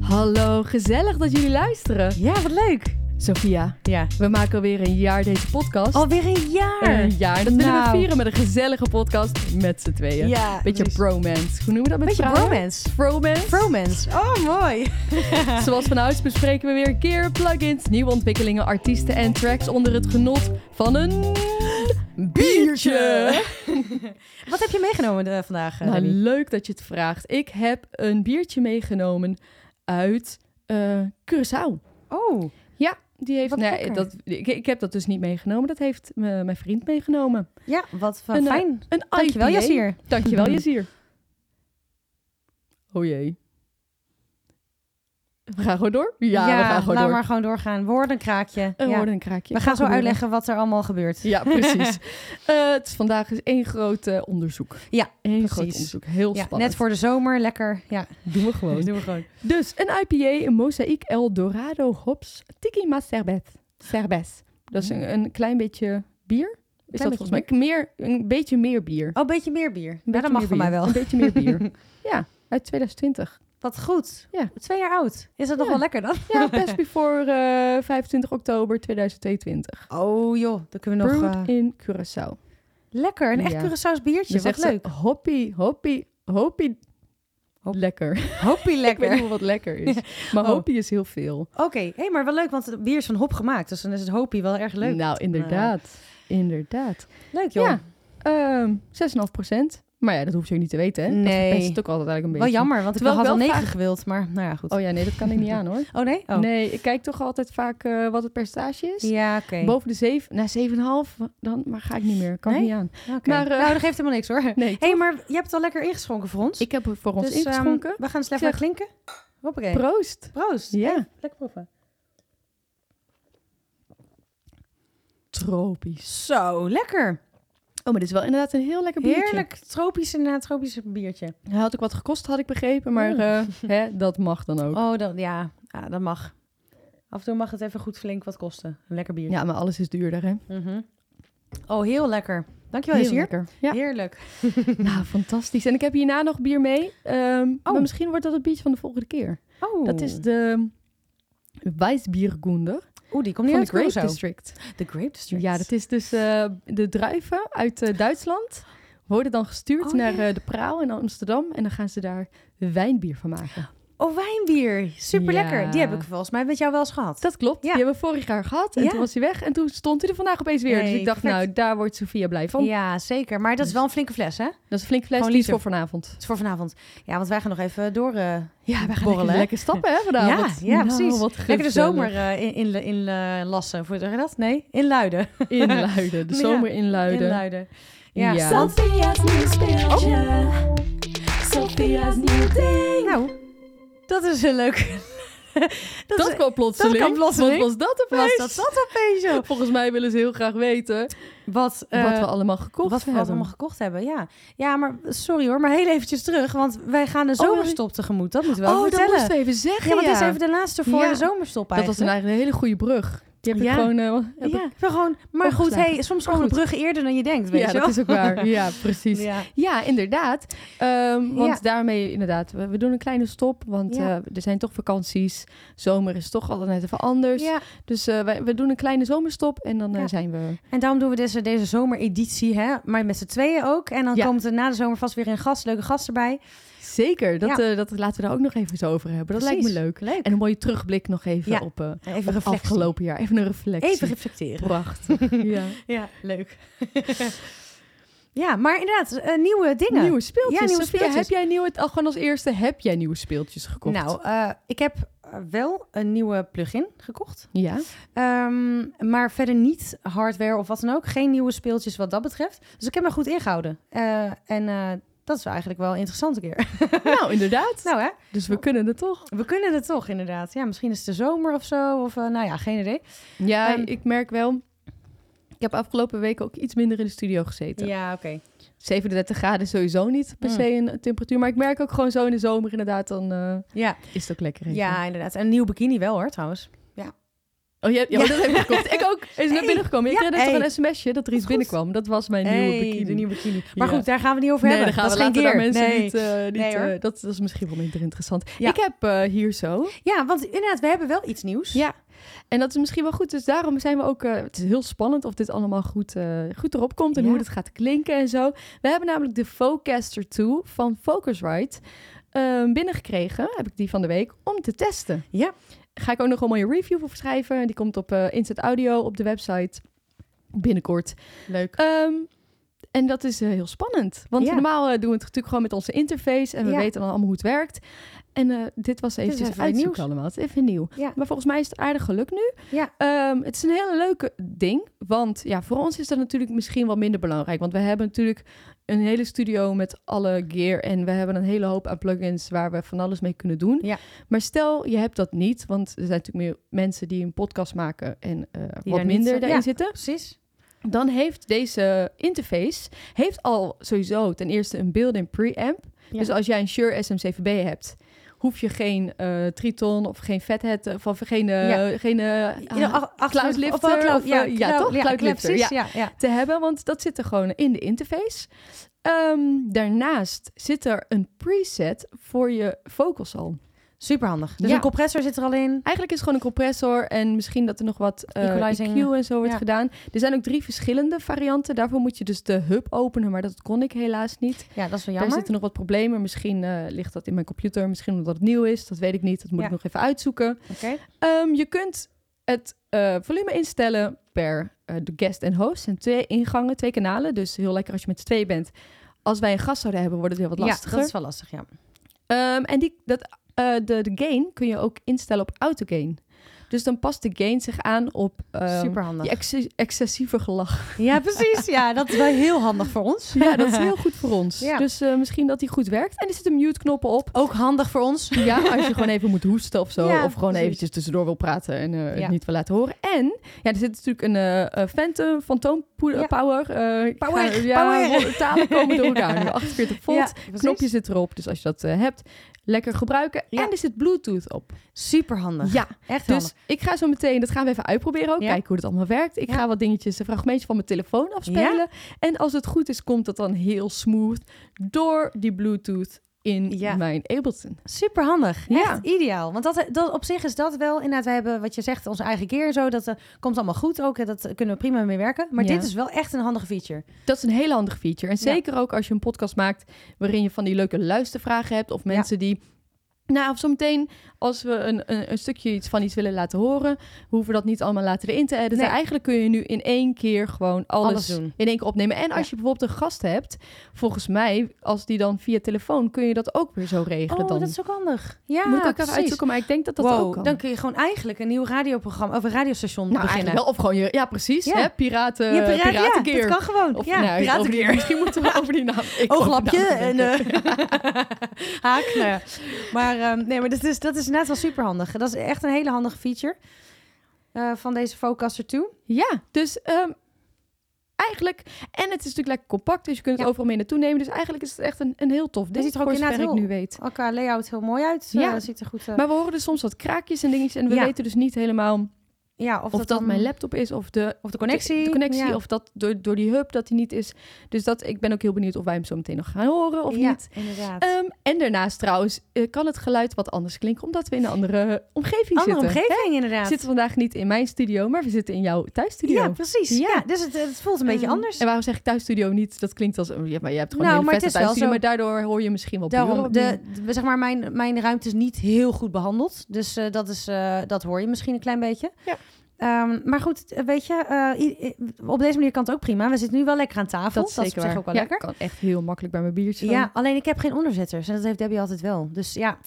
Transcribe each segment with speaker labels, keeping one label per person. Speaker 1: Hallo, gezellig dat jullie luisteren.
Speaker 2: Ja, wat leuk.
Speaker 1: Sophia,
Speaker 2: Ja.
Speaker 1: we maken alweer een jaar deze podcast.
Speaker 2: Alweer een jaar.
Speaker 1: Een jaar. Dat willen we
Speaker 2: Nou.
Speaker 1: vieren met een gezellige podcast met z'n tweeën.
Speaker 2: Ja.
Speaker 1: Beetje
Speaker 2: dus-
Speaker 1: bromance. Hoe noemen we dat met
Speaker 2: Beetje
Speaker 1: vrouwen?
Speaker 2: bromance.
Speaker 1: Bromance.
Speaker 2: Bromance. Oh, mooi.
Speaker 1: Zoals van ouds bespreken we weer keer plugins, nieuwe ontwikkelingen, artiesten en tracks onder het genot van een biertje.
Speaker 2: Wat heb je meegenomen eh, vandaag, eh,
Speaker 1: Nou,
Speaker 2: Debbie?
Speaker 1: leuk dat je het vraagt. Ik heb een biertje meegenomen uit eh, Curaçao.
Speaker 2: Oh.
Speaker 1: Ja, die heeft.
Speaker 2: Wat
Speaker 1: Nee,
Speaker 2: lekker.
Speaker 1: dat, ik, ik heb dat dus niet meegenomen. Dat heeft me- mijn vriend meegenomen.
Speaker 2: Ja, wat
Speaker 1: Een,
Speaker 2: fijn.
Speaker 1: eh,
Speaker 2: fijn.
Speaker 1: Een
Speaker 2: Dankjewel,
Speaker 1: IPA.
Speaker 2: Yassir.
Speaker 1: Dankjewel, Jazier. Oh jee. We gaan gewoon door? Ja, we gaan gewoon
Speaker 2: laat
Speaker 1: door.
Speaker 2: maar gewoon doorgaan. Woorden een kraakje.
Speaker 1: Een
Speaker 2: Ja.
Speaker 1: woorden, een kraakje.
Speaker 2: We
Speaker 1: Gaat
Speaker 2: gaan zo
Speaker 1: gebeuren.
Speaker 2: uitleggen wat er allemaal gebeurt.
Speaker 1: Ja, precies. Eh, het is vandaag is één groot eh, onderzoek.
Speaker 2: Ja,
Speaker 1: Eén groot
Speaker 2: precies.
Speaker 1: onderzoek. Heel
Speaker 2: Ja,
Speaker 1: spannend.
Speaker 2: net voor de zomer. Lekker. Ja,
Speaker 1: Doen we gewoon.
Speaker 2: doen we gewoon.
Speaker 1: Dus een IPA, een Mosaic El Dorado Hops Tiki Ma Serbet. Serbes. Dat is een, een klein beetje bier. Is
Speaker 2: Klein
Speaker 1: dat
Speaker 2: beetje
Speaker 1: volgens mij meer, een beetje meer bier.
Speaker 2: Oh, een beetje meer bier.
Speaker 1: Een
Speaker 2: nou,
Speaker 1: beetje
Speaker 2: dat mag
Speaker 1: meer
Speaker 2: van
Speaker 1: bier.
Speaker 2: mij wel.
Speaker 1: Een beetje meer bier. ja, uit 2020.
Speaker 2: Wat goed.
Speaker 1: Ja.
Speaker 2: Twee jaar oud. Is dat nog
Speaker 1: Ja.
Speaker 2: wel lekker dan?
Speaker 1: Ja, best before eh 25 oktober 2022.
Speaker 2: Oh joh, dan kunnen we nog...
Speaker 1: Brewed
Speaker 2: eh,
Speaker 1: in Curaçao.
Speaker 2: Lekker, een echt
Speaker 1: Ja.
Speaker 2: Curaçao's biertje.
Speaker 1: Dan
Speaker 2: Wat
Speaker 1: zegt
Speaker 2: leuk.
Speaker 1: ze hoppie, hoppie, hoppie.
Speaker 2: Hop.
Speaker 1: Lekker.
Speaker 2: Hoppie
Speaker 1: "Oh, Ik weet niet hoe wat lekker is. Maar
Speaker 2: Oh.
Speaker 1: hoppie is heel veel.
Speaker 2: Oké, hey, maar wel leuk, want het bier is van hop gemaakt. Dus dan is het hopie wel erg leuk.
Speaker 1: Nou, inderdaad. Inderdaad.
Speaker 2: Leuk, joh.
Speaker 1: Ja, ehm 6,5 Maar ja, dat hoef je ook niet te weten, hè?
Speaker 2: Nee.
Speaker 1: Dat is het ook altijd eigenlijk een beetje.
Speaker 2: Wel jammer, want
Speaker 1: Terwijl
Speaker 2: ik
Speaker 1: ik
Speaker 2: had al
Speaker 1: wel
Speaker 2: negen
Speaker 1: vaak-
Speaker 2: gewild. Maar nou ja, goed.
Speaker 1: Oh ja, nee, dat kan ik niet aan, hoor.
Speaker 2: Oh, nee? Oh.
Speaker 1: Nee, ik kijk toch altijd vaak eh, wat het percentage is.
Speaker 2: Ja, oké.
Speaker 1: Boven de 7, na 7,5, dan maar ga ik niet meer. Kan ik
Speaker 2: Nee?
Speaker 1: niet aan.
Speaker 2: Oké.
Speaker 1: maar, eh,
Speaker 2: nou, dat geeft helemaal niks hoor.
Speaker 1: Nee,
Speaker 2: hey, maar je hebt het al lekker ingeschonken voor ons.
Speaker 1: ik heb er voor ons
Speaker 2: Dus, ehm,
Speaker 1: ingeschonken.
Speaker 2: we gaan eens lekker
Speaker 1: Zeg-
Speaker 2: klinken. Hoppakee.
Speaker 1: Proost.
Speaker 2: Proost.
Speaker 1: Ja.
Speaker 2: Lekker proeven.
Speaker 1: Tropisch.
Speaker 2: Zo, lekker.
Speaker 1: Oh, maar dit is wel inderdaad een heel lekker biertje.
Speaker 2: Heerlijk tropisch, inderdaad, tropisch biertje.
Speaker 1: Hij had ook wat gekost, had ik begrepen. Maar
Speaker 2: Mm.
Speaker 1: eh, hè, dat mag dan ook.
Speaker 2: Oh, dat, ja. ja, dat mag. Af en toe mag het even goed flink wat kosten. Een lekker biertje.
Speaker 1: Ja, maar alles is duurder, hè?
Speaker 2: Mhm. Oh, heel lekker. Dankjewel, Isier.
Speaker 1: lekker. Ja.
Speaker 2: Heerlijk.
Speaker 1: Nou, fantastisch. En ik heb hierna nog bier mee. Ehm, Maar misschien wordt dat het biertje van de volgende keer.
Speaker 2: Oh,
Speaker 1: Dat is de Weissbiergunder
Speaker 2: Oeh, die komt
Speaker 1: van
Speaker 2: niet
Speaker 1: de
Speaker 2: uit
Speaker 1: Grape
Speaker 2: Curaçao.
Speaker 1: District.
Speaker 2: De Grape District.
Speaker 1: Ja, dat is dus eh, de druiven uit eh, Duitsland. Worden dan gestuurd
Speaker 2: Oh,
Speaker 1: naar
Speaker 2: ja.
Speaker 1: eh, de Praal in Amsterdam. En dan gaan ze daar wijnbier van maken.
Speaker 2: Oh, wijnbier. Super lekker. Die
Speaker 1: Ja.
Speaker 2: heb ik volgens mij met jou wel eens gehad.
Speaker 1: Dat klopt.
Speaker 2: Ja.
Speaker 1: Die hebben we vorig jaar gehad. En
Speaker 2: Ja.
Speaker 1: toen was hij weg. En toen stond hij er vandaag opeens weer. dus
Speaker 2: Nee,
Speaker 1: ik dacht,
Speaker 2: perfect.
Speaker 1: nou, daar wordt Sofia blij van.
Speaker 2: Ja, zeker. Maar dat is wel een flinke fles, hè? Dat
Speaker 1: Dat is een flink fles.
Speaker 2: Gewoon
Speaker 1: Die is voor
Speaker 2: liter.
Speaker 1: vanavond.
Speaker 2: is voor vanavond. Ja, want wij gaan nog even door. eh,
Speaker 1: Ja, wij gaan
Speaker 2: Borrelen,
Speaker 1: lekker,
Speaker 2: hè? Nou,
Speaker 1: lekker stappen, hè, vanavond.
Speaker 2: Ja, ja, precies.
Speaker 1: Nou, Wat
Speaker 2: lekker de
Speaker 1: gezellig.
Speaker 2: zomer eh, in, in, in eh, Lassen. Hoe zeg je dat? Nee, in Luiden.
Speaker 1: Inluiden. De
Speaker 2: Ja.
Speaker 1: zomer
Speaker 2: In
Speaker 1: inluiden.
Speaker 2: Luiden. Ja.
Speaker 1: Ja.
Speaker 2: Want-
Speaker 3: Sophia's nieuw speeltje. Sophia's nieuw ding.
Speaker 2: nou, dat is een leuk... dat
Speaker 1: Dat
Speaker 2: is-
Speaker 1: kwam plotseling.
Speaker 2: dat kwam plotseling.
Speaker 1: Wat was dat
Speaker 2: was
Speaker 1: opeens?
Speaker 2: dat zat opeens, joh.
Speaker 1: Volgens mij willen ze heel graag weten
Speaker 2: Wat,
Speaker 1: wat
Speaker 2: eh,
Speaker 1: we allemaal gekocht
Speaker 2: wat we
Speaker 1: hebben.
Speaker 2: allemaal gekocht hebben, ja. Ja, maar sorry hoor, maar heel eventjes terug. Want wij gaan de
Speaker 1: Oh,
Speaker 2: zomerstop tegemoet. Dat moeten we wel
Speaker 1: oh, dat
Speaker 2: vertellen.
Speaker 1: moesten we even zeggen,
Speaker 2: Ja, want
Speaker 1: ja.
Speaker 2: dit is even de laatste voor
Speaker 1: Ja.
Speaker 2: de zomerstop
Speaker 1: Dat was een,
Speaker 2: eigenlijk.
Speaker 1: eigenlijk een hele goede brug. Die heb
Speaker 2: Ja.
Speaker 1: ik gewoon... eh, heb
Speaker 2: ja,
Speaker 1: ik-
Speaker 2: ik ben gewoon, maar goed,
Speaker 1: opgeslagen.
Speaker 2: hey, soms
Speaker 1: Maar
Speaker 2: komen de
Speaker 1: goed.
Speaker 2: bruggen eerder dan je denkt, weet
Speaker 1: ja,
Speaker 2: je
Speaker 1: dat
Speaker 2: wel?
Speaker 1: is ook waar. Ja, precies. Ja.
Speaker 2: Ja.
Speaker 1: inderdaad. Ehm, want
Speaker 2: Ja.
Speaker 1: daarmee inderdaad, we, we doen een kleine stop, want
Speaker 2: Ja.
Speaker 1: eh, er zijn toch vakanties. Zomer is toch altijd net even anders.
Speaker 2: Ja.
Speaker 1: Dus eh, wij, we doen een kleine zomerstop en dan eh,
Speaker 2: Ja.
Speaker 1: zijn we...
Speaker 2: En daarom doen we deze, deze zomereditie, hè? maar met z'n tweeën ook. En dan
Speaker 1: Ja.
Speaker 2: komt er na de zomer vast weer een gast, leuke gast erbij.
Speaker 1: Zeker, dat,
Speaker 2: Ja.
Speaker 1: eh, dat laten we daar ook nog even zo over hebben. Dat lijkt me
Speaker 2: Precies.
Speaker 1: leuk.
Speaker 2: Leuk.
Speaker 1: En een mooie terugblik nog even
Speaker 2: Ja.
Speaker 1: op eh,
Speaker 2: Even
Speaker 1: het
Speaker 2: reflecteren.
Speaker 1: afgelopen jaar. Even een reflectie.
Speaker 2: Even reflecteren.
Speaker 1: Prachtig. ja.
Speaker 2: Ja, leuk. ja, maar inderdaad, eh, nieuwe dingen.
Speaker 1: Nieuwe speeltjes.
Speaker 2: Ja, nieuwe
Speaker 1: Sophia,
Speaker 2: speeltjes.
Speaker 1: Heb jij nieuwe, al gewoon als eerste, heb jij nieuwe speeltjes gekocht?
Speaker 2: Nou, eh, ik heb eh, wel een nieuwe plugin gekocht.
Speaker 1: Ja.
Speaker 2: Ehm, maar verder niet hardware of wat dan ook. Geen nieuwe speeltjes wat dat betreft. Dus ik heb me goed ingehouden. Eh, en eh, dat is eigenlijk wel een interessante keer.
Speaker 1: nou, inderdaad.
Speaker 2: nou hè,
Speaker 1: Dus we kunnen het toch?
Speaker 2: we kunnen het toch inderdaad. Ja, misschien is het de zomer of zo. Of eh, nou ja, geen idee.
Speaker 1: Ja,
Speaker 2: Ehm,
Speaker 1: ik merk wel. Ik heb afgelopen weken ook iets minder in de studio gezeten.
Speaker 2: Ja, oké.
Speaker 1: 37 graden is sowieso niet per
Speaker 2: Mm.
Speaker 1: se een temperatuur. Maar ik merk ook gewoon zo in de zomer inderdaad, dan eh,
Speaker 2: Ja,
Speaker 1: is het ook lekker. even.
Speaker 2: ja, inderdaad. En een nieuw bikini wel hoor trouwens. Ja,
Speaker 1: Oh, jij, ja,
Speaker 2: Ja.
Speaker 1: maar dat heb ik gekocht. Ik ook. Hij is net
Speaker 2: Hey.
Speaker 1: binnengekomen. Ik
Speaker 2: Ja,
Speaker 1: kreeg net
Speaker 2: hey.
Speaker 1: toch een sms'je dat er iets
Speaker 2: Goed.
Speaker 1: binnenkwam. Dat was mijn nieuwe
Speaker 2: Hey,
Speaker 1: bikini.
Speaker 2: de nieuwe bikini. Maar
Speaker 1: Ja.
Speaker 2: goed, daar gaan we niet over
Speaker 1: Nee,
Speaker 2: hebben.
Speaker 1: dan gaan
Speaker 2: dat
Speaker 1: we
Speaker 2: is geen
Speaker 1: later daar
Speaker 2: keer.
Speaker 1: mensen
Speaker 2: Nee.
Speaker 1: niet... eh, niet
Speaker 2: Nee, hoor.
Speaker 1: eh, dat, dat is misschien wel minder interessant.
Speaker 2: Ja.
Speaker 1: Ik heb eh, hier zo...
Speaker 2: Ja, want inderdaad, we hebben wel iets nieuws.
Speaker 1: Ja. En dat is misschien wel goed. Dus daarom zijn we ook... eh, het is heel spannend of dit allemaal goed, eh, goed erop komt... en
Speaker 2: Ja.
Speaker 1: hoe dit gaat klinken en zo. We hebben namelijk de Focaster 2 van Focusrite... eh, binnengekregen, heb ik die van de week, om te testen.
Speaker 2: Ja.
Speaker 1: Ga ik ook nog een mooie review voor schrijven. Die komt op eh Instant Audio, op de website. Binnenkort.
Speaker 2: Leuk.
Speaker 1: Ehm, en dat is eh, heel spannend. Want
Speaker 2: Ja.
Speaker 1: normaal eh, doen we het natuurlijk gewoon met onze interface. En we
Speaker 2: Ja.
Speaker 1: weten dan allemaal hoe het werkt. En eh, dit was
Speaker 2: is
Speaker 1: eventjes
Speaker 2: even wat
Speaker 1: uitzoeken
Speaker 2: nieuws.
Speaker 1: allemaal. Het is even nieuw.
Speaker 2: Ja.
Speaker 1: Maar volgens mij is het aardig geluk nu.
Speaker 2: Ja.
Speaker 1: Ehm, het is een hele leuke ding. Want ja, voor ons is dat natuurlijk misschien wel minder belangrijk. Want we hebben natuurlijk een hele studio met alle gear. En we hebben een hele hoop aan plugins waar we van alles mee kunnen doen.
Speaker 2: Ja.
Speaker 1: Maar stel, je hebt dat niet. Want er zijn natuurlijk meer mensen die een podcast maken. En eh, wat
Speaker 2: daar niet
Speaker 1: minder
Speaker 2: zo-
Speaker 1: daarin
Speaker 2: ja.
Speaker 1: zitten
Speaker 2: Precies.
Speaker 1: dan heeft deze interface heeft al sowieso ten eerste een built-in preamp.
Speaker 2: Ja.
Speaker 1: Dus als jij een Shure SM7B hebt, hoef je geen eh, Triton of geen Fathead eh, of geen, eh,
Speaker 2: Ja.
Speaker 1: geen eh,
Speaker 2: Ieder- ach- ach-
Speaker 1: Cloudlifter
Speaker 2: of wel cloud-
Speaker 1: of, eh, ja, toch? Cloudlifter,
Speaker 2: precies, Ja, ja.
Speaker 1: te hebben, want dat zit er gewoon in de interface. Ehm, daarnaast zit er een preset voor je vocals al.
Speaker 2: Superhandig. Dus
Speaker 1: Ja.
Speaker 2: een compressor zit er al in.
Speaker 1: Eigenlijk is het gewoon een compressor en misschien dat er nog wat eh EQ
Speaker 2: Equalizing.
Speaker 1: en zo wordt
Speaker 2: Ja.
Speaker 1: gedaan. Er zijn ook drie verschillende varianten. Daarvoor moet je dus de hub openen, maar dat kon ik helaas niet.
Speaker 2: Ja, dat is wel
Speaker 1: Er Daar
Speaker 2: jammer.
Speaker 1: zitten nog wat problemen. Misschien eh, ligt dat in mijn computer. Misschien omdat het nieuw is. Dat weet ik niet. Dat moet
Speaker 2: Ja.
Speaker 1: ik nog even uitzoeken.
Speaker 2: Oké.
Speaker 1: Ehm, je kunt het eh, volume instellen per eh, de guest en host. Er zijn twee ingangen, twee kanalen. Dus heel lekker als je met z'n tweeën bent. Als wij een gast zouden hebben, wordt het weer wat
Speaker 2: Ja,
Speaker 1: lastiger.
Speaker 2: dat is wel lastig, ja.
Speaker 1: Ehm, en die, dat, eh, de, de gain kun je ook instellen op autogain. Dus dan past de gain zich aan op ehm,
Speaker 2: Superhandig.
Speaker 1: die ex- excessieve gelach.
Speaker 2: Ja, precies. Ja, dat is wel heel handig voor ons.
Speaker 1: Ja, dat is heel goed voor ons.
Speaker 2: Ja.
Speaker 1: Dus eh, misschien dat die goed werkt. En er zitten mute-knoppen op.
Speaker 2: Ook handig voor ons.
Speaker 1: Ja, als je gewoon even moet hoesten of zo.
Speaker 2: Ja,
Speaker 1: of gewoon
Speaker 2: precies.
Speaker 1: eventjes tussendoor wil praten en eh, het
Speaker 2: Ja.
Speaker 1: niet wil laten horen. En ja, er zit natuurlijk een eh, eh, Phantom, Phantom po-
Speaker 2: Ja.
Speaker 1: Power. eh, ik
Speaker 2: Power,
Speaker 1: ga- ja,
Speaker 2: power.
Speaker 1: ro- talen komen door elkaar. nu. 48 volt.
Speaker 2: precies.
Speaker 1: Knopje zit erop. Dus als je dat eh, hebt, lekker gebruiken.
Speaker 2: Ja.
Speaker 1: En er zit Bluetooth op.
Speaker 2: Superhandig.
Speaker 1: Ja,
Speaker 2: Echt
Speaker 1: dus ik ga zo meteen, dat gaan we even uitproberen ook.
Speaker 2: Ja.
Speaker 1: Kijken hoe dat allemaal werkt. Ik
Speaker 2: Ja.
Speaker 1: ga wat dingetjes, een fragmentje van mijn telefoon afspelen. En als het goed is, komt dat dan heel smooth door die Bluetooth in
Speaker 2: Ja.
Speaker 1: mijn Ableton.
Speaker 2: Super handig.
Speaker 1: Ja.
Speaker 2: Echt ideaal. Want dat, dat, op zich is dat wel inderdaad. We hebben wat je zegt, onze eigen keer en zo. Dat eh, komt allemaal goed ook. En dat eh, kunnen we prima mee werken. Maar
Speaker 1: Ja.
Speaker 2: dit is wel echt een handige feature.
Speaker 1: Dat is een hele handige feature. En
Speaker 2: Ja.
Speaker 1: zeker ook als je een podcast maakt waarin je van die leuke luistervragen hebt. Of mensen die. Nou, of zometeen als we een, een, een stukje iets van iets willen laten horen, hoeven we dat niet allemaal later in te editen.
Speaker 2: Nee.
Speaker 1: Eigenlijk kun je nu in één keer gewoon alles,
Speaker 2: Alles doen.
Speaker 1: in één keer opnemen. En als je bijvoorbeeld een gast hebt, volgens mij, als die dan via telefoon, kun je dat ook weer zo regelen.
Speaker 2: Oh,
Speaker 1: dan
Speaker 2: dat is ook handig. Ja,
Speaker 1: moet ik ook
Speaker 2: precies.
Speaker 1: even uitzoeken, maar ik denk dat dat
Speaker 2: wow,
Speaker 1: ook kan.
Speaker 2: dan kun je gewoon eigenlijk een nieuw radioprogramma of een radiostation
Speaker 1: nou,
Speaker 2: beginnen.
Speaker 1: eigenlijk wel. Of gewoon je, ja, precies.
Speaker 2: Ja.
Speaker 1: Hè? Piraten,
Speaker 2: Ja, piraten, ja,
Speaker 1: piratenkeer.
Speaker 2: dat kan gewoon.
Speaker 1: Of,
Speaker 2: ja,
Speaker 1: nou, over die-
Speaker 2: piratenkeer.
Speaker 1: Misschien moeten we over die naam. ik over
Speaker 2: Ooglapje
Speaker 1: naam
Speaker 2: en
Speaker 1: denken.
Speaker 2: eh, haak. nou ja. Maar ehm, nee, maar dat is, dat is inderdaad wel superhandig. Dat is echt een hele handige feature eh, van deze Focaster 2.
Speaker 1: Ja, dus ehm, eigenlijk... En het is natuurlijk lekker compact, dus je kunt het
Speaker 2: Ja.
Speaker 1: overal mee naartoe nemen. Dus eigenlijk is het echt een, een heel tof ding,
Speaker 2: ziet er ook
Speaker 1: voor
Speaker 2: inderdaad
Speaker 1: zover ik
Speaker 2: heel-
Speaker 1: nu weet.
Speaker 2: Ook qua layout heel mooi uit.
Speaker 1: Ja.
Speaker 2: Ja. ziet er goed eh,
Speaker 1: Maar we horen dus soms wat kraakjes en dingetjes. En we
Speaker 2: Ja.
Speaker 1: weten dus niet helemaal of,
Speaker 2: ja, of,
Speaker 1: dat,
Speaker 2: dan-
Speaker 1: mijn laptop is of de...
Speaker 2: Of de connectie.
Speaker 1: De, de connectie,
Speaker 2: Ja.
Speaker 1: of dat door, door die hub dat die niet is. Dus dat, ik ben ook heel benieuwd of wij hem zo meteen nog gaan horen of
Speaker 2: ja,
Speaker 1: niet.
Speaker 2: inderdaad.
Speaker 1: Ehm, en daarnaast trouwens eh, kan het geluid wat anders klinken, omdat we in een andere eh, omgeving
Speaker 2: Andere
Speaker 1: zitten.
Speaker 2: omgeving inderdaad.
Speaker 1: We zitten vandaag niet in mijn studio, maar we zitten in jouw thuisstudio.
Speaker 2: ja, precies.
Speaker 1: Ja.
Speaker 2: Ja. dus het, het voelt een beetje
Speaker 1: Ehm,
Speaker 2: anders.
Speaker 1: En waarom zeg ik thuisstudio niet? Dat klinkt als... Ja, maar je hebt gewoon
Speaker 2: Nou,
Speaker 1: een
Speaker 2: maar
Speaker 1: hele
Speaker 2: het
Speaker 1: vette
Speaker 2: is wel
Speaker 1: thuisstudio.
Speaker 2: zo.
Speaker 1: Maar daardoor hoor je misschien wel buren
Speaker 2: Daarom, de,
Speaker 1: opnieuw.
Speaker 2: de- zeg maar, mijn, mijn ruimte is niet heel goed behandeld. Dus eh, dat, is, eh, dat hoor je misschien een klein beetje.
Speaker 1: Ja.
Speaker 2: Ehm, maar goed, eh, weet je, eh, i- i- op deze manier kan het ook prima. We zitten nu wel lekker aan tafel.
Speaker 1: Dat is zeker
Speaker 2: op zich
Speaker 1: waar.
Speaker 2: ook wel
Speaker 1: ja,
Speaker 2: lekker.
Speaker 1: kan echt heel makkelijk bij mijn biertje.
Speaker 2: Ja, alleen ik heb geen onderzetters. En dat heeft Debbie altijd wel. Dus ja.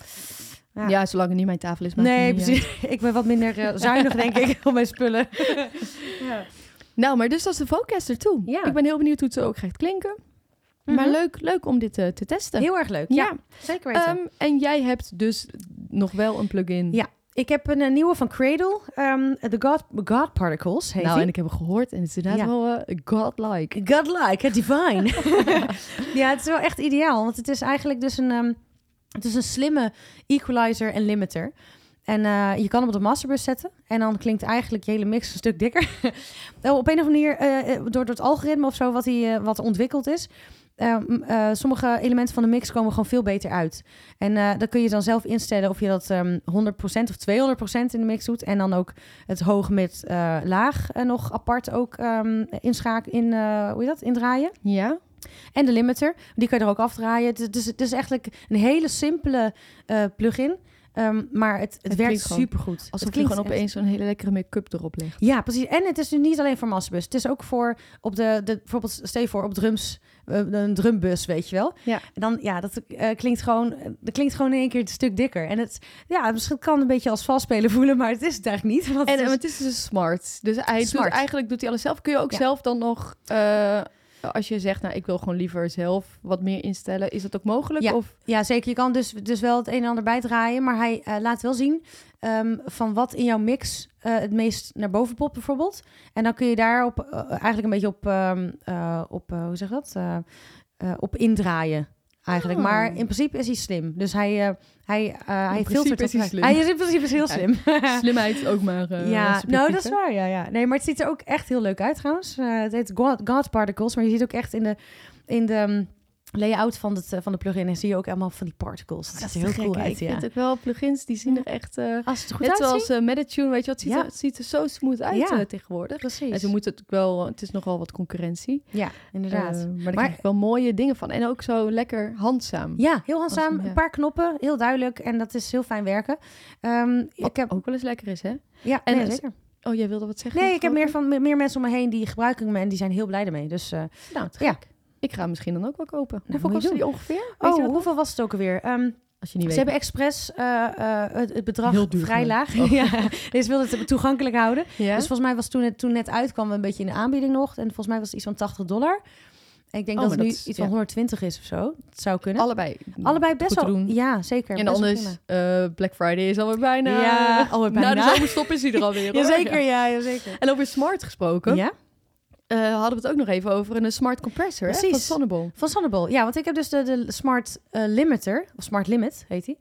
Speaker 1: ja.
Speaker 2: Ja.
Speaker 1: zolang het niet mijn tafel is. maakt
Speaker 2: Nee,
Speaker 1: het niet uit.
Speaker 2: precies. Ik ben wat minder eh, zuinig, denk ik, op mijn spullen.
Speaker 1: Nou, maar dus dat is de Vocaster toe.
Speaker 2: Ja.
Speaker 1: Ik ben heel benieuwd hoe het zo ook gaat klinken. Maar
Speaker 2: Mhm.
Speaker 1: leuk, leuk om dit eh, te testen.
Speaker 2: Heel erg leuk. Ja,
Speaker 1: ja,
Speaker 2: zeker weten.
Speaker 1: Ehm, en jij hebt dus nog wel een plugin. Nou,
Speaker 2: Ja, ik heb een, eh, nieuwe van Cradle. ehm The God, God Particles heet
Speaker 1: nou,
Speaker 2: die.
Speaker 1: en ik heb hem gehoord en het is inderdaad
Speaker 2: Ja.
Speaker 1: wel eh, godlike.
Speaker 2: Godlike, het divine. ja, het is wel echt ideaal. Want het is eigenlijk dus een, ehm, het is een slimme equalizer en limiter. En eh, je kan hem op de masterbus zetten. En dan klinkt eigenlijk je hele mix een stuk dikker. Nou, op een of andere manier, eh, eh, door, door het algoritme of zo, wat, hij eh, wat ontwikkeld is. eh, m- eh, sommige elementen van de mix komen gewoon veel beter uit. En eh dan kun je dan zelf instellen of je dat ehm 100% of 200% in de mix doet. En dan ook het hoog met eh, laag eh, nog apart ook ehm inschaak in, eh, hoe je dat, indraaien.
Speaker 1: Ja?
Speaker 2: En de limiter, die kan je er ook afdraaien. Het is, het is- het is eigenlijk een hele simpele eh, plugin. Ehm, maar het, het,
Speaker 1: Het
Speaker 2: werkt
Speaker 1: klinkt gewoon
Speaker 2: supergoed. Het
Speaker 1: Alsof je
Speaker 2: klinkt
Speaker 1: gewoon
Speaker 2: echt-
Speaker 1: opeens zo'n hele lekkere make-up erop legt.
Speaker 2: Ja, precies. En het is nu niet alleen voor massabus. Het is ook voor op de, de bijvoorbeeld stel je voor op drums eh, een drumbus, weet je wel.
Speaker 1: Ja.
Speaker 2: En dan ja, dat eh, klinkt gewoon eh, dat klinkt gewoon in één keer een stuk dikker. En het ja, misschien kan het een beetje als valspelen voelen, maar het is het eigenlijk niet. Want
Speaker 1: En,
Speaker 2: het is-
Speaker 1: en het is dus smart. Dus hij
Speaker 2: Smart.
Speaker 1: Doet, eigenlijk doet hij alles zelf. Kun je ook
Speaker 2: Ja.
Speaker 1: zelf dan nog, eh, als je zegt, nou ik wil gewoon liever zelf wat meer instellen, is dat ook mogelijk?
Speaker 2: Ja.
Speaker 1: Of
Speaker 2: Ja, zeker. Je kan dus, dus wel het een en ander bijdraaien. Maar hij eh, laat wel zien ehm, van wat in jouw mix eh, het meest naar boven popt, bijvoorbeeld. En dan kun je daarop eh, eigenlijk een beetje op, ehm, eh, op eh, hoe zeg je dat? Eh, eh, op indraaien. Eigenlijk.
Speaker 1: Oh.
Speaker 2: Maar in principe is hij slim. Dus hij, eh, hij, eh, hij
Speaker 1: principe
Speaker 2: filtert.
Speaker 1: is
Speaker 2: dat
Speaker 1: hij
Speaker 2: uit.
Speaker 1: slim.
Speaker 2: Hij is in principe heel
Speaker 1: Ja.
Speaker 2: slim.
Speaker 1: slimheid ook maar. eh,
Speaker 2: ja,
Speaker 1: subjectief,
Speaker 2: nou dat is
Speaker 1: hè?
Speaker 2: waar. Ja, ja. Nee, maar het ziet er ook echt heel leuk uit trouwens. Eh, het heet God, God Particles, maar je ziet ook echt in de, in de mm, layout van, het, eh, van de plugin en zie je ook allemaal van die particles. Dat,
Speaker 1: Ah, Dat is
Speaker 2: ziet er heel cool uit.
Speaker 1: Ik
Speaker 2: Ja.
Speaker 1: vind ook wel plugins die zien er echt. eh
Speaker 2: Als het er goed
Speaker 1: net
Speaker 2: uitziet.
Speaker 1: zoals eh Meditune, weet je wat? Ziet
Speaker 2: Ja.
Speaker 1: er, het ziet er zo smooth uit
Speaker 2: Ja.
Speaker 1: eh, tegenwoordig.
Speaker 2: Precies.
Speaker 1: En ze moeten het ook wel. Het is nogal wat concurrentie.
Speaker 2: Ja, inderdaad.
Speaker 1: Eh, maar daar
Speaker 2: Maar-
Speaker 1: krijg ik wel mooie dingen van. En ook zo lekker handzaam.
Speaker 2: ja, heel handzaam.
Speaker 1: ja.
Speaker 2: Een paar knoppen, heel duidelijk. En dat is heel fijn werken. Ehm, ik heb...
Speaker 1: Ook wel eens lekker is, hè?
Speaker 2: Ja,
Speaker 1: Oh, en
Speaker 2: nee,
Speaker 1: het-
Speaker 2: zeker.
Speaker 1: Oh, jij wilde wat zeggen?
Speaker 2: Nee, ik heb
Speaker 1: geloof
Speaker 2: meer, van, meer- meer mensen om me heen die gebruiken me en die zijn heel blij ermee. Dus, eh,
Speaker 1: Nou, te
Speaker 2: Ja.
Speaker 1: gek. Ik ga hem misschien dan ook wel kopen.
Speaker 2: moet je
Speaker 1: Hoeveel kosten
Speaker 2: doen.
Speaker 1: die ongeveer? Weet je
Speaker 2: oh,
Speaker 1: dat nog?
Speaker 2: hoeveel was het ook alweer? Ehm,
Speaker 1: Als je niet
Speaker 2: Ze
Speaker 1: weet.
Speaker 2: hebben expres eh, eh, het, het bedrag
Speaker 1: Heel duur
Speaker 2: vrij laag.
Speaker 1: gemaakt. Oh.
Speaker 2: ja, dus ze wilden het toegankelijk houden.
Speaker 1: Ja?
Speaker 2: Dus volgens mij was toen het toen net uitkwam een beetje in de aanbieding nog. En volgens mij was het iets van 80 dollar. En ik
Speaker 1: Oh,
Speaker 2: denk dat
Speaker 1: maar
Speaker 2: het nu
Speaker 1: dat is-
Speaker 2: iets van
Speaker 1: ja.
Speaker 2: 120 is of zo. Het zou kunnen.
Speaker 1: Allebei.
Speaker 2: Allebei best
Speaker 1: goed te
Speaker 2: wel.
Speaker 1: doen.
Speaker 2: Ja, zeker.
Speaker 1: En
Speaker 2: best wel
Speaker 1: anders,
Speaker 2: prima.
Speaker 1: eh, Black Friday is alweer bijna.
Speaker 2: Ja, alweer
Speaker 1: Na de
Speaker 2: bijna.
Speaker 1: zomerstop is hij er alweer. hoor.
Speaker 2: Jazeker,
Speaker 1: Ja.
Speaker 2: ja, jazeker.
Speaker 1: En over smart gesproken.
Speaker 2: Ja?
Speaker 1: eh, hadden we het ook nog even over een smart compressor hè,
Speaker 2: Precies.
Speaker 1: van Sonnable.
Speaker 2: Van Sonnable. Ja, want ik heb dus de, de Smart eh, Limiter, of Smart Limit heet die.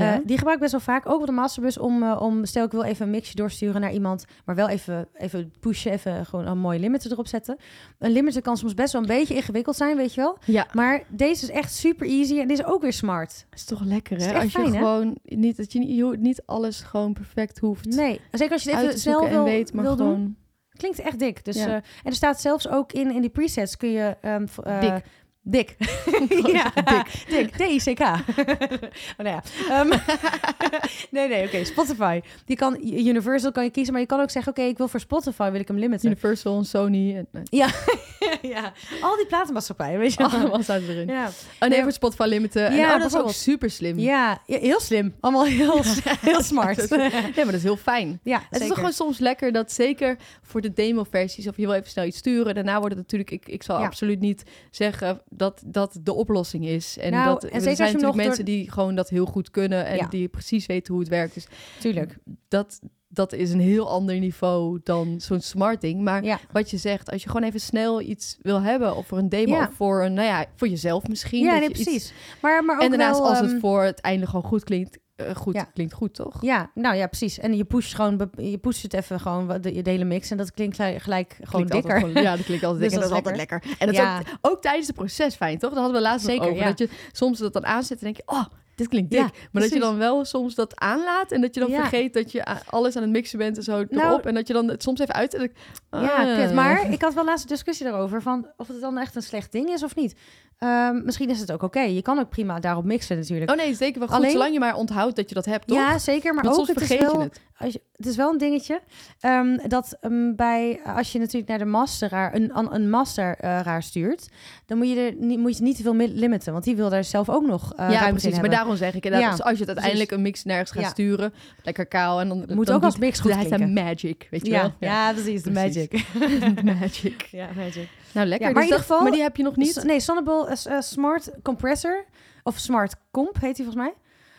Speaker 2: Eh, die gebruik ik best wel vaak, ook op de masterbus, om, eh, om stel ik wil even een mixje doorsturen naar iemand, maar wel even, even pushen, even gewoon een mooie limiter erop zetten. Een limiter kan soms best wel een beetje ingewikkeld zijn, weet je wel.
Speaker 1: ja,
Speaker 2: Maar deze is echt super easy en die is ook weer smart.
Speaker 1: is toch lekker
Speaker 2: Is
Speaker 1: hè?
Speaker 2: het echt
Speaker 1: Als je
Speaker 2: fijn, hè?
Speaker 1: gewoon niet, dat je niet, je hoeft niet alles gewoon perfect hoeft
Speaker 2: Nee, zeker als je het
Speaker 1: uit te
Speaker 2: even snel
Speaker 1: zoeken
Speaker 2: wil,
Speaker 1: en weet, maar
Speaker 2: wil
Speaker 1: gewoon...
Speaker 2: doen. Klinkt echt dik. Dus,
Speaker 1: Ja.
Speaker 2: eh, en er staat zelfs ook in, in die presets kun je... ehm, v- eh,
Speaker 1: Dik.
Speaker 2: Dik. ja, dik. Dik. D-I-C-K. oh, nou ja. Ehm, nee, nee, oké. Spotify. Die kan, Universal kan je kiezen, maar je kan ook zeggen... oké, ik wil voor Spotify, wil ik hem limiten.
Speaker 1: Universal en Sony en eh,
Speaker 2: ja. Al die platenmaatschappijen, weet je wel.
Speaker 1: allemaal staat erin.
Speaker 2: Ja.
Speaker 1: Oh nee,
Speaker 2: Nee,
Speaker 1: voor Spotify limiten. en,
Speaker 2: Ja,
Speaker 1: oh, dat is ook
Speaker 2: bijvoorbeeld.
Speaker 1: super slim.
Speaker 2: ja, ja, heel slim. Allemaal heel, heel smart.
Speaker 1: Ja, Nee, maar dat is heel fijn.
Speaker 2: ja,
Speaker 1: Het is toch gewoon soms lekker dat zeker voor de demo-versies of je wil even snel iets sturen. Daarna wordt het natuurlijk, ik, ik zal
Speaker 2: Ja.
Speaker 1: absoluut niet zeggen dat dat de oplossing is. En
Speaker 2: Nou,
Speaker 1: dat
Speaker 2: en
Speaker 1: er zijn
Speaker 2: zeker als je hem
Speaker 1: natuurlijk
Speaker 2: nog
Speaker 1: mensen die gewoon dat heel goed kunnen en
Speaker 2: Ja.
Speaker 1: die precies weten hoe het werkt. Dus
Speaker 2: Tuurlijk.
Speaker 1: dat, dat is een heel ander niveau dan zo'n smart ding. Maar
Speaker 2: Ja.
Speaker 1: wat je zegt, als je gewoon even snel iets wil hebben of voor een demo
Speaker 2: Ja.
Speaker 1: of voor, een, nou ja, voor jezelf misschien.
Speaker 2: Ja,
Speaker 1: dat
Speaker 2: nee,
Speaker 1: je iets-
Speaker 2: precies. Maar, maar ook
Speaker 1: en daarnaast
Speaker 2: wel,
Speaker 1: als
Speaker 2: ehm,
Speaker 1: het voor het einde gewoon goed klinkt, eh, goed,
Speaker 2: Ja.
Speaker 1: klinkt goed toch?
Speaker 2: Ja, nou ja, precies. En je pusht gewoon, bep- je pusht het even gewoon wat- de, je hele mix en dat klinkt gelijk- gelijk gewoon
Speaker 1: Klinkt altijd
Speaker 2: dikker.
Speaker 1: gewoon- ja, dat klinkt altijd
Speaker 2: Dus
Speaker 1: dikker.
Speaker 2: dat is
Speaker 1: lekker. En dat
Speaker 2: Ja.
Speaker 1: is ook, ook tijdens het proces fijn, toch? Dat hadden we laatst
Speaker 2: Zeker,
Speaker 1: nog over.
Speaker 2: ja.
Speaker 1: Dat je soms dat dan aanzet en denk je, oh, dit klinkt dik.
Speaker 2: Ja,
Speaker 1: maar dat je
Speaker 2: precies.
Speaker 1: dan wel soms dat aanlaat en dat je dan
Speaker 2: Ja.
Speaker 1: vergeet dat je a- alles aan het mixen bent en zo erop.
Speaker 2: Nou-
Speaker 1: en dat je dan het soms even uit en dan-
Speaker 2: Ja,
Speaker 1: ah.
Speaker 2: kut. Maar ik had wel laatst een discussie daarover van of het dan echt een slecht ding is of niet. Ehm, misschien is het ook oké. Je kan ook prima daarop mixen natuurlijk.
Speaker 1: Oh nee, zeker wel goed.
Speaker 2: Alleen-
Speaker 1: Zolang je maar onthoudt dat je dat hebt, toch?
Speaker 2: ja, zeker. Maar
Speaker 1: Want
Speaker 2: ook
Speaker 1: soms
Speaker 2: het is
Speaker 1: vergeet
Speaker 2: wel, eh,
Speaker 1: je het.
Speaker 2: Als je, het is wel een dingetje ehm, dat ehm, bij, als je natuurlijk naar de masteraar, een, an- een masteraar stuurt, dan moet je, er niet, moet je niet te veel mi- limiten, want die wil daar zelf ook nog eh ruimte
Speaker 1: ja,
Speaker 2: in
Speaker 1: precies. Maar
Speaker 2: hebben.
Speaker 1: daarom zeg ik inderdaad,
Speaker 2: Ja,
Speaker 1: als je het uiteindelijk een mix nergens gaat
Speaker 2: Ja.
Speaker 1: sturen, lekker kaal en dan...
Speaker 2: moet
Speaker 1: dan
Speaker 2: ook als
Speaker 1: doet-
Speaker 2: mix goed
Speaker 1: hij
Speaker 2: klinken.
Speaker 1: zijn magic, weet je
Speaker 2: Ja,
Speaker 1: wel?
Speaker 2: ja, precies. De
Speaker 1: Precies.
Speaker 2: magic.
Speaker 1: magic.
Speaker 2: Ja, magic.
Speaker 1: Nou, lekker.
Speaker 2: Ja,
Speaker 1: Dus
Speaker 2: maar in
Speaker 1: dat-
Speaker 2: ieder geval-
Speaker 1: maar die heb je nog niet?
Speaker 2: S- nee, Sonnable eh, eh, Smart Compressor. Of Smart Comp heet die volgens mij.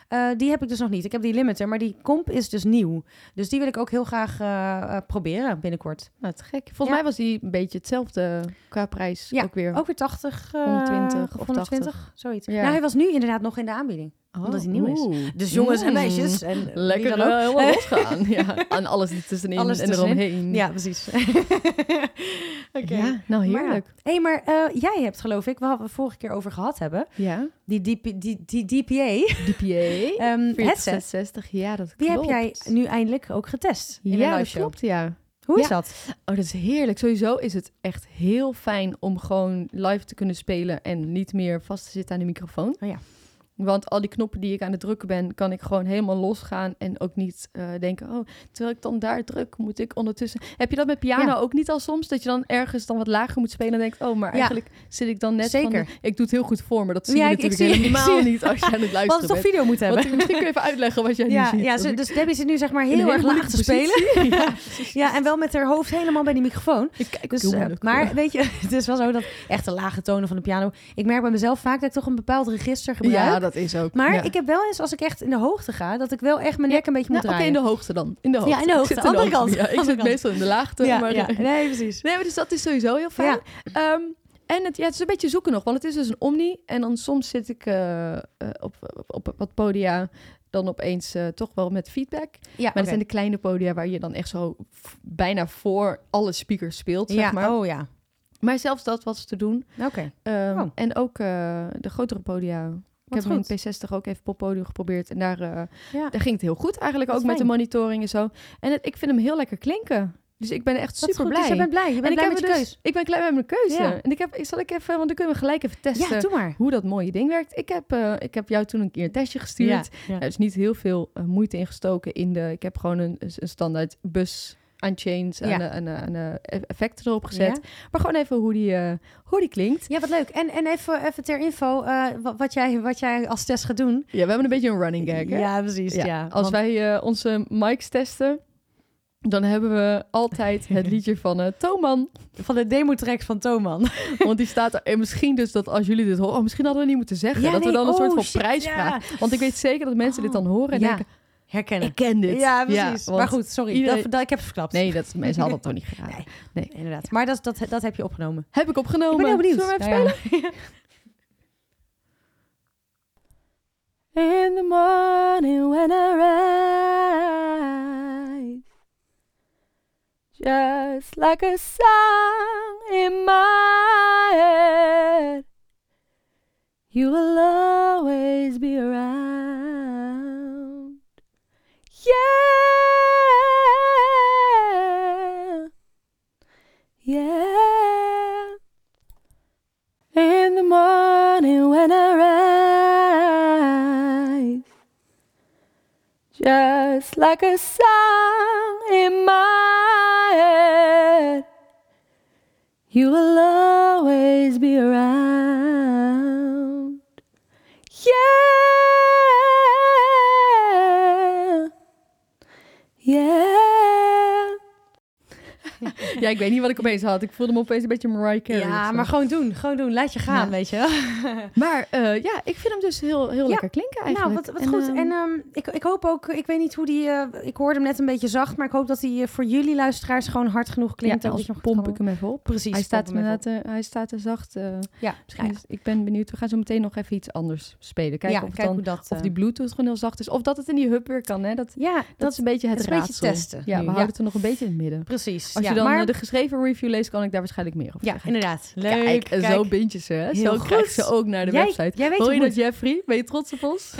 Speaker 2: Eh, die heb ik dus nog niet. Ik heb die limiter, maar die comp is dus nieuw. Dus die wil ik ook heel graag eh, eh, proberen binnenkort.
Speaker 1: Nou, te gek. Volgens
Speaker 2: Ja.
Speaker 1: mij was die een beetje hetzelfde qua prijs
Speaker 2: Ja,
Speaker 1: ook weer.
Speaker 2: Ook weer 80. eh,
Speaker 1: 120 of
Speaker 2: 120, zoiets.
Speaker 1: Ja.
Speaker 2: Nou, hij was nu inderdaad nog in de aanbieding. Omdat hij nieuw is.
Speaker 1: oeh.
Speaker 2: Dus jongens en
Speaker 1: Mm.
Speaker 2: meisjes. En wie
Speaker 1: Lekker
Speaker 2: dan ook.
Speaker 1: eh, helemaal losgaan. Ja, en alles ertussenin
Speaker 2: Alles
Speaker 1: en
Speaker 2: ertussenin.
Speaker 1: eromheen.
Speaker 2: Ja, precies. Oké.
Speaker 1: Ja, nou
Speaker 2: Maar ja.
Speaker 1: heerlijk.
Speaker 2: Hé, hey, maar eh, jij hebt geloof ik, we hadden het vorige keer over gehad hebben,
Speaker 1: Ja,
Speaker 2: die, DP, die, die DPA
Speaker 1: DPA.
Speaker 2: ehm headset.
Speaker 1: 4060, ja, dat
Speaker 2: Die
Speaker 1: klopt.
Speaker 2: heb jij nu eindelijk ook getest in
Speaker 1: ja,
Speaker 2: een live
Speaker 1: dat
Speaker 2: show.
Speaker 1: klopt, ja.
Speaker 2: Hoe is
Speaker 1: Ja.
Speaker 2: dat?
Speaker 1: Oh, dat is heerlijk. Sowieso is het echt heel fijn om gewoon live te kunnen spelen en niet meer vast te zitten aan de microfoon.
Speaker 2: Oh ja.
Speaker 1: Want al die knoppen die ik aan het drukken ben, kan ik gewoon helemaal losgaan en ook niet eh, denken, oh, terwijl ik dan daar druk, moet ik ondertussen... Heb je dat met piano
Speaker 2: Ja.
Speaker 1: ook niet al soms? Dat je dan ergens dan wat lager moet spelen en denkt, oh, maar
Speaker 2: Ja.
Speaker 1: eigenlijk zit ik dan net
Speaker 2: Zeker.
Speaker 1: van... de- Ik doe het heel goed voor me, dat zie
Speaker 2: Ja,
Speaker 1: je
Speaker 2: ik- ik
Speaker 1: natuurlijk
Speaker 2: zie- ik
Speaker 1: helemaal
Speaker 2: zie-
Speaker 1: niet als je aan het
Speaker 2: We hadden
Speaker 1: luisteren
Speaker 2: toch
Speaker 1: bent.
Speaker 2: video moeten
Speaker 1: Want
Speaker 2: hebben.
Speaker 1: ik- misschien kun je even uitleggen wat jij
Speaker 2: Ja,
Speaker 1: nu ziet.
Speaker 2: ja
Speaker 1: Dat
Speaker 2: ze-
Speaker 1: ik
Speaker 2: dus Debbie zit nu zeg maar
Speaker 1: een
Speaker 2: heel erg
Speaker 1: hele
Speaker 2: laag
Speaker 1: moeilijke
Speaker 2: te spelen.
Speaker 1: positie- ja,
Speaker 2: Ja, en wel met haar hoofd helemaal bij die microfoon.
Speaker 1: ik kijk
Speaker 2: Dus,
Speaker 1: heel
Speaker 2: eh,
Speaker 1: moeilijk.
Speaker 2: maar weet je, het is wel zo dat echt de lage tonen van de piano. Ik merk bij mezelf vaak dat ik toch een bepaald register gebruik.
Speaker 1: Ja, dat is ook.
Speaker 2: maar
Speaker 1: ja.
Speaker 2: ik heb wel eens, als ik echt in de hoogte ga, dat ik wel echt mijn
Speaker 1: Ja,
Speaker 2: nek een beetje moet
Speaker 1: Nou, Oké,
Speaker 2: draaien.
Speaker 1: in de hoogte dan. In de hoogte.
Speaker 2: in de
Speaker 1: Ik
Speaker 2: hoogte.
Speaker 1: zit
Speaker 2: Andere kant.
Speaker 1: Ja, ik
Speaker 2: Andere
Speaker 1: zit
Speaker 2: kant.
Speaker 1: meestal in de laagte.
Speaker 2: ja,
Speaker 1: maar...
Speaker 2: ja, nee, precies.
Speaker 1: Nee, maar dus dat is sowieso heel fijn. Ehm, en het, ja, het is een beetje zoeken nog, want het is dus een omni. En dan soms zit ik eh, eh, op, op, op wat podia dan opeens eh, toch wel met feedback. Maar
Speaker 2: Ja,
Speaker 1: dat zijn de kleine podia waar je dan echt zo f- bijna voor alle speakers speelt,
Speaker 2: ja,
Speaker 1: zeg maar.
Speaker 2: oh ja.
Speaker 1: Maar zelfs dat was te doen.
Speaker 2: Oké.
Speaker 1: Ehm,
Speaker 2: Oh.
Speaker 1: En ook eh, de grotere podia. Ik heb
Speaker 2: goed.
Speaker 1: mijn P60 ook even poppodium geprobeerd. En daar eh,
Speaker 2: Ja.
Speaker 1: daar ging het heel goed eigenlijk
Speaker 2: Wat
Speaker 1: ook met de
Speaker 2: fijn.
Speaker 1: monitoring en zo. En het- ik vind hem heel lekker klinken. Dus ik ben echt
Speaker 2: Dat is
Speaker 1: super
Speaker 2: goed,
Speaker 1: blij.
Speaker 2: Dus je bent blij. Je
Speaker 1: en
Speaker 2: bent
Speaker 1: ik,
Speaker 2: blij
Speaker 1: heb
Speaker 2: met je
Speaker 1: dus-
Speaker 2: keus.
Speaker 1: ik ben blij met mijn keuze.
Speaker 2: Ja.
Speaker 1: En ik heb, ik zal ik even, want dan kunnen we gelijk even testen
Speaker 2: Ja, doe maar.
Speaker 1: hoe dat mooie ding werkt. Ik heb, eh, ik heb jou toen een keer een testje gestuurd.
Speaker 2: Ja.
Speaker 1: Er is niet heel veel eh, moeite ingestoken in de. Ik heb gewoon een, een standaard bus unchained en,
Speaker 2: Ja.
Speaker 1: eh, en, eh, en eh, effecten erop gezet. Maar gewoon even hoe die, eh, hoe die klinkt.
Speaker 2: Ja, wat leuk. En, en even, even ter info, eh, wat, wat, jij, wat jij als test gaat doen.
Speaker 1: Ja, we hebben een beetje een running gag. Hè?
Speaker 2: Ja, precies. Ja.
Speaker 1: Als
Speaker 2: Want-
Speaker 1: wij eh, onze mics testen, dan hebben we altijd het liedje van eh Toman.
Speaker 2: Van de demo-track van Toman.
Speaker 1: Want die staat er. En misschien dus dat als jullie dit horen, oh, misschien hadden we niet moeten zeggen.
Speaker 2: Ja,
Speaker 1: dat
Speaker 2: nee,
Speaker 1: we dan een
Speaker 2: oh,
Speaker 1: soort van
Speaker 2: shit,
Speaker 1: prijs
Speaker 2: ja.
Speaker 1: vragen. Want ik weet zeker dat mensen dit dan horen en
Speaker 2: Ja,
Speaker 1: denken,
Speaker 2: herkennen.
Speaker 1: ik ken dit.
Speaker 2: Ja, precies.
Speaker 1: want-
Speaker 2: maar goed, sorry.
Speaker 1: iedereen-
Speaker 2: Dat, dat- ik heb het verklapt.
Speaker 1: Nee, dat, mensen hadden dat toch niet gedaan.
Speaker 2: Nee. Inderdaad. Maar dat, dat, dat heb je opgenomen.
Speaker 1: Heb ik opgenomen.
Speaker 2: Ik ben heel benieuwd.
Speaker 1: Zullen we even
Speaker 2: Nou ja.
Speaker 3: In the morning when I rise, just like a song in my head, you will always be around. Yeah, yeah. In the morning when I rise, just like a song in my head, you will always be around. Yeah, yeah.
Speaker 1: spelen? Ja, ik weet niet wat ik opeens had. Ik voelde me opeens een beetje Mariah Carey. of
Speaker 2: Ja,
Speaker 1: zo.
Speaker 2: maar gewoon doen. Gewoon doen. Laat je gaan,
Speaker 1: Ja.
Speaker 2: weet je wel.
Speaker 1: Maar eh, ja, ik vind hem dus heel, heel
Speaker 2: Ja.
Speaker 1: lekker klinken
Speaker 2: Nou,
Speaker 1: eigenlijk.
Speaker 2: wat, wat goed.
Speaker 1: ehm,
Speaker 2: en ehm, ik, ik hoop ook, ik weet niet hoe die, eh, ik hoorde hem net een beetje zacht, maar ik hoop dat die eh, voor jullie luisteraars gewoon hard genoeg
Speaker 1: ja,
Speaker 2: klinkt. en
Speaker 1: als
Speaker 2: dat je hem goed
Speaker 1: pomp
Speaker 2: kan
Speaker 1: ik hem even op.
Speaker 2: horen. Precies.
Speaker 1: Hij staat,
Speaker 2: pomp hem even
Speaker 1: inderdaad, eh, hij staat er zacht. eh,
Speaker 2: op. Ja, nou
Speaker 1: misschien
Speaker 2: ja,
Speaker 1: is- ik ben benieuwd. We gaan zo meteen nog even iets anders spelen. Kijken
Speaker 2: ja,
Speaker 1: of, het
Speaker 2: kijk
Speaker 1: dan,
Speaker 2: hoe dat...
Speaker 1: of
Speaker 2: eh,
Speaker 1: die bluetooth gewoon heel zacht is. Of dat het in die hub weer kan. Hè? Dat, dat,
Speaker 2: ja, dat,
Speaker 1: is een beetje het
Speaker 2: dat is een beetje
Speaker 1: raadsel.
Speaker 2: testen
Speaker 1: Ja, we
Speaker 2: nu,
Speaker 1: houden
Speaker 2: ja.
Speaker 1: het er nog een beetje in het midden.
Speaker 2: precies.
Speaker 1: Als
Speaker 2: ja,
Speaker 1: je dan
Speaker 2: maar,
Speaker 1: eh, de geschreven review leest, kan ik daar waarschijnlijk meer over
Speaker 2: Ja,
Speaker 1: zeggen.
Speaker 2: inderdaad. Leuk.
Speaker 1: Kijk, en zo
Speaker 2: kijk.
Speaker 1: bind je ze. Hè? Zo
Speaker 2: Heel
Speaker 1: krijg
Speaker 2: goed.
Speaker 1: je ze ook naar de
Speaker 2: Jij-
Speaker 1: website.
Speaker 2: Jij weet
Speaker 1: Hoor je
Speaker 2: hoe
Speaker 1: dat, Jeffrey? Ben je trots op ons?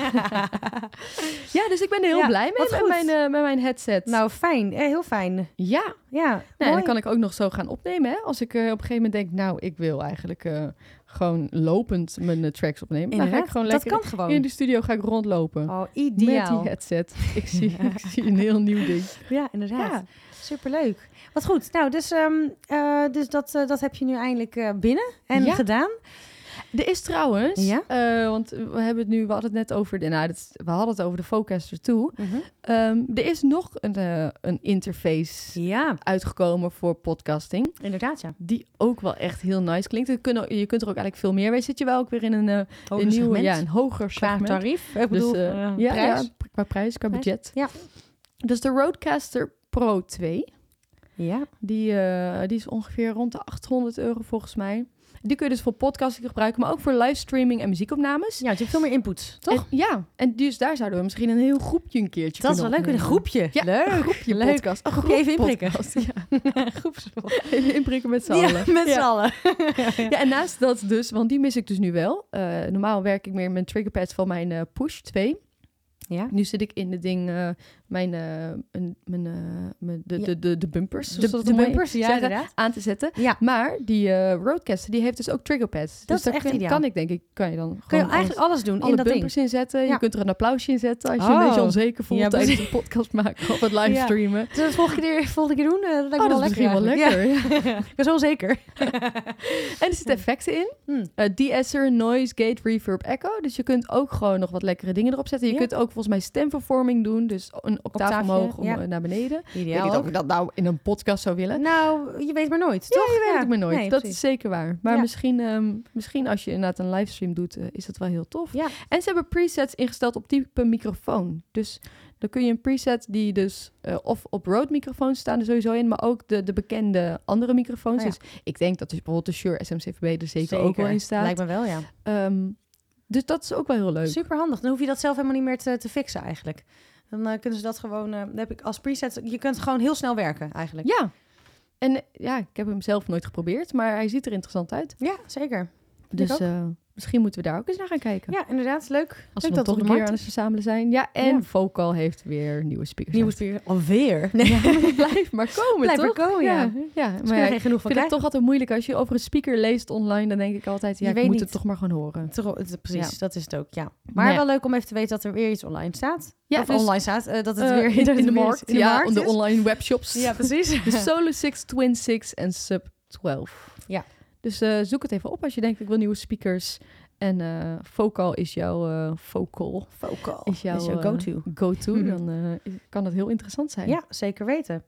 Speaker 1: ja, dus ik ben er heel
Speaker 2: Ja,
Speaker 1: blij mee
Speaker 2: wat
Speaker 1: met
Speaker 2: goed.
Speaker 1: mijn, eh, met mijn headset.
Speaker 2: Nou, fijn. Eh, heel fijn.
Speaker 1: ja,
Speaker 2: Ja,
Speaker 1: Nee, en
Speaker 2: mooi.
Speaker 1: dan kan ik ook nog zo gaan opnemen. Hè? Als ik eh, op een gegeven moment denk, nou, ik wil eigenlijk eh, gewoon lopend mijn eh, tracks opnemen. Dan ga
Speaker 2: Inderdaad,
Speaker 1: ik gewoon
Speaker 2: dat
Speaker 1: lekker
Speaker 2: kan gewoon.
Speaker 1: in de studio ga ik rondlopen.
Speaker 2: Oh,
Speaker 1: met
Speaker 2: ideaal.
Speaker 1: die headset. Ik zie, ik zie een heel nieuw ding.
Speaker 2: Ja, inderdaad.
Speaker 1: Ja.
Speaker 2: Superleuk. Wat goed. Nou, dus, ehm, eh, dus dat, eh, dat heb je nu eindelijk eh, binnen en
Speaker 1: Ja.
Speaker 2: gedaan.
Speaker 1: Er is trouwens,
Speaker 2: Ja?
Speaker 1: eh, want we hebben het nu, we hadden het net over, de, nou, dit- we hadden het over de Focaster toe. Ehm, er is nog een, eh, een interface
Speaker 2: Ja,
Speaker 1: uitgekomen voor podcasting.
Speaker 2: inderdaad, ja.
Speaker 1: Die ook wel echt heel nice klinkt. Je kunt, er- je kunt er ook eigenlijk veel meer mee. Zit je wel ook weer in een, eh, een nieuwe, ja, een hoger
Speaker 2: Qua
Speaker 1: segment.
Speaker 2: tarief. Ik bedoel,
Speaker 1: dus, eh,
Speaker 2: eh,
Speaker 1: ja,
Speaker 2: prijs.
Speaker 1: ja, pr- qua prijs, qua
Speaker 2: Prijs,
Speaker 1: budget.
Speaker 2: ja.
Speaker 1: Dus de Roadcaster Pro 2,
Speaker 2: Ja.
Speaker 1: die, eh, die is ongeveer rond de 800 euro volgens mij. Die kun je dus voor podcasting gebruiken, maar ook voor livestreaming en muziekopnames.
Speaker 2: Ja, want je hebt veel meer input, toch?
Speaker 1: En, ja, en dus daar zouden we misschien een heel groepje een keertje
Speaker 2: dat is wel
Speaker 1: kunnen
Speaker 2: leuk, een
Speaker 1: opnemen.
Speaker 2: groepje.
Speaker 1: Ja,
Speaker 2: leuk.
Speaker 1: Een groepje
Speaker 2: Leuk.
Speaker 1: podcast. Een
Speaker 2: Groepje
Speaker 1: groep
Speaker 2: even inprikken.
Speaker 1: podcast, Ja,
Speaker 2: Groepsverbod.
Speaker 1: even inprikken met z'n allen.
Speaker 2: Ja, met
Speaker 1: Ja.
Speaker 2: z'n allen.
Speaker 1: Ja, en naast dat dus, want die mis ik dus nu wel. Eh, normaal werk ik meer met triggerpads van mijn eh, Push 2.
Speaker 2: Ja.
Speaker 1: Nu zit ik in de ding, eh, mijn, eh, een- mijn, eh, mijn, de,
Speaker 2: Ja.
Speaker 1: de, de, de bumpers. zoals
Speaker 2: De,
Speaker 1: dat
Speaker 2: Dus de
Speaker 1: mooi
Speaker 2: bumpers, ja,
Speaker 1: zeggen,
Speaker 2: inderdaad.
Speaker 1: Aan te zetten.
Speaker 2: Ja.
Speaker 1: Maar die eh, Roadcaster, die heeft dus ook triggerpads. dus
Speaker 2: is
Speaker 1: daar
Speaker 2: echt
Speaker 1: kan,
Speaker 2: ideaal.
Speaker 1: kan ik denk ik, kan je dan gewoon
Speaker 2: Kun je
Speaker 1: alles-
Speaker 2: eigenlijk alles doen in
Speaker 1: alle
Speaker 2: dat ding.
Speaker 1: bumpers inzetten. Je
Speaker 2: Ja.
Speaker 1: kunt er een applausje in zetten als je
Speaker 2: Oh.
Speaker 1: een beetje onzeker voelt
Speaker 2: Ja,
Speaker 1: tijdens een podcast maken of het livestreamen.
Speaker 2: Zullen we het volgende keer, volgende keer doen? Eh, dat lijkt me
Speaker 1: Oh, dat is
Speaker 2: wel lekker
Speaker 1: misschien wel
Speaker 2: eigenlijk.
Speaker 1: lekker. ja.
Speaker 2: Ja. ik ben zo zeker.
Speaker 1: En er zitten effecten in.
Speaker 2: Hmm.
Speaker 1: Eh de-esser, noise, gate, reverb, echo. Dus je kunt ook gewoon nog wat lekkere dingen erop zetten. Je
Speaker 2: Ja.
Speaker 1: kunt ook volgens mij stemvervorming doen. Dus een octaaf
Speaker 2: Octaafje,
Speaker 1: omhoog, om,
Speaker 2: ja.
Speaker 1: eh, naar beneden. Ik weet
Speaker 2: Ideaal.
Speaker 1: niet of ik dat nou in een podcast zou willen.
Speaker 2: Nou, je weet maar nooit, toch?
Speaker 1: Dat weet ik me nooit.
Speaker 2: Nee,
Speaker 1: dat
Speaker 2: precies.
Speaker 1: is zeker waar. Maar
Speaker 2: Ja.
Speaker 1: misschien, ehm, misschien als je inderdaad een livestream doet, eh, is dat wel heel tof.
Speaker 2: Ja.
Speaker 1: En ze hebben presets ingesteld op type microfoon. Dus dan kun je een preset die dus eh, of op Rode microfoons staan er sowieso in, maar ook de, de bekende andere microfoons.
Speaker 2: Oh ja.
Speaker 1: Dus ik denk dat dus bijvoorbeeld de Shure SMCVB er zeker, ook wel in staat.
Speaker 2: Lijkt me wel, ja.
Speaker 1: Ehm, dus dat is ook wel heel leuk.
Speaker 2: Super handig. Dan hoef je dat zelf helemaal niet meer te, te fixen eigenlijk. Dan eh, kunnen ze dat gewoon... eh, dan heb ik als preset... Je kunt gewoon heel snel werken eigenlijk.
Speaker 1: Ja. En eh, ja, ik heb hem zelf nooit geprobeerd, maar hij ziet er interessant uit.
Speaker 2: Ja, zeker.
Speaker 1: Dus
Speaker 2: ook.
Speaker 1: eh, misschien moeten we daar ook eens naar gaan kijken.
Speaker 2: Ja, inderdaad. Leuk.
Speaker 1: Als we
Speaker 2: leuk
Speaker 1: dan
Speaker 2: dat
Speaker 1: toch
Speaker 2: op
Speaker 1: een keer
Speaker 2: de markt
Speaker 1: aan het
Speaker 2: is.
Speaker 1: verzamelen zijn. Ja, en
Speaker 2: Ja.
Speaker 1: Vocal heeft weer nieuwe speakers.
Speaker 2: Nieuwe
Speaker 1: uit.
Speaker 2: spier. Alweer? Nee.
Speaker 1: Blijf maar komen,
Speaker 2: Blijf
Speaker 1: toch?
Speaker 2: er komen, ja.
Speaker 1: Oh ja, ja,
Speaker 2: Ze
Speaker 1: maar ja,
Speaker 2: kunnen er
Speaker 1: ik
Speaker 2: geen genoeg van
Speaker 1: vind het
Speaker 2: krijgen.
Speaker 1: toch altijd moeilijk. Als je over een speaker leest online, dan denk ik altijd...
Speaker 2: Je
Speaker 1: Ja, ik
Speaker 2: weet
Speaker 1: moet
Speaker 2: niet.
Speaker 1: het toch maar gewoon horen.
Speaker 2: Tro- het- Precies, dat is het ook, ja. Maar
Speaker 1: Nou ja.
Speaker 2: wel leuk om even te weten dat er weer iets online staat.
Speaker 1: Ja,
Speaker 2: of
Speaker 1: dus,
Speaker 2: online staat, eh, dat het
Speaker 1: eh,
Speaker 2: weer dat het
Speaker 1: in de
Speaker 2: weer
Speaker 1: markt.
Speaker 2: in de
Speaker 1: ja, Dus
Speaker 2: markt
Speaker 1: op de
Speaker 2: is.
Speaker 1: online webshops.
Speaker 2: Ja, precies.
Speaker 1: De Solo 6, Twin 6 en Sub 12.
Speaker 2: Ja.
Speaker 1: Dus eh, zoek het even op als je denkt, ik wil nieuwe speakers. En eh, Vocal is jouw eh, vocal,
Speaker 2: Vocal
Speaker 1: is jouw,
Speaker 2: is jouw
Speaker 1: eh,
Speaker 2: go-to.
Speaker 1: go-to.
Speaker 2: Mhm.
Speaker 1: Dan eh, kan dat heel interessant zijn.
Speaker 2: Ja, zeker weten.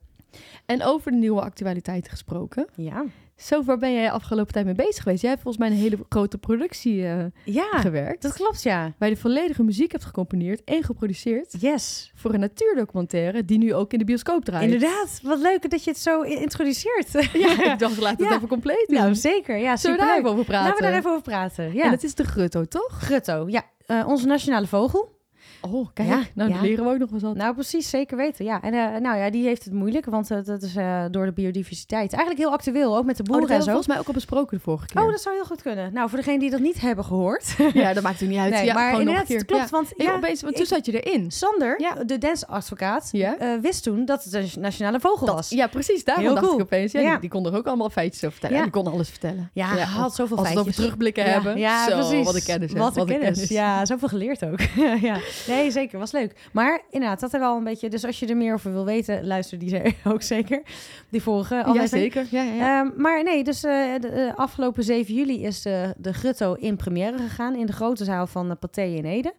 Speaker 1: En over de nieuwe actualiteiten gesproken.
Speaker 2: Ja.
Speaker 1: Zo, waar ben jij afgelopen tijd mee bezig geweest? Jij hebt volgens mij een hele grote productie eh,
Speaker 2: Ja,
Speaker 1: gewerkt.
Speaker 2: dat klopt, ja.
Speaker 1: Waar je de volledige muziek hebt gecomponeerd en geproduceerd
Speaker 2: Yes.
Speaker 1: voor een natuurdocumentaire die nu ook in de bioscoop draait.
Speaker 2: Inderdaad, wat leuk dat je het zo i- introduceert.
Speaker 1: Ja, ik dacht, laat het
Speaker 2: Ja.
Speaker 1: even compleet doen.
Speaker 2: Nou, zeker. Ja,
Speaker 1: Zullen
Speaker 2: super
Speaker 1: we daar even over praten?
Speaker 2: Laten we daar even over praten. Ja.
Speaker 1: En het is de grutto, toch?
Speaker 2: Grutto, ja. eh, onze nationale vogel.
Speaker 1: Oh, kijk.
Speaker 2: Ja,
Speaker 1: nou,
Speaker 2: ja.
Speaker 1: dan leren we ook nog wel wat.
Speaker 2: Nou, precies, zeker weten. Ja, en eh, nou ja, die heeft het moeilijk, want eh, dat is eh, door de biodiversiteit. Eigenlijk heel actueel, ook met de
Speaker 1: Oh,
Speaker 2: boeren
Speaker 1: dat hebben
Speaker 2: en
Speaker 1: we
Speaker 2: zo.
Speaker 1: volgens mij ook al besproken de vorige keer.
Speaker 2: Oh, dat zou heel goed kunnen. Nou, voor degenen die dat niet hebben gehoord.
Speaker 1: Ja, dat maakt het niet uit.
Speaker 2: nee,
Speaker 1: ja,
Speaker 2: maar
Speaker 1: gewoon nog een
Speaker 2: inderdaad,
Speaker 1: keer.
Speaker 2: het klopt.
Speaker 1: Ja.
Speaker 2: Want
Speaker 1: Hey,
Speaker 2: ja,
Speaker 1: opeens, want toen zat je erin.
Speaker 2: Sander,
Speaker 1: Ja.
Speaker 2: de dansadvocaat,
Speaker 1: Ja.
Speaker 2: eh, wist toen dat het een nationale vogel was.
Speaker 1: Ja, precies. Daarom
Speaker 2: Heel
Speaker 1: dacht
Speaker 2: cool.
Speaker 1: ik opeens. Ja,
Speaker 2: Ja.
Speaker 1: Die, die kon er ook allemaal feitjes over vertellen.
Speaker 2: Ja.
Speaker 1: Die kon alles vertellen.
Speaker 2: Ja, hij had zoveel
Speaker 1: Als we het over
Speaker 2: feitjes.
Speaker 1: terugblikken
Speaker 2: Ja,
Speaker 1: hebben.
Speaker 2: ja,
Speaker 1: zo,
Speaker 2: precies.
Speaker 1: Wat een kennis. hè.
Speaker 2: Wat een kennis. Ja, zoveel geleerd ook. ja. Nee, zeker. Was leuk. Maar inderdaad, dat er wel een beetje... Dus als je er meer over wil weten, luister die ze- ook zeker. Die vorige
Speaker 1: Ja,
Speaker 2: aflevering.
Speaker 1: zeker. Ja, ja, ja.
Speaker 2: Ehm, maar nee, dus eh, de, eh, afgelopen 7 juli is de, de Grutto in première gegaan... in de grote zaal van eh, Pathé in Ede.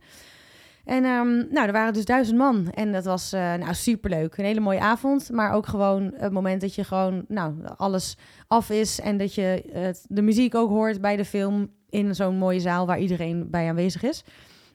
Speaker 2: En ehm, nou, er waren dus duizend man. En dat was eh nou, superleuk. Een hele mooie avond. Maar ook gewoon het moment dat je gewoon nou, alles af is. En dat je het- de muziek ook hoort bij de film. In zo'n mooie zaal waar iedereen bij aanwezig is.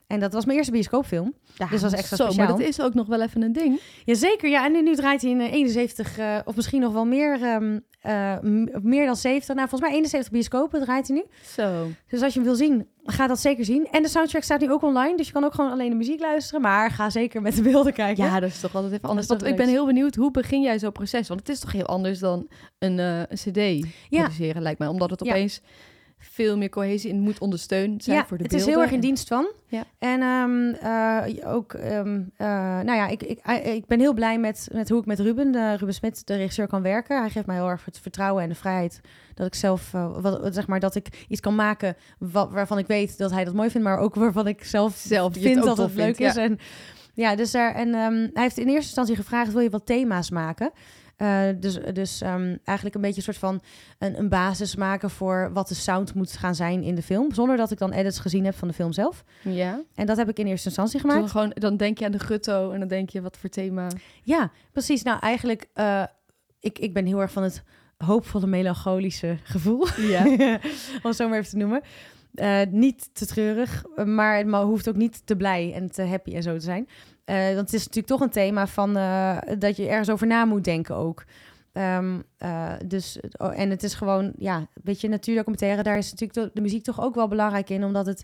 Speaker 2: En dat was mijn eerste bioscoopfilm.
Speaker 1: Ja,
Speaker 2: dus dat is extra
Speaker 1: zo, Maar
Speaker 2: speciaal.
Speaker 1: dat is ook nog wel even een ding.
Speaker 2: Jazeker, ja. En nu, nu draait hij in eh, 71, eh, of misschien nog wel meer, ehm, eh, m- meer dan 70. Nou, volgens mij 71 bioscopen draait hij nu.
Speaker 1: Zo.
Speaker 2: Dus als je hem wil zien, ga dat zeker zien. En de soundtrack staat nu ook online. Dus je kan ook gewoon alleen de muziek luisteren. Maar ga zeker met de beelden kijken.
Speaker 1: Ja, dat is toch altijd even anders.
Speaker 2: Dat
Speaker 1: Want
Speaker 2: is
Speaker 1: ik
Speaker 2: toch
Speaker 1: ben
Speaker 2: leuk.
Speaker 1: heel benieuwd, hoe begin jij zo'n proces? Want het is toch heel anders dan een, eh, een cd
Speaker 2: Ja.
Speaker 1: produceren, lijkt mij. Omdat het
Speaker 2: Ja.
Speaker 1: opeens veel meer cohesie in moet ondersteund zijn
Speaker 2: ja,
Speaker 1: voor de
Speaker 2: het
Speaker 1: beelden.
Speaker 2: is heel erg in dienst van.
Speaker 1: Ja.
Speaker 2: En ehm, eh, ook, ehm, eh, nou ja, ik, ik, eh, ik ben heel blij met, met hoe ik met Ruben, de, Ruben Smit, de regisseur, kan werken. Hij geeft mij heel erg het vertrouwen en de vrijheid dat ik zelf, eh, wat, zeg maar, dat ik iets kan maken wa- waarvan ik weet dat hij dat mooi vindt, maar ook waarvan ik zelf,
Speaker 1: Zelf die het
Speaker 2: vind
Speaker 1: ook
Speaker 2: dat
Speaker 1: tof
Speaker 2: het leuk
Speaker 1: vindt,
Speaker 2: is. En, ja, dus daar, en ehm, hij heeft in eerste instantie gevraagd, wil je wat thema's maken? Eh, dus dus ehm, eigenlijk een beetje een soort van een, een basis maken voor wat de sound moet gaan zijn in de film. Zonder dat ik dan edits gezien heb van de film zelf.
Speaker 1: Ja.
Speaker 2: En dat heb ik in eerste instantie
Speaker 1: Dus
Speaker 2: gemaakt.
Speaker 1: dan, gewoon, dan denk je aan de gutto en dan denk je, wat voor thema.
Speaker 2: Ja, precies. Nou, eigenlijk, eh, ik, ik ben heel erg van het hoopvolle melancholische gevoel.
Speaker 1: Ja.
Speaker 2: om het zo maar even te noemen. Eh, niet te treurig, maar het ma- hoeft ook niet te blij en te happy en zo te zijn. Eh, want het is natuurlijk toch een thema van eh, dat je ergens over na moet denken ook. Ehm, eh, dus, oh, en het is gewoon, ja, weet je, natuurdocumentaire, daar is natuurlijk to- de muziek toch ook wel belangrijk in, omdat het,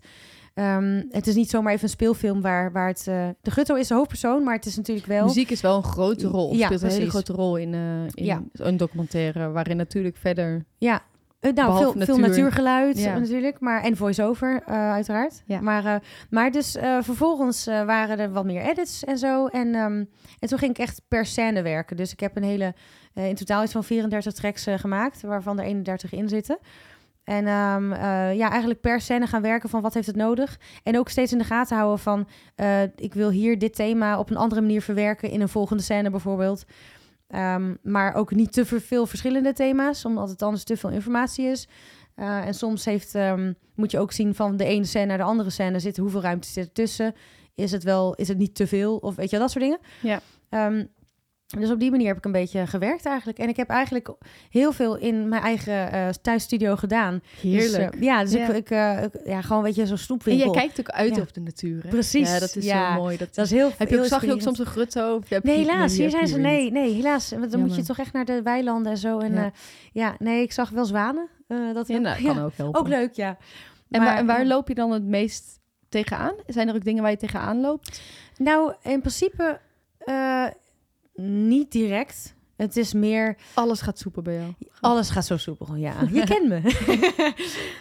Speaker 2: ehm, het is niet zomaar even een speelfilm waar, waar het, eh, de gutto is de hoofdpersoon, maar het is natuurlijk wel...
Speaker 1: Muziek is wel een grote rol. Of
Speaker 2: Ja,
Speaker 1: speelt een hele
Speaker 2: precies.
Speaker 1: grote rol in, eh, in
Speaker 2: Ja.
Speaker 1: een documentaire. Waarin natuurlijk verder...
Speaker 2: Ja, Eh, nou, veel,
Speaker 1: Behalve
Speaker 2: veel
Speaker 1: natuur.
Speaker 2: natuurgeluid
Speaker 1: Ja.
Speaker 2: natuurlijk, maar, en voice-over eh, uiteraard.
Speaker 1: Ja.
Speaker 2: Maar, eh, maar dus eh, vervolgens eh, waren er wat meer edits en zo. En, ehm, en toen ging ik echt per scène werken. Dus ik heb een hele, eh, in totaal iets van 34 tracks eh, gemaakt, waarvan er 31 in zitten. En ehm, eh, ja, eigenlijk per scène gaan werken van wat heeft het nodig. En ook steeds in de gaten houden van... eh, ik wil hier dit thema op een andere manier verwerken... in een volgende scène bijvoorbeeld. Ehm, maar ook niet te ver- veel verschillende thema's, omdat het anders te veel informatie is. Eh, en soms heeft, ehm, moet je ook zien van de ene scène naar de andere scène zit, hoeveel ruimte zit er tussen? Is het wel, is het niet te veel? Of weet je, wel, dat soort dingen.
Speaker 1: Ja.
Speaker 2: Ehm, dus op die manier heb ik een beetje gewerkt eigenlijk. En ik heb eigenlijk heel veel in mijn eigen eh, thuisstudio gedaan. Dus,
Speaker 1: Heerlijk.
Speaker 2: eh, ja, dus
Speaker 1: Ja.
Speaker 2: ik, ik, eh, ik- ja, gewoon weet je, zo'n
Speaker 1: en
Speaker 2: snoepwinkel.
Speaker 1: jij kijkt ook uit
Speaker 2: Ja.
Speaker 1: op de natuur, hè?
Speaker 2: Precies,
Speaker 1: Ja, dat is
Speaker 2: ja.
Speaker 1: zo mooi. Dat,
Speaker 2: dat is heel
Speaker 1: heb je
Speaker 2: heel
Speaker 1: ook, zag je ook
Speaker 2: inspirerend.
Speaker 1: soms een grutto? Of je hebt
Speaker 2: Nee,
Speaker 1: niet-
Speaker 2: helaas.
Speaker 1: die
Speaker 2: Hier
Speaker 1: heb
Speaker 2: zijn
Speaker 1: je
Speaker 2: ze.
Speaker 1: weer
Speaker 2: Nee, nee, helaas. Want dan moet
Speaker 1: Jammer.
Speaker 2: je toch echt naar de weilanden en zo. En
Speaker 1: Ja.
Speaker 2: ja, ja nee, ik zag wel zwanen. Eh, dat
Speaker 1: niet. Ja,
Speaker 2: wel.
Speaker 1: nou,
Speaker 2: Ja.
Speaker 1: kan ook helpen.
Speaker 2: Ook leuk, ja.
Speaker 1: En waar,
Speaker 2: Maar-
Speaker 1: en waar loop je dan het meest tegenaan? Zijn er ook dingen waar je tegenaan loopt?
Speaker 2: Nou, in principe eh, niet direct. Het is meer
Speaker 1: Alles gaat soepel bij jou.
Speaker 2: Alles gaat zo soepel, ja. Je kent me.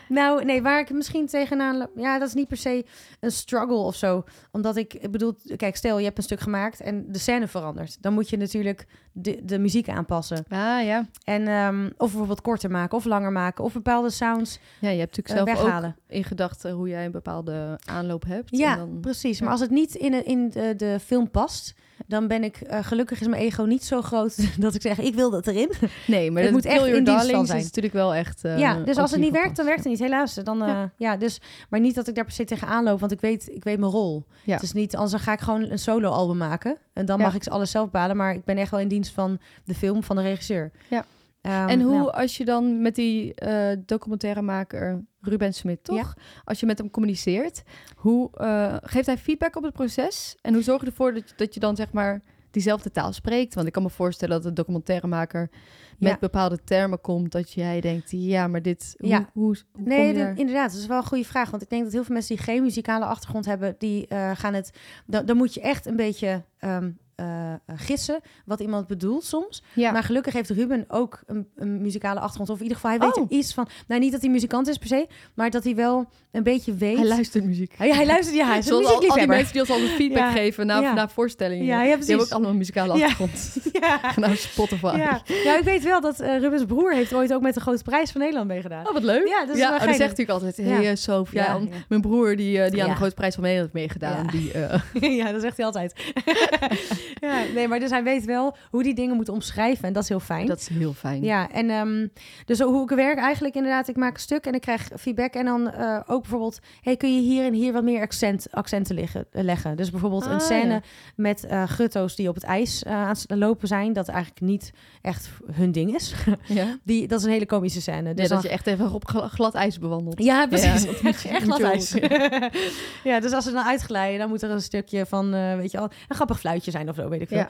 Speaker 2: nou, nee, waar ik misschien tegenaan... loop- Ja, dat is niet per se een struggle of zo. Omdat ik, ik bedoel... Kijk, stel, je hebt een stuk gemaakt en de scène verandert. Dan moet je natuurlijk de, de muziek aanpassen.
Speaker 1: Ah ja.
Speaker 2: En, ehm, of bijvoorbeeld korter maken, of langer maken. Of bepaalde sounds
Speaker 1: Ja, je hebt
Speaker 2: eh,
Speaker 1: natuurlijk zelf ook
Speaker 2: weghalen.
Speaker 1: in gedachten hoe jij een bepaalde aanloop hebt.
Speaker 2: Ja,
Speaker 1: En dan...
Speaker 2: precies.
Speaker 1: ja.
Speaker 2: Maar als het niet in, in de, de film past... dan ben ik... eh, gelukkig is mijn ego niet zo groot... dat ik zeg, ik wil dat erin.
Speaker 1: Nee, maar
Speaker 2: Het
Speaker 1: dat Kill
Speaker 2: moet echt
Speaker 1: Your
Speaker 2: in dienst van
Speaker 1: Darlings
Speaker 2: zijn.
Speaker 1: is natuurlijk wel echt... eh,
Speaker 2: ja, dus
Speaker 1: ook
Speaker 2: als het niet
Speaker 1: hiervoor
Speaker 2: werkt, dan
Speaker 1: past.
Speaker 2: werkt het niet, helaas. Dan, eh,
Speaker 1: Ja.
Speaker 2: ja. dus, maar niet dat ik daar per se tegenaan loop, want ik weet, ik weet mijn rol.
Speaker 1: Ja.
Speaker 2: Het is niet, anders dan ga ik gewoon een solo-album maken. En dan
Speaker 1: Ja.
Speaker 2: mag ik ze alles zelf balen, maar ik ben echt wel in dienst van de film, van de regisseur.
Speaker 1: Ja.
Speaker 2: Ehm,
Speaker 1: En hoe
Speaker 2: nou,
Speaker 1: als je dan met die eh, documentairemaker Ruben Smit, toch? Als je met hem communiceert, hoe eh, geeft hij feedback op het proces? En hoe zorg je ervoor dat, je- dat je dan zeg maar diezelfde taal spreekt? Want ik kan me voorstellen dat een documentairemaker met
Speaker 2: Ja.
Speaker 1: bepaalde termen komt dat jij denkt, ja, maar dit, hoe,
Speaker 2: Ja.
Speaker 1: hoe, hoe kom
Speaker 2: Nee,
Speaker 1: je
Speaker 2: dit-
Speaker 1: daar-
Speaker 2: inderdaad, dat is wel een goede vraag. Want ik denk dat heel veel mensen die geen muzikale achtergrond hebben, die eh, gaan het. Dan, dan moet je echt een beetje ehm, eh, gissen wat iemand bedoelt soms.
Speaker 1: ja.
Speaker 2: Maar gelukkig heeft Ruben ook een, een muzikale achtergrond. Of in ieder geval, hij weet
Speaker 1: Oh.
Speaker 2: er iets van. Nou, niet dat hij muzikant is per se, maar dat hij wel een beetje weet.
Speaker 1: hij luistert muziek.
Speaker 2: Hij, hij luistert, ja, hij is een
Speaker 1: Zoals al- al, die
Speaker 2: muziekliefhebber.
Speaker 1: mensen die ons altijd feedback
Speaker 2: Ja.
Speaker 1: geven na,
Speaker 2: Ja.
Speaker 1: na voorstellingen.
Speaker 2: Ja, ja,
Speaker 1: die hebben
Speaker 2: precies.
Speaker 1: ook allemaal een muzikale
Speaker 2: Ja.
Speaker 1: achtergrond.
Speaker 2: Ja.
Speaker 1: Nou, Spotify.
Speaker 2: Ja. ja, ik weet wel dat eh, Rubens broer heeft ooit ook met de grote prijs van Nederland meegedaan.
Speaker 1: Oh, wat leuk.
Speaker 2: Ja, dat is wel
Speaker 1: oh, dat
Speaker 2: geinig.
Speaker 1: zegt natuurlijk altijd. Hé, hey,
Speaker 2: Ja.
Speaker 1: eh, Sof, ja,
Speaker 2: Ja,
Speaker 1: an-
Speaker 2: ja.
Speaker 1: Mijn broer die, eh, die aan
Speaker 2: Ja.
Speaker 1: de grote prijs van Nederland heeft meegedaan.
Speaker 2: Ja.
Speaker 1: Die, eh,
Speaker 2: ja, dat zegt hij altijd. ja, nee, maar dus hij weet wel hoe die dingen moet omschrijven en dat is heel fijn.
Speaker 1: dat is heel fijn.
Speaker 2: Ja, en ehm, dus hoe ik werk eigenlijk inderdaad, ik maak een stuk en ik krijg feedback. En dan eh, ook bijvoorbeeld, hey, kun je hier en hier wat meer accent, accenten liggen, leggen? Dus bijvoorbeeld
Speaker 1: Ah,
Speaker 2: een scène
Speaker 1: ja.
Speaker 2: met eh gutto's die op het ijs eh, aan het lopen zijn. Dat eigenlijk niet echt hun ding is.
Speaker 1: Ja?
Speaker 2: Die, dat is een hele komische scène.
Speaker 1: Ja,
Speaker 2: Dus dan
Speaker 1: dat je echt even op gla- glad ijs Oh, bewandelt.
Speaker 2: Ja, precies.
Speaker 1: dat moet
Speaker 2: echt
Speaker 1: je-
Speaker 2: echt
Speaker 1: moet
Speaker 2: glad
Speaker 1: je
Speaker 2: ijs.
Speaker 1: horen.
Speaker 2: ja, dus als ze dan uitglijden, dan moet er een stukje van, eh, weet je al, een grappig fluitje zijn of zo, weet ik veel.
Speaker 1: Ja.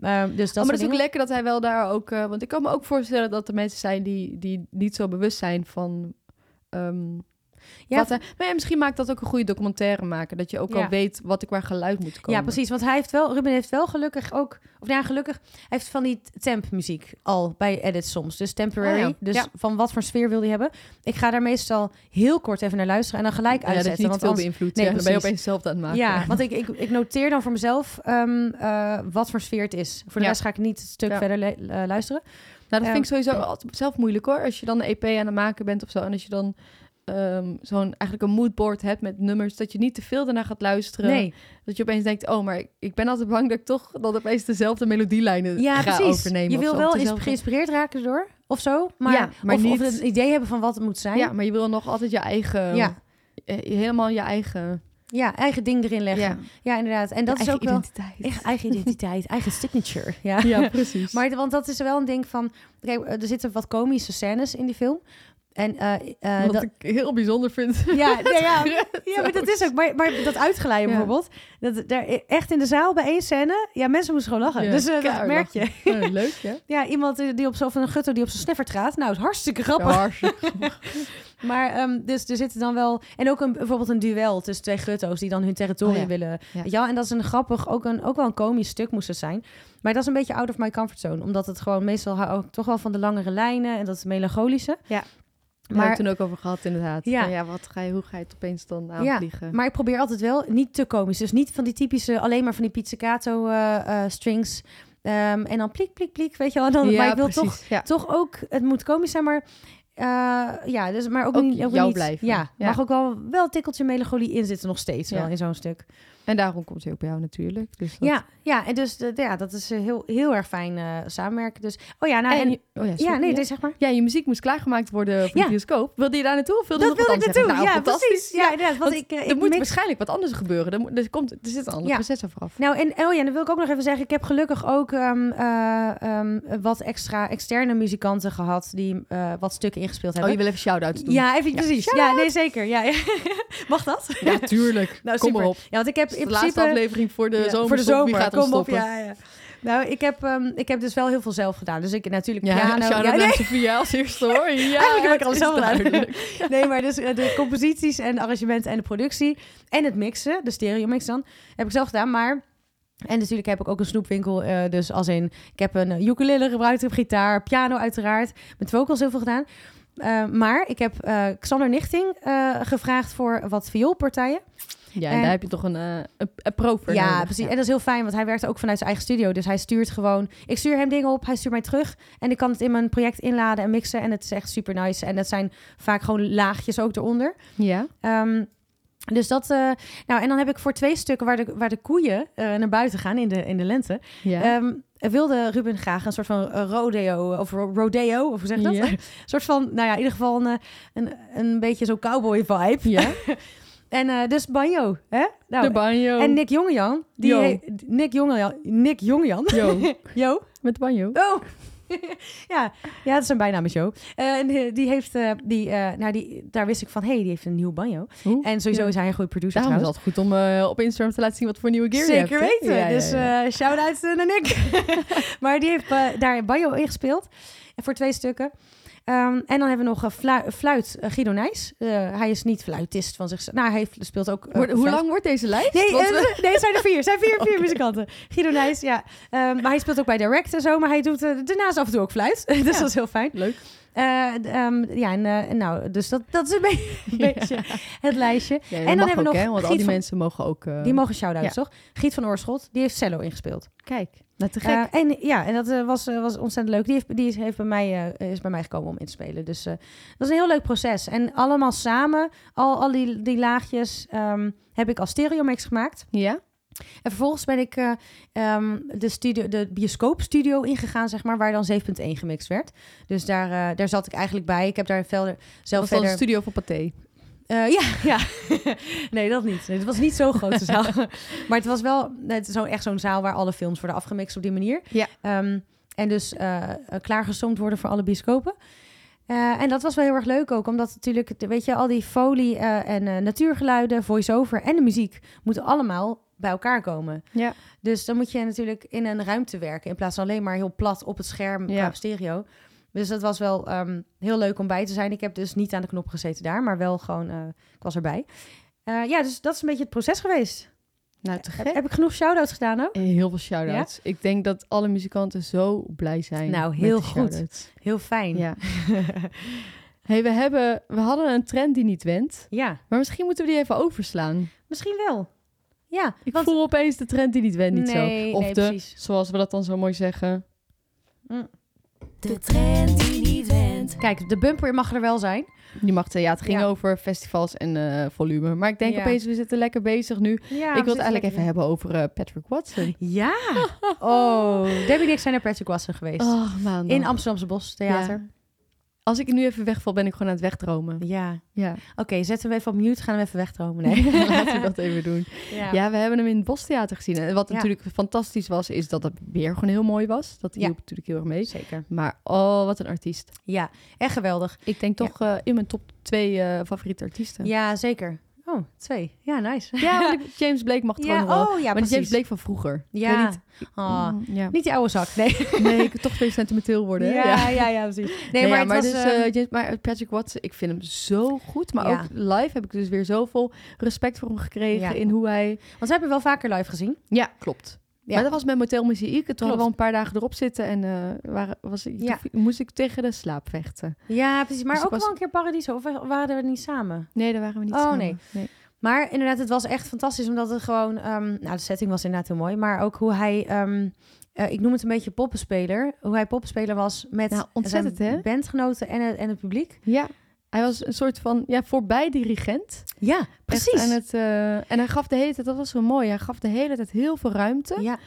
Speaker 2: Ehm, dus
Speaker 1: Oh,
Speaker 2: dat
Speaker 1: maar
Speaker 2: soort
Speaker 1: het is ook
Speaker 2: dingen.
Speaker 1: lekker dat hij wel daar ook... eh, want ik kan me ook voorstellen dat er mensen zijn die, die niet zo bewust zijn van... ehm,
Speaker 2: Ja,
Speaker 1: wat hij- maar ja, misschien maakt dat ook een goede documentaire maken. Dat je ook al
Speaker 2: Ja.
Speaker 1: weet wat ik waar geluid moet komen.
Speaker 2: Ja, precies. Want hij heeft wel, Ruben heeft wel gelukkig ook, of nou ja, gelukkig, hij heeft van die temp muziek al bij edits soms. Dus temporary.
Speaker 1: Oh ja,
Speaker 2: Dus
Speaker 1: ja.
Speaker 2: van wat voor sfeer wil hij hebben. Ik ga daar meestal heel kort even naar luisteren en dan gelijk
Speaker 1: Ja, dat
Speaker 2: uitzetten.
Speaker 1: is niet
Speaker 2: want
Speaker 1: veel
Speaker 2: anders-
Speaker 1: beïnvloed.
Speaker 2: Nee,
Speaker 1: ja, dan ben je
Speaker 2: precies.
Speaker 1: opeens zelf aan het maken.
Speaker 2: Ja, want ik, ik, ik noteer dan voor mezelf ehm, eh, wat voor sfeer het is. Voor de
Speaker 1: Ja.
Speaker 2: rest ga ik niet het stuk
Speaker 1: Ja.
Speaker 2: verder le- eh, luisteren.
Speaker 1: Nou, dat
Speaker 2: Ehm,
Speaker 1: vind ik sowieso altijd zelf moeilijk hoor. Als je dan een EP aan het maken bent of zo. En als je dan ehm, zo'n eigenlijk een moodboard hebt met nummers. Dat je niet te veel daarna gaat luisteren.
Speaker 2: Nee,
Speaker 1: Dat je opeens denkt, oh, maar ik- ik ben altijd bang dat ik toch dat opeens dezelfde melodielijnen
Speaker 2: ja,
Speaker 1: eh, ga
Speaker 2: precies.
Speaker 1: overnemen.
Speaker 2: je
Speaker 1: of
Speaker 2: wil
Speaker 1: zo.
Speaker 2: wel
Speaker 1: Of
Speaker 2: eens
Speaker 1: dezelfde-
Speaker 2: geïnspireerd raken door of zo. Maar,
Speaker 1: Ja, maar
Speaker 2: of,
Speaker 1: niet-
Speaker 2: of een idee hebben van wat het moet zijn.
Speaker 1: Ja, maar je wil nog altijd je eigen,
Speaker 2: ja.
Speaker 1: eh, helemaal je eigen,
Speaker 2: Ja, eigen ding erin leggen. Ja,
Speaker 1: ja,
Speaker 2: inderdaad. En
Speaker 1: je
Speaker 2: dat is
Speaker 1: eigen
Speaker 2: ook wel...
Speaker 1: identiteit.
Speaker 2: Echt eigen identiteit, eigen signature. Ja.
Speaker 1: Ja, precies.
Speaker 2: Maar, het- want dat is wel een ding van... Kijk, eh, er zitten wat komische scènes in die film. En eh, eh,
Speaker 1: Wat
Speaker 2: dat-
Speaker 1: ik heel bijzonder vind.
Speaker 2: ja, nee, ja, Oh, ja, maar dat is ook. Maar, maar dat uitgeleide
Speaker 1: Ja.
Speaker 2: bijvoorbeeld, dat, daar, e-, echt in de zaal bij één scène, ja, mensen moesten gewoon lachen.
Speaker 1: Ja,
Speaker 2: dus eh, dat
Speaker 1: keihard
Speaker 2: merk je.
Speaker 1: Eh, leuk, hè?
Speaker 2: Ja, iemand eh, die op zo'n van een gutter die op zijn sniffert gaat. Nou, is hartstikke grappig.
Speaker 1: Ja, hartstikke
Speaker 2: Maar ehm, dus er zitten dan wel. En ook een, bijvoorbeeld een duel tussen twee gutto's die dan hun territorium
Speaker 1: Oh ja.
Speaker 2: willen.
Speaker 1: Ja.
Speaker 2: Weet je wel? En dat is een grappig, ook, een, ook wel een komisch stuk moest het zijn. Maar dat is een beetje out of my comfort zone. Omdat het gewoon meestal hou ik toch wel van de langere lijnen en dat melancholische. Eh,
Speaker 1: Ja. Daar hebben we
Speaker 2: Maar,
Speaker 1: het toen ook over gehad, inderdaad.
Speaker 2: Ja.
Speaker 1: Van, ja wat ga je, hoe ga je het opeens dan aanvliegen?
Speaker 2: maar ik probeer altijd wel niet te komisch. Dus niet van die typische, alleen maar van die pizzicato eh, eh, strings. Ehm, en dan pliek, pliek, pliek. Weet je wel. En Dan,
Speaker 1: ja,
Speaker 2: maar ik wil toch
Speaker 1: precies. Ja.
Speaker 2: toch ook, het moet komisch zijn, maar eh, ja, dus, maar ook,
Speaker 1: Ook
Speaker 2: niet, ook
Speaker 1: jou
Speaker 2: niet,
Speaker 1: blijven.
Speaker 2: Ja,
Speaker 1: Ja.
Speaker 2: mag ook wel, wel een tikkeltje melancholie in zitten nog steeds
Speaker 1: Ja.
Speaker 2: wel in zo'n stuk.
Speaker 1: En daarom komt hij ook bij jou natuurlijk. Dus dat-
Speaker 2: Ja, ja, en dus de- ja, dat is eh, heel, heel erg fijn eh, samenwerken. Dus, oh ja, nou,
Speaker 1: En,
Speaker 2: en,
Speaker 1: je- oh ja, sorry,
Speaker 2: ja, nee,
Speaker 1: ja.
Speaker 2: dus zeg maar.
Speaker 1: Ja, je muziek moest klaargemaakt worden voor
Speaker 2: Ja.
Speaker 1: de bioscoop. Wilde je daar naartoe of wilde
Speaker 2: Dat
Speaker 1: je nog
Speaker 2: wilde
Speaker 1: wat
Speaker 2: ik
Speaker 1: anders
Speaker 2: naartoe.
Speaker 1: zeggen? Nou,
Speaker 2: ja, precies.
Speaker 1: fantastisch.
Speaker 2: Ja, inderdaad. Want
Speaker 1: Want
Speaker 2: ik, eh,
Speaker 1: er
Speaker 2: ik
Speaker 1: moet
Speaker 2: mix-
Speaker 1: waarschijnlijk wat anders gebeuren. Er, moet- er, komt, er zit een ander
Speaker 2: Ja.
Speaker 1: proces aan vooraf.
Speaker 2: Nou, en oh ja, dan wil ik ook nog even zeggen, ik heb gelukkig ook ehm, eh, ehm, wat extra externe muzikanten gehad die eh, wat stukken ingespeeld
Speaker 1: Oh,
Speaker 2: hebben.
Speaker 1: je wil even shout-outs doen?
Speaker 2: ja, even precies. Ja, nee, zeker. Ja, ja. Mag dat?
Speaker 1: Ja, tuurlijk.
Speaker 2: Nou,
Speaker 1: Kom
Speaker 2: super.
Speaker 1: maar op.
Speaker 2: Ja, want ik heb
Speaker 1: Het is
Speaker 2: in
Speaker 1: de laatste
Speaker 2: principe...
Speaker 1: aflevering voor de
Speaker 2: Ja,
Speaker 1: zomer.
Speaker 2: Voor de
Speaker 1: stop.
Speaker 2: zomer.
Speaker 1: Wie gaat hem
Speaker 2: Kom op,
Speaker 1: stoppen?
Speaker 2: ja, ja. Nou, ik heb, ehm, ik heb dus wel heel veel zelf gedaan. Dus ik natuurlijk
Speaker 1: Ja,
Speaker 2: piano.
Speaker 1: shout-out
Speaker 2: Ja,
Speaker 1: naar
Speaker 2: nee,
Speaker 1: Sophia als eerste hoor. Ja,
Speaker 2: Eigenlijk heb ik alles
Speaker 1: het is
Speaker 2: zelf gedaan.
Speaker 1: duidelijk.
Speaker 2: nee, maar dus eh, de composities en de arrangementen en de productie. En het mixen, de stereo mix dan, heb ik zelf gedaan. Maar... En natuurlijk heb ik ook een snoepwinkel. eh, dus als in, ik heb een eh, ukulele gebruikt, ik heb gitaar, piano uiteraard. Met vocals heel veel gedaan. Eh, maar ik heb eh Xander Nichting eh, gevraagd voor wat vioolpartijen.
Speaker 1: Ja,
Speaker 2: En-
Speaker 1: en daar heb je toch een, eh, een, een pro voor
Speaker 2: Ja,
Speaker 1: nodig.
Speaker 2: precies. En dat is heel fijn, want hij werkt ook vanuit zijn eigen studio. Dus hij stuurt gewoon... Ik stuur hem dingen op, hij stuurt mij terug. En ik kan het in mijn project inladen en mixen. En het is echt super nice. En dat zijn vaak gewoon laagjes ook eronder.
Speaker 1: Ja.
Speaker 2: Ehm, dus dat... eh, nou, en dan heb ik voor twee stukken waar de, waar de koeien eh, naar buiten gaan in de, in de lente...
Speaker 1: ja.
Speaker 2: ehm, wilde Ruben graag een soort van eh, rodeo... Of ro- rodeo, of hoe zeg je dat?
Speaker 1: Ja.
Speaker 2: Een soort van, nou ja, in ieder geval een, eh, een, een beetje zo'n cowboy vibe.
Speaker 1: Ja,
Speaker 2: En eh, dus banjo, hè? Nou,
Speaker 1: de banjo.
Speaker 2: en Nick Jongejan. Die
Speaker 1: Oh. Yo.
Speaker 2: he- Nick Jongejan. Nick Jongejan.
Speaker 1: Yo,
Speaker 2: Jo.
Speaker 1: met de banjo.
Speaker 2: Oh. ja. ja, dat is een bijnaam is Jo. Eh, en die- die heeft, eh, die, eh, nou die, daar wist ik van, hé, hey, die heeft een nieuw banjo.
Speaker 1: Oeh.
Speaker 2: En sowieso is hij een goede producer
Speaker 1: Daarom is het
Speaker 2: trouwens.
Speaker 1: altijd goed om eh, op Instagram te laten zien wat voor nieuwe gear je hebt.
Speaker 2: Zeker
Speaker 1: hè?
Speaker 2: weten.
Speaker 1: Ja, ja,
Speaker 2: Dus
Speaker 1: ja.
Speaker 2: eh shout-out eh, naar Nick. maar die heeft eh, daar banjo ingespeeld. En Voor twee stukken. Ehm, en dan hebben we nog eh, flu- fluit eh, Guido Nijs. Eh, hij is niet fluitist van zichzelf. Nou, hij heeft- speelt ook... eh,
Speaker 1: Wordt- hoe
Speaker 2: fluit.
Speaker 1: lang wordt deze lijst?
Speaker 2: Nee,
Speaker 1: Want
Speaker 2: eh,
Speaker 1: we-
Speaker 2: nee, het zijn er vier. Het zijn vier, vier muzikanten. Guido Nijs, ja. Ehm, maar hij speelt ook bij Direct en zo. Maar hij doet eh, daarnaast af en toe ook fluit. dus dat is heel fijn.
Speaker 1: Leuk.
Speaker 2: Eh, d- ehm, ja, en eh, nou, dus dat, dat is een be- een beetje het lijstje.
Speaker 1: Ja, en
Speaker 2: dan
Speaker 1: dan hebben
Speaker 2: hebben we
Speaker 1: ook,
Speaker 2: nog
Speaker 1: hè, want al
Speaker 2: Giet
Speaker 1: die
Speaker 2: van-
Speaker 1: mensen mogen ook... eh,
Speaker 2: Die mogen shout-outs,
Speaker 1: ja.
Speaker 2: toch? Giet van Oorschot, die heeft cello ingespeeld.
Speaker 1: Kijk, nou te
Speaker 2: Eh, en ja, en dat eh, was, eh, was ontzettend leuk. Die, heeft, die is, heeft bij mij, eh, is bij mij gekomen om in te spelen. Dus eh, dat is een heel leuk proces. En allemaal samen, al, al die, die laagjes, ehm, heb ik als stereo mix gemaakt.
Speaker 1: ja?
Speaker 2: En vervolgens ben ik eh, ehm, de, studio, de bioscoopstudio ingegaan, zeg maar, waar dan 7.1 gemixt werd. Dus daar, eh, daar zat ik eigenlijk bij. Ik heb daar velder,
Speaker 1: Dat
Speaker 2: zelf
Speaker 1: was dan
Speaker 2: verder...
Speaker 1: de studio van Pathé.
Speaker 2: Eh, ja, ja. nee, dat niet. Nee, het was niet zo'n grote zaal. maar het was wel net zo, echt zo'n zaal waar alle films worden afgemixt op die manier.
Speaker 1: Ja.
Speaker 2: Ehm, en dus eh, eh, klaargestoomd worden voor alle bioscopen. Eh, en dat was wel heel erg leuk ook, omdat natuurlijk, het- weet je, al die folie eh, en eh, natuurgeluiden, voice-over en de muziek moeten allemaal bij elkaar komen.
Speaker 1: Ja.
Speaker 2: Dus dan moet je natuurlijk in een ruimte werken, in plaats van alleen maar heel plat op het scherm
Speaker 1: Ja.
Speaker 2: qua stereo. Dus dat was wel ehm, heel leuk om bij te zijn. Ik heb dus niet aan de knop gezeten daar, maar wel gewoon, eh, ik was erbij. Eh, ja, dus dat is een beetje het proces geweest.
Speaker 1: Nou, te
Speaker 2: Heb, heb ik genoeg shout-outs gedaan ook?
Speaker 1: Heel veel shout-outs. Ik denk dat alle muzikanten zo blij zijn.
Speaker 2: Nou,
Speaker 1: met
Speaker 2: heel
Speaker 1: de
Speaker 2: goed.
Speaker 1: shout-outs.
Speaker 2: Heel fijn.
Speaker 1: Ja. hey, we, hebben, we hadden een trend die niet went.
Speaker 2: Ja,
Speaker 1: Maar misschien moeten we die even overslaan.
Speaker 2: misschien wel. Ja,
Speaker 1: Ik
Speaker 2: want-
Speaker 1: voel opeens de trend die niet went Eh, niet
Speaker 2: Nee,
Speaker 1: zo. Of
Speaker 2: nee,
Speaker 1: de,
Speaker 2: precies.
Speaker 1: zoals we dat dan zo mooi zeggen.
Speaker 3: De trend die niet went.
Speaker 2: Kijk, de bumper mag er wel zijn.
Speaker 1: Die mag ja, het ging
Speaker 2: Ja.
Speaker 1: over festivals en eh, volume. Maar ik denk
Speaker 2: Ja.
Speaker 1: opeens, we zitten lekker bezig nu.
Speaker 2: Ja,
Speaker 1: ik wil het eigenlijk even hebben over eh, Patrick Watson.
Speaker 2: Ja. Oh, Debbie en ik zijn naar Patrick Watson geweest.
Speaker 1: Oh, man.
Speaker 2: In Amsterdamse Bos Theater.
Speaker 1: Als ik nu even wegval, ben ik gewoon aan het wegdromen.
Speaker 2: Ja. Oké,
Speaker 1: Ja,
Speaker 2: zetten we even op mute. Gaan we even wegdromen. Nee.
Speaker 1: laten we dat even doen.
Speaker 2: Ja.
Speaker 1: Ja, we hebben hem in het Bostheater gezien. En wat
Speaker 2: Ja.
Speaker 1: natuurlijk fantastisch was, is dat het weer gewoon heel mooi was. Dat
Speaker 2: Ja.
Speaker 1: hielp natuurlijk heel erg mee.
Speaker 2: Zeker.
Speaker 1: Maar oh, wat een artiest.
Speaker 2: Ja, echt geweldig.
Speaker 1: Ik denk toch eh, in mijn top twee eh, favoriete artiesten.
Speaker 2: Ja, zeker. Oh, twee. Ja, nice.
Speaker 1: Ja, want James Blake mag het
Speaker 2: Ja,
Speaker 1: gewoon nog wel.
Speaker 2: oh ja,
Speaker 1: maar die James
Speaker 2: precies.
Speaker 1: Blake van vroeger. Ik
Speaker 2: Ja.
Speaker 1: weet niet.
Speaker 2: Ah,
Speaker 1: Mm, ja.
Speaker 2: Niet die oude zak, nee.
Speaker 1: Nee, ik wil toch weer sentimenteel worden. hè?
Speaker 2: Ja, ja, ja, precies. Nee,
Speaker 1: Nee,
Speaker 2: maar,
Speaker 1: ja,
Speaker 2: het was,
Speaker 1: dus,
Speaker 2: eh,
Speaker 1: eh, James- maar Patrick Watson, ik vind hem zo goed. Maar
Speaker 2: Ja.
Speaker 1: ook live heb ik dus weer zoveel respect voor hem gekregen
Speaker 2: Ja.
Speaker 1: in hoe hij...
Speaker 2: Want we hebben wel vaker live gezien.
Speaker 1: Ja, klopt.
Speaker 2: Ja.
Speaker 1: Maar dat was met Motel Muziek. Toen hadden
Speaker 2: Klopt.
Speaker 1: we al een paar dagen erop zitten en eh, waren, was, ik-
Speaker 2: Ja.
Speaker 1: toen moest ik tegen de slaap vechten.
Speaker 2: Ja, precies. Maar
Speaker 1: Dus
Speaker 2: ook
Speaker 1: ik was-
Speaker 2: wel een keer Paradiso. Of waren we niet samen?
Speaker 1: Nee, daar waren we niet
Speaker 2: Oh,
Speaker 1: samen.
Speaker 2: nee. Maar inderdaad, het was echt fantastisch. Omdat het gewoon... ehm, nou, de setting was inderdaad heel mooi. Maar ook hoe hij... ehm, eh, ik noem het een beetje poppenspeler. Hoe hij poppenspeler was met
Speaker 1: Nou, ontzettend,
Speaker 2: zijn
Speaker 1: hè?
Speaker 2: bandgenoten en het, en het publiek.
Speaker 1: Ja, hij was een soort van ja, voorbij dirigent.
Speaker 2: Ja,
Speaker 1: Echt
Speaker 2: precies.
Speaker 1: aan het, eh, en hij gaf de hele tijd, dat was zo mooi, hij gaf de hele tijd heel veel ruimte
Speaker 2: Ja,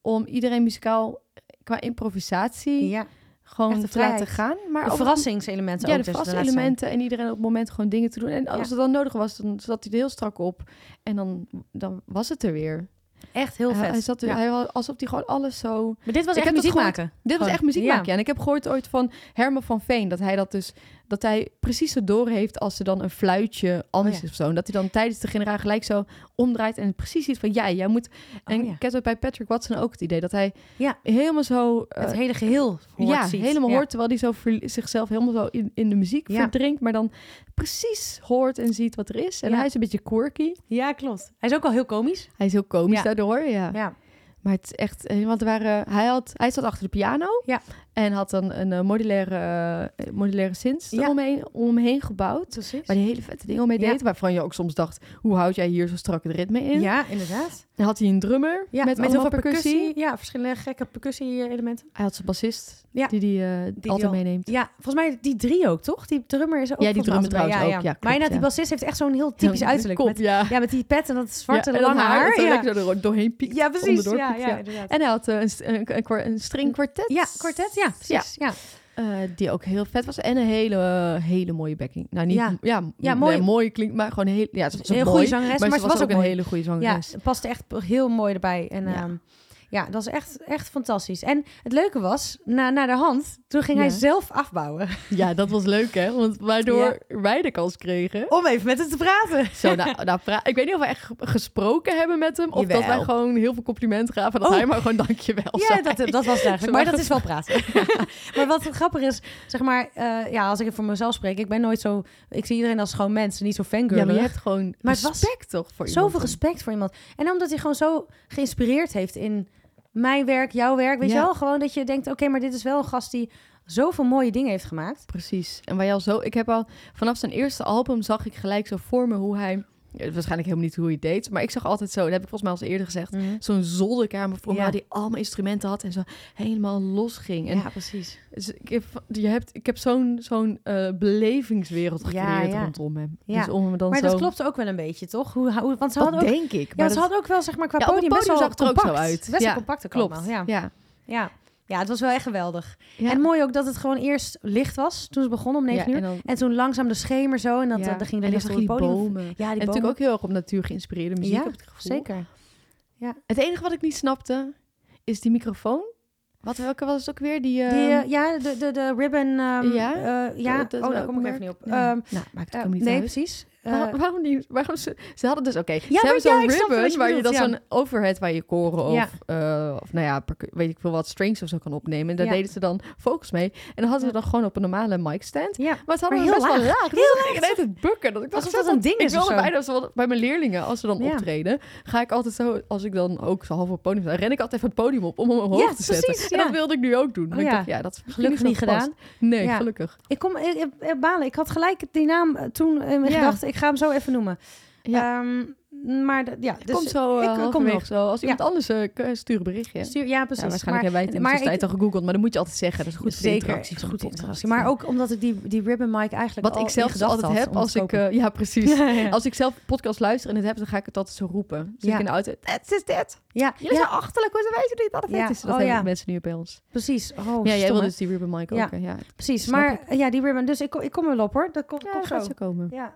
Speaker 1: om iedereen muzikaal eh, qua improvisatie
Speaker 2: ja.
Speaker 1: gewoon
Speaker 2: Echt de
Speaker 1: te laten
Speaker 2: vrijheid.
Speaker 1: gaan. Maar
Speaker 2: De
Speaker 1: ook-
Speaker 2: verrassingselementen
Speaker 1: ja,
Speaker 2: ook.
Speaker 1: de
Speaker 2: dus
Speaker 1: vaste
Speaker 2: laatste.
Speaker 1: elementen en iedereen op het moment gewoon dingen te doen. En als
Speaker 2: Ja.
Speaker 1: het dan nodig was, dan zat hij er heel strak op. En dan, dan was het er weer.
Speaker 2: Echt heel
Speaker 1: Hij,
Speaker 2: vet.
Speaker 1: hij zat er,
Speaker 2: Ja.
Speaker 1: hij was alsof hij gewoon alles zo...
Speaker 2: Maar dit was
Speaker 1: Ik heb
Speaker 2: echt
Speaker 1: dat
Speaker 2: muziek
Speaker 1: gehoord.
Speaker 2: maken.
Speaker 1: Dit was
Speaker 2: Gewoon,
Speaker 1: echt muziek
Speaker 2: ja.
Speaker 1: maken. Ja. En ik heb gehoord ooit van Herman van Veen dat hij dat dus dat hij precies zo door heeft als er dan een fluitje anders
Speaker 2: Oh ja.
Speaker 1: is of zo. En dat hij dan tijdens de generaal gelijk zo omdraait en precies ziet van ja, jij moet. En
Speaker 2: Oh ja.
Speaker 1: ik heb dat bij Patrick Watson ook het idee dat hij
Speaker 2: Ja.
Speaker 1: helemaal zo. eh,
Speaker 2: Het hele geheel hoort,
Speaker 1: ja,
Speaker 2: ziet.
Speaker 1: helemaal
Speaker 2: Ja.
Speaker 1: hoort terwijl hij zo ver- zichzelf helemaal zo in, in de muziek
Speaker 2: Ja.
Speaker 1: verdrinkt, maar dan precies hoort en ziet wat er is. En
Speaker 2: Ja.
Speaker 1: hij is een beetje quirky.
Speaker 2: Ja, klopt. Hij is ook wel heel komisch.
Speaker 1: Hij is heel komisch
Speaker 2: Ja.
Speaker 1: daardoor, ja.
Speaker 2: Ja.
Speaker 1: Maar het is echt, eh, want er waren, hij, had, hij zat achter de piano.
Speaker 2: Ja.
Speaker 1: En had dan een eh, modulaire, eh, modulaire synth
Speaker 2: Ja.
Speaker 1: omheen, omheen gebouwd.
Speaker 2: Precies.
Speaker 1: Waar die hele vette dingen mee
Speaker 2: Ja.
Speaker 1: deed. Waarvan je ook soms dacht, hoe houd jij hier zo strak het ritme in?
Speaker 2: Ja, inderdaad.
Speaker 1: Dan had hij een drummer
Speaker 2: Ja,
Speaker 1: met, allemaal percussie.
Speaker 2: Ja, verschillende gekke percussie-elementen.
Speaker 1: Hij had zijn bassist,
Speaker 2: Ja.
Speaker 1: die, die hij
Speaker 2: die
Speaker 1: altijd
Speaker 2: al-
Speaker 1: meeneemt.
Speaker 2: Ja, volgens mij die drie ook, toch? Die drummer is ook
Speaker 1: Ja, die
Speaker 2: volgens mij
Speaker 1: drummer
Speaker 2: altijd bij-
Speaker 1: trouwens ook. Ja,
Speaker 2: maar
Speaker 1: klopt,
Speaker 2: inderdaad, die
Speaker 1: ja.
Speaker 2: bassist heeft echt zo'n heel typisch
Speaker 1: Zo'n
Speaker 2: uiterlijk.
Speaker 1: kop,
Speaker 2: met,
Speaker 1: ja.
Speaker 2: ja, met die pet en dat zwarte
Speaker 1: Ja, en
Speaker 2: lange
Speaker 1: dat
Speaker 2: haar.
Speaker 1: dat er
Speaker 2: ja.
Speaker 1: lekker door, doorheen piekt.
Speaker 2: ja, precies.
Speaker 1: onderdoor
Speaker 2: Ja,
Speaker 1: piekt,
Speaker 2: ja,
Speaker 1: ja.
Speaker 2: inderdaad.
Speaker 1: En hij had eh, een, st- een, een, kwar- een stringkwartet.
Speaker 2: ja, kwartet, ja, precies. Ja.
Speaker 1: Eh, die ook heel vet was. En een hele, eh, hele mooie backing. Nou, niet,
Speaker 2: Ja.
Speaker 1: ja, ja,
Speaker 2: Ja, mooi.
Speaker 1: mooi. mooi klinkt, maar gewoon heel... Ja, ze was ook
Speaker 2: Heel
Speaker 1: mooi,
Speaker 2: goede zangeres,
Speaker 1: Maar,
Speaker 2: maar
Speaker 1: ze was, ook, een
Speaker 2: mooi.
Speaker 1: hele goede
Speaker 2: Ja,
Speaker 1: zangeres.
Speaker 2: het paste echt heel mooi erbij. En
Speaker 1: Ja.
Speaker 2: Oh, ja, ja dat is echt, echt fantastisch. En het leuke was, na, na de hand, toen ging hij
Speaker 1: Ja.
Speaker 2: zelf afbouwen.
Speaker 1: Ja. dat was leuk, hè? Want waardoor wij de kans kregen...
Speaker 2: Om even met hem te praten.
Speaker 1: Zo, nou, nou, pra- ik weet niet of we echt ge- gesproken hebben met hem... of dat
Speaker 2: Jawel.
Speaker 1: wij gewoon heel veel complimenten gaven... dat
Speaker 2: Oh.
Speaker 1: hij maar gewoon dankjewel
Speaker 2: Ja,
Speaker 1: zei.
Speaker 2: dat, dat was het
Speaker 1: Ze
Speaker 2: eigenlijk. Maar dat
Speaker 1: waren
Speaker 2: is wel praten. maar wat grappig is, zeg maar, eh, ja, als ik het voor mezelf spreek, ik ben nooit zo. Ik zie iedereen als gewoon mensen, niet zo fangirl.
Speaker 1: Ja, maar je hebt gewoon
Speaker 2: Maar het was
Speaker 1: respect toch voor iemand.
Speaker 2: Zoveel respect voor iemand. eh. En omdat hij gewoon zo geïnspireerd heeft in mijn werk, jouw werk. Weet
Speaker 1: Ja.
Speaker 2: je wel, gewoon dat je denkt: oké, maar dit is wel een gast die zoveel mooie dingen heeft gemaakt.
Speaker 1: Precies. En waar je al zo... Ik heb al... Vanaf zijn eerste album zag ik gelijk zo voor me hoe hij... ja, Waarschijnlijk helemaal niet hoe hij deed. Maar ik zag altijd zo... Dat heb ik volgens mij al eens eerder gezegd.
Speaker 2: Mhm.
Speaker 1: zo'n zolderkamer voor
Speaker 2: Ja.
Speaker 1: me waar die allemaal instrumenten had en zo helemaal los ging. En
Speaker 2: Ja, precies.
Speaker 1: dus ik heb, je hebt, ik heb zo'n zo'n eh, belevingswereld
Speaker 2: Ja,
Speaker 1: gecreëerd
Speaker 2: ja.
Speaker 1: rondom hem.
Speaker 2: Ja.
Speaker 1: Dus om hem dan
Speaker 2: Maar
Speaker 1: zo...
Speaker 2: dat klopte ook wel een beetje, toch? Hoe, hoe, want ze
Speaker 1: Dat
Speaker 2: hadden ook,
Speaker 1: denk ik.
Speaker 2: ja,
Speaker 1: maar
Speaker 2: ze
Speaker 1: dat-
Speaker 2: hadden ook wel zeg maar qua
Speaker 1: Ja, op het
Speaker 2: podium best wel
Speaker 1: zag het er ook
Speaker 2: compact.
Speaker 1: zo uit.
Speaker 2: Best wel
Speaker 1: Ja,
Speaker 2: compact ook
Speaker 1: klopt.
Speaker 2: allemaal, Ja.
Speaker 1: ja.
Speaker 2: Ja. ja, het was wel echt geweldig.
Speaker 1: Ja.
Speaker 2: En mooi ook dat het gewoon eerst licht was toen ze begonnen om 9
Speaker 1: Ja,
Speaker 2: uur.
Speaker 1: en dan,
Speaker 2: En toen langzaam de schemer zo en dat,
Speaker 1: ja.
Speaker 2: eh, dan ging de
Speaker 1: En dan
Speaker 2: licht op
Speaker 1: zag
Speaker 2: het
Speaker 1: je
Speaker 2: podium.
Speaker 1: bomen. En
Speaker 2: Ja, die
Speaker 1: natuurlijk
Speaker 2: bomen.
Speaker 1: ook heel erg op natuur geïnspireerde muziek,
Speaker 2: Ja,
Speaker 1: heb ik het gevoel.
Speaker 2: Zeker.
Speaker 1: Het enige wat ik niet snapte, is die microfoon. Wat, welke was het ook weer? Die, eh,
Speaker 2: Die, eh, ja, de, de, de ribbon... ehm,
Speaker 1: Ja?
Speaker 2: eh, ja.
Speaker 1: dat- dat
Speaker 2: oh, daar
Speaker 1: welk
Speaker 2: kom ik
Speaker 1: merk?
Speaker 2: even niet op.
Speaker 1: Nee.
Speaker 2: Ehm,
Speaker 1: nou, maakt het
Speaker 2: eh,
Speaker 1: ook niet
Speaker 2: nee,
Speaker 1: uit.
Speaker 2: precies. Eh,
Speaker 1: Waarom, waarom niet? Waarom ze, ze hadden dus, oké,
Speaker 2: maar
Speaker 1: ze hebben
Speaker 2: ja,
Speaker 1: zo'n
Speaker 2: ik snap wat
Speaker 1: ribbon
Speaker 2: je
Speaker 1: waar je dan
Speaker 2: bedoelt, ja.
Speaker 1: zo'n overhead waar je koren of,
Speaker 2: Ja.
Speaker 1: eh, of nou ja, percu- weet ik veel wat, strings of zo kan opnemen. En daar
Speaker 2: Ja.
Speaker 1: deden ze dan focus mee. En dan hadden ze dan gewoon op een normale mic stand.
Speaker 2: ja.
Speaker 1: Maar ze hadden
Speaker 2: Maar
Speaker 1: hem
Speaker 2: heel
Speaker 1: best wel
Speaker 2: laag.
Speaker 1: laag.
Speaker 2: Heel
Speaker 1: Heel laag. Ik deed het bukken. Dat ik dacht,
Speaker 2: Alsof dat
Speaker 1: zet
Speaker 2: een ding
Speaker 1: ik
Speaker 2: is
Speaker 1: wilde
Speaker 2: of zo.
Speaker 1: bijna zo- bij mijn leerlingen, als ze dan
Speaker 2: Ja.
Speaker 1: optreden, ga ik altijd zo, als ik dan ook zo half op het podium sta, ren ik altijd even het podium op om hem omhoog
Speaker 2: Ja,
Speaker 1: te zetten.
Speaker 2: precies,
Speaker 1: En dat
Speaker 2: ja.
Speaker 1: wilde ik nu ook doen. Maar
Speaker 2: Oh,
Speaker 1: ik
Speaker 2: ja.
Speaker 1: dacht, ja, dat is misschien
Speaker 2: Gelukkig niet
Speaker 1: zo gepast. Nee,
Speaker 2: Ja.
Speaker 1: gelukkig.
Speaker 2: Ik kom eh, eh, eh, balen. Ik had gelijk die naam eh, toen in mijn
Speaker 1: Ja.
Speaker 2: gedachten. Ik ga hem zo even noemen.
Speaker 1: Ja.
Speaker 2: Ehm, maar dat- ja, dus
Speaker 1: Komt zo
Speaker 2: ik,
Speaker 1: ik,
Speaker 2: eh, kom
Speaker 1: kom
Speaker 2: nog.
Speaker 1: nog. Zo. Als iemand anders eh, k- stuur een berichtje.
Speaker 2: Stuur, ja, precies.
Speaker 1: Ja, waarschijnlijk hebben wij het in
Speaker 2: maar
Speaker 1: de
Speaker 2: ik-
Speaker 1: tijd al gegoogeld, maar dat moet je altijd zeggen. Dat is goed voor de interactie
Speaker 2: is
Speaker 1: van
Speaker 2: goed
Speaker 1: de
Speaker 2: voor de
Speaker 1: podcast.
Speaker 2: interactie. Maar ook omdat ik die, die ribbon mic eigenlijk
Speaker 1: wat ik zelf dus altijd heb als ik... eh, ja, precies. Als ik zelf podcast luister en het heb, dan ga ik het altijd zo roepen. Zit
Speaker 2: Ja.
Speaker 1: ik in de auto. Het is dit.
Speaker 2: ja,
Speaker 1: Jullie
Speaker 2: ja,
Speaker 1: zijn achterlijk. Hoe weten jullie dat het
Speaker 2: Ja.
Speaker 1: is? Dat
Speaker 2: Oh,
Speaker 1: hebben
Speaker 2: ja.
Speaker 1: mensen nu bij ons.
Speaker 2: precies. Oh, stom,
Speaker 1: ja, jij wil
Speaker 2: hè?
Speaker 1: dus die Ruben Mike
Speaker 2: Ja.
Speaker 1: ook. hè? Ja,
Speaker 2: Precies,
Speaker 1: Snap
Speaker 2: maar eh, ja, die ribbon. Dus ik, ko- ik kom er wel op hoor. Dat komt
Speaker 1: ja
Speaker 2: komt zo.
Speaker 1: gaat zo komen.
Speaker 2: Ja,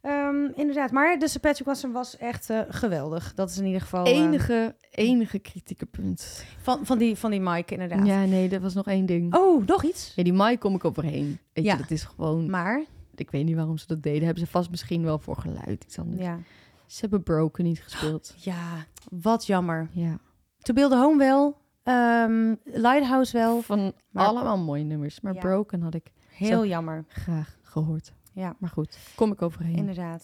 Speaker 2: Ehm, inderdaad. Maar de Sir Patrick Watson was echt eh, geweldig. Dat is in ieder geval... eh,
Speaker 1: Enige, enige kritieke punt.
Speaker 2: van, van, die, van die mic inderdaad.
Speaker 1: Ja, nee, dat was nog één ding.
Speaker 2: Oh, nog iets.
Speaker 1: Ja, die Mike kom ik overheen. Weet
Speaker 2: Ja.
Speaker 1: je, dat is gewoon...
Speaker 2: Maar,
Speaker 1: Ik weet niet waarom ze dat deden. Hebben ze vast misschien wel voor geluid iets anders.
Speaker 2: ja.
Speaker 1: Ze hebben Broken niet gespeeld.
Speaker 2: Ja, wat jammer.
Speaker 1: Ja.
Speaker 2: To Build a Home wel. ehm, Lighthouse wel.
Speaker 1: Van
Speaker 2: Maar-
Speaker 1: allemaal mooie nummers. Maar
Speaker 2: Ja.
Speaker 1: Broken had ik
Speaker 2: Heel
Speaker 1: Zo.
Speaker 2: jammer.
Speaker 1: graag gehoord.
Speaker 2: Ja.
Speaker 1: Maar goed, kom ik overheen.
Speaker 2: Inderdaad.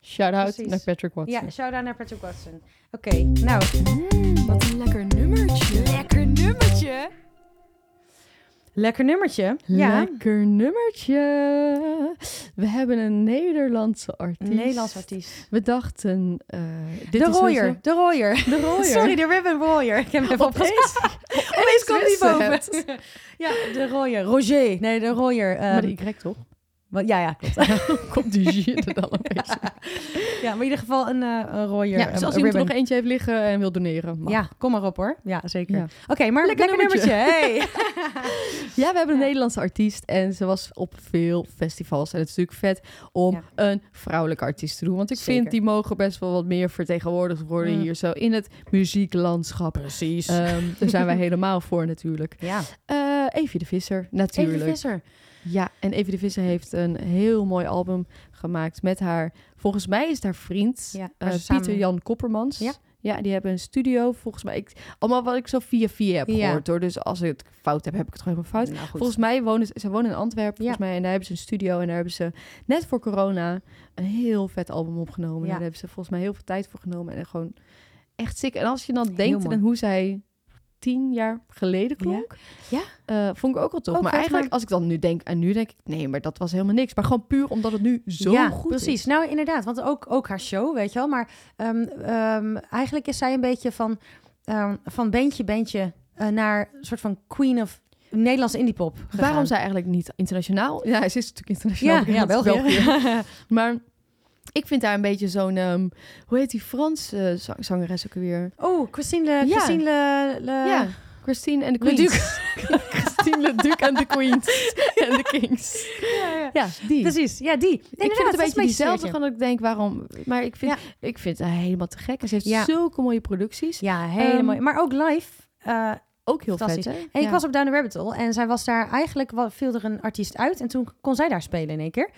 Speaker 1: Shout-out
Speaker 2: Precies.
Speaker 1: naar Patrick Watson.
Speaker 2: Ja, shout-out naar Patrick Watson. Oké, nou.
Speaker 3: wat een lekker nummertje. Lekker nummertje.
Speaker 2: Lekker nummertje. Ja.
Speaker 1: Lekker nummertje. We hebben een Nederlandse artiest.
Speaker 2: Een Nederlands artiest.
Speaker 1: We dachten... eh, dit
Speaker 2: de
Speaker 1: is sowieso-
Speaker 2: Royer. De Royer.
Speaker 1: De Royer.
Speaker 2: Sorry, de Ribbon Royer. Ik heb hem even opgeschreven. Opeens komt die
Speaker 1: wisten
Speaker 2: boven.
Speaker 1: het.
Speaker 2: ja, de Royer. Roger. Nee, de Royer. ehm,
Speaker 1: Maar de Y toch?
Speaker 2: wa- Ja, ja, klopt.
Speaker 1: Komt die shit er dan opeens.
Speaker 2: ja, maar in ieder geval een, eh, een Royer.
Speaker 1: Ja, dus
Speaker 2: ehm,
Speaker 1: als
Speaker 2: een
Speaker 1: iemand er nog
Speaker 2: ribbon.
Speaker 1: eentje heeft liggen en wil doneren. mag.
Speaker 2: Ja, kom maar op hoor. Ja, zeker.
Speaker 1: Ja.
Speaker 2: Oké, maar lekker,
Speaker 1: Lekker
Speaker 2: nummertje.
Speaker 1: nummertje.
Speaker 2: Hey.
Speaker 1: Ja, we hebben een
Speaker 2: Ja.
Speaker 1: Nederlandse artiest en ze was op veel festivals. En het is natuurlijk vet om
Speaker 2: Ja.
Speaker 1: een vrouwelijke artiest te doen. Want ik
Speaker 2: Zeker.
Speaker 1: vind die mogen best wel wat meer vertegenwoordigd worden
Speaker 2: Mm.
Speaker 1: hier zo in het muzieklandschap.
Speaker 2: Precies.
Speaker 1: Ehm, daar zijn wij helemaal voor natuurlijk.
Speaker 2: ja.
Speaker 1: Eh Evie de Visser, natuurlijk.
Speaker 2: Even Visser.
Speaker 1: Ja, en Evie de Visser heeft een heel mooi album gemaakt met haar. Volgens mij is het haar vriend
Speaker 2: Ja,
Speaker 1: eh,
Speaker 2: waar ze
Speaker 1: Pieter
Speaker 2: samen-
Speaker 1: Jan Koppermans.
Speaker 2: Ja.
Speaker 1: Ja, die hebben een studio. Volgens mij, ik, allemaal wat ik zo via via heb
Speaker 2: Ja.
Speaker 1: gehoord hoor. Dus als ik het fout heb, heb ik het gewoon helemaal fout.
Speaker 2: Nou, goed.
Speaker 1: Volgens mij wonen ze, ze wonen in Antwerpen,
Speaker 2: Ja.
Speaker 1: volgens mij. En daar hebben ze een studio. En daar hebben ze net voor corona een heel vet album opgenomen.
Speaker 2: Ja.
Speaker 1: En daar hebben ze volgens mij heel veel tijd voor genomen. En gewoon echt sick. En als je dan
Speaker 2: mooi.
Speaker 1: denkt aan hoe zij tien jaar geleden klonk.
Speaker 2: Ja.
Speaker 1: eh, vond ik ook al tof.
Speaker 2: Ook
Speaker 1: maar
Speaker 2: vet,
Speaker 1: eigenlijk
Speaker 2: maar-
Speaker 1: als ik dan nu denk en nu denk ik... Nee, maar dat was helemaal niks. Maar gewoon puur omdat het nu zo
Speaker 2: ja,
Speaker 1: goed
Speaker 2: precies.
Speaker 1: is.
Speaker 2: Nou, inderdaad. Want ook, ook haar show, weet je wel. Maar ehm, ehm, eigenlijk is zij een beetje van, ehm van bandje, bandje eh, naar een soort van queen of Nederlands indiepop gegaan.
Speaker 1: Waarom zij eigenlijk niet internationaal... Ja, ze is natuurlijk internationaal.
Speaker 2: Ja, ja,
Speaker 1: bekend,
Speaker 2: België.
Speaker 1: Maar ik vind daar een beetje zo'n... ehm, hoe heet die Franse zang- zangeres ook weer?
Speaker 2: Oh, Christine Le...
Speaker 1: Ja.
Speaker 2: Christine Le... Le-
Speaker 1: Ja, Eh, Christine en de
Speaker 2: Le
Speaker 1: Queens. Christine Le Duc en de Queens. en de Kings.
Speaker 2: Ja, ja. Dus
Speaker 1: Ja, die.
Speaker 2: Precies. Ja, die.
Speaker 1: ik vind het een beetje diezelfde
Speaker 2: diezelfde
Speaker 1: van dat ik denk, waarom? Maar ik vind, ik vind het helemaal te gek. En ze heeft
Speaker 2: Ja.
Speaker 1: zulke mooie producties.
Speaker 2: Ja, hele
Speaker 1: Ehm,
Speaker 2: mooi. Maar ook live. eh,
Speaker 1: Ook heel vet,
Speaker 2: Fantastisch.
Speaker 1: hè?
Speaker 2: En
Speaker 1: Ja.
Speaker 2: ik was op Down the Rabbit Hole en zij was daar eigenlijk wel- viel er een artiest uit en toen kon zij daar spelen in één keer.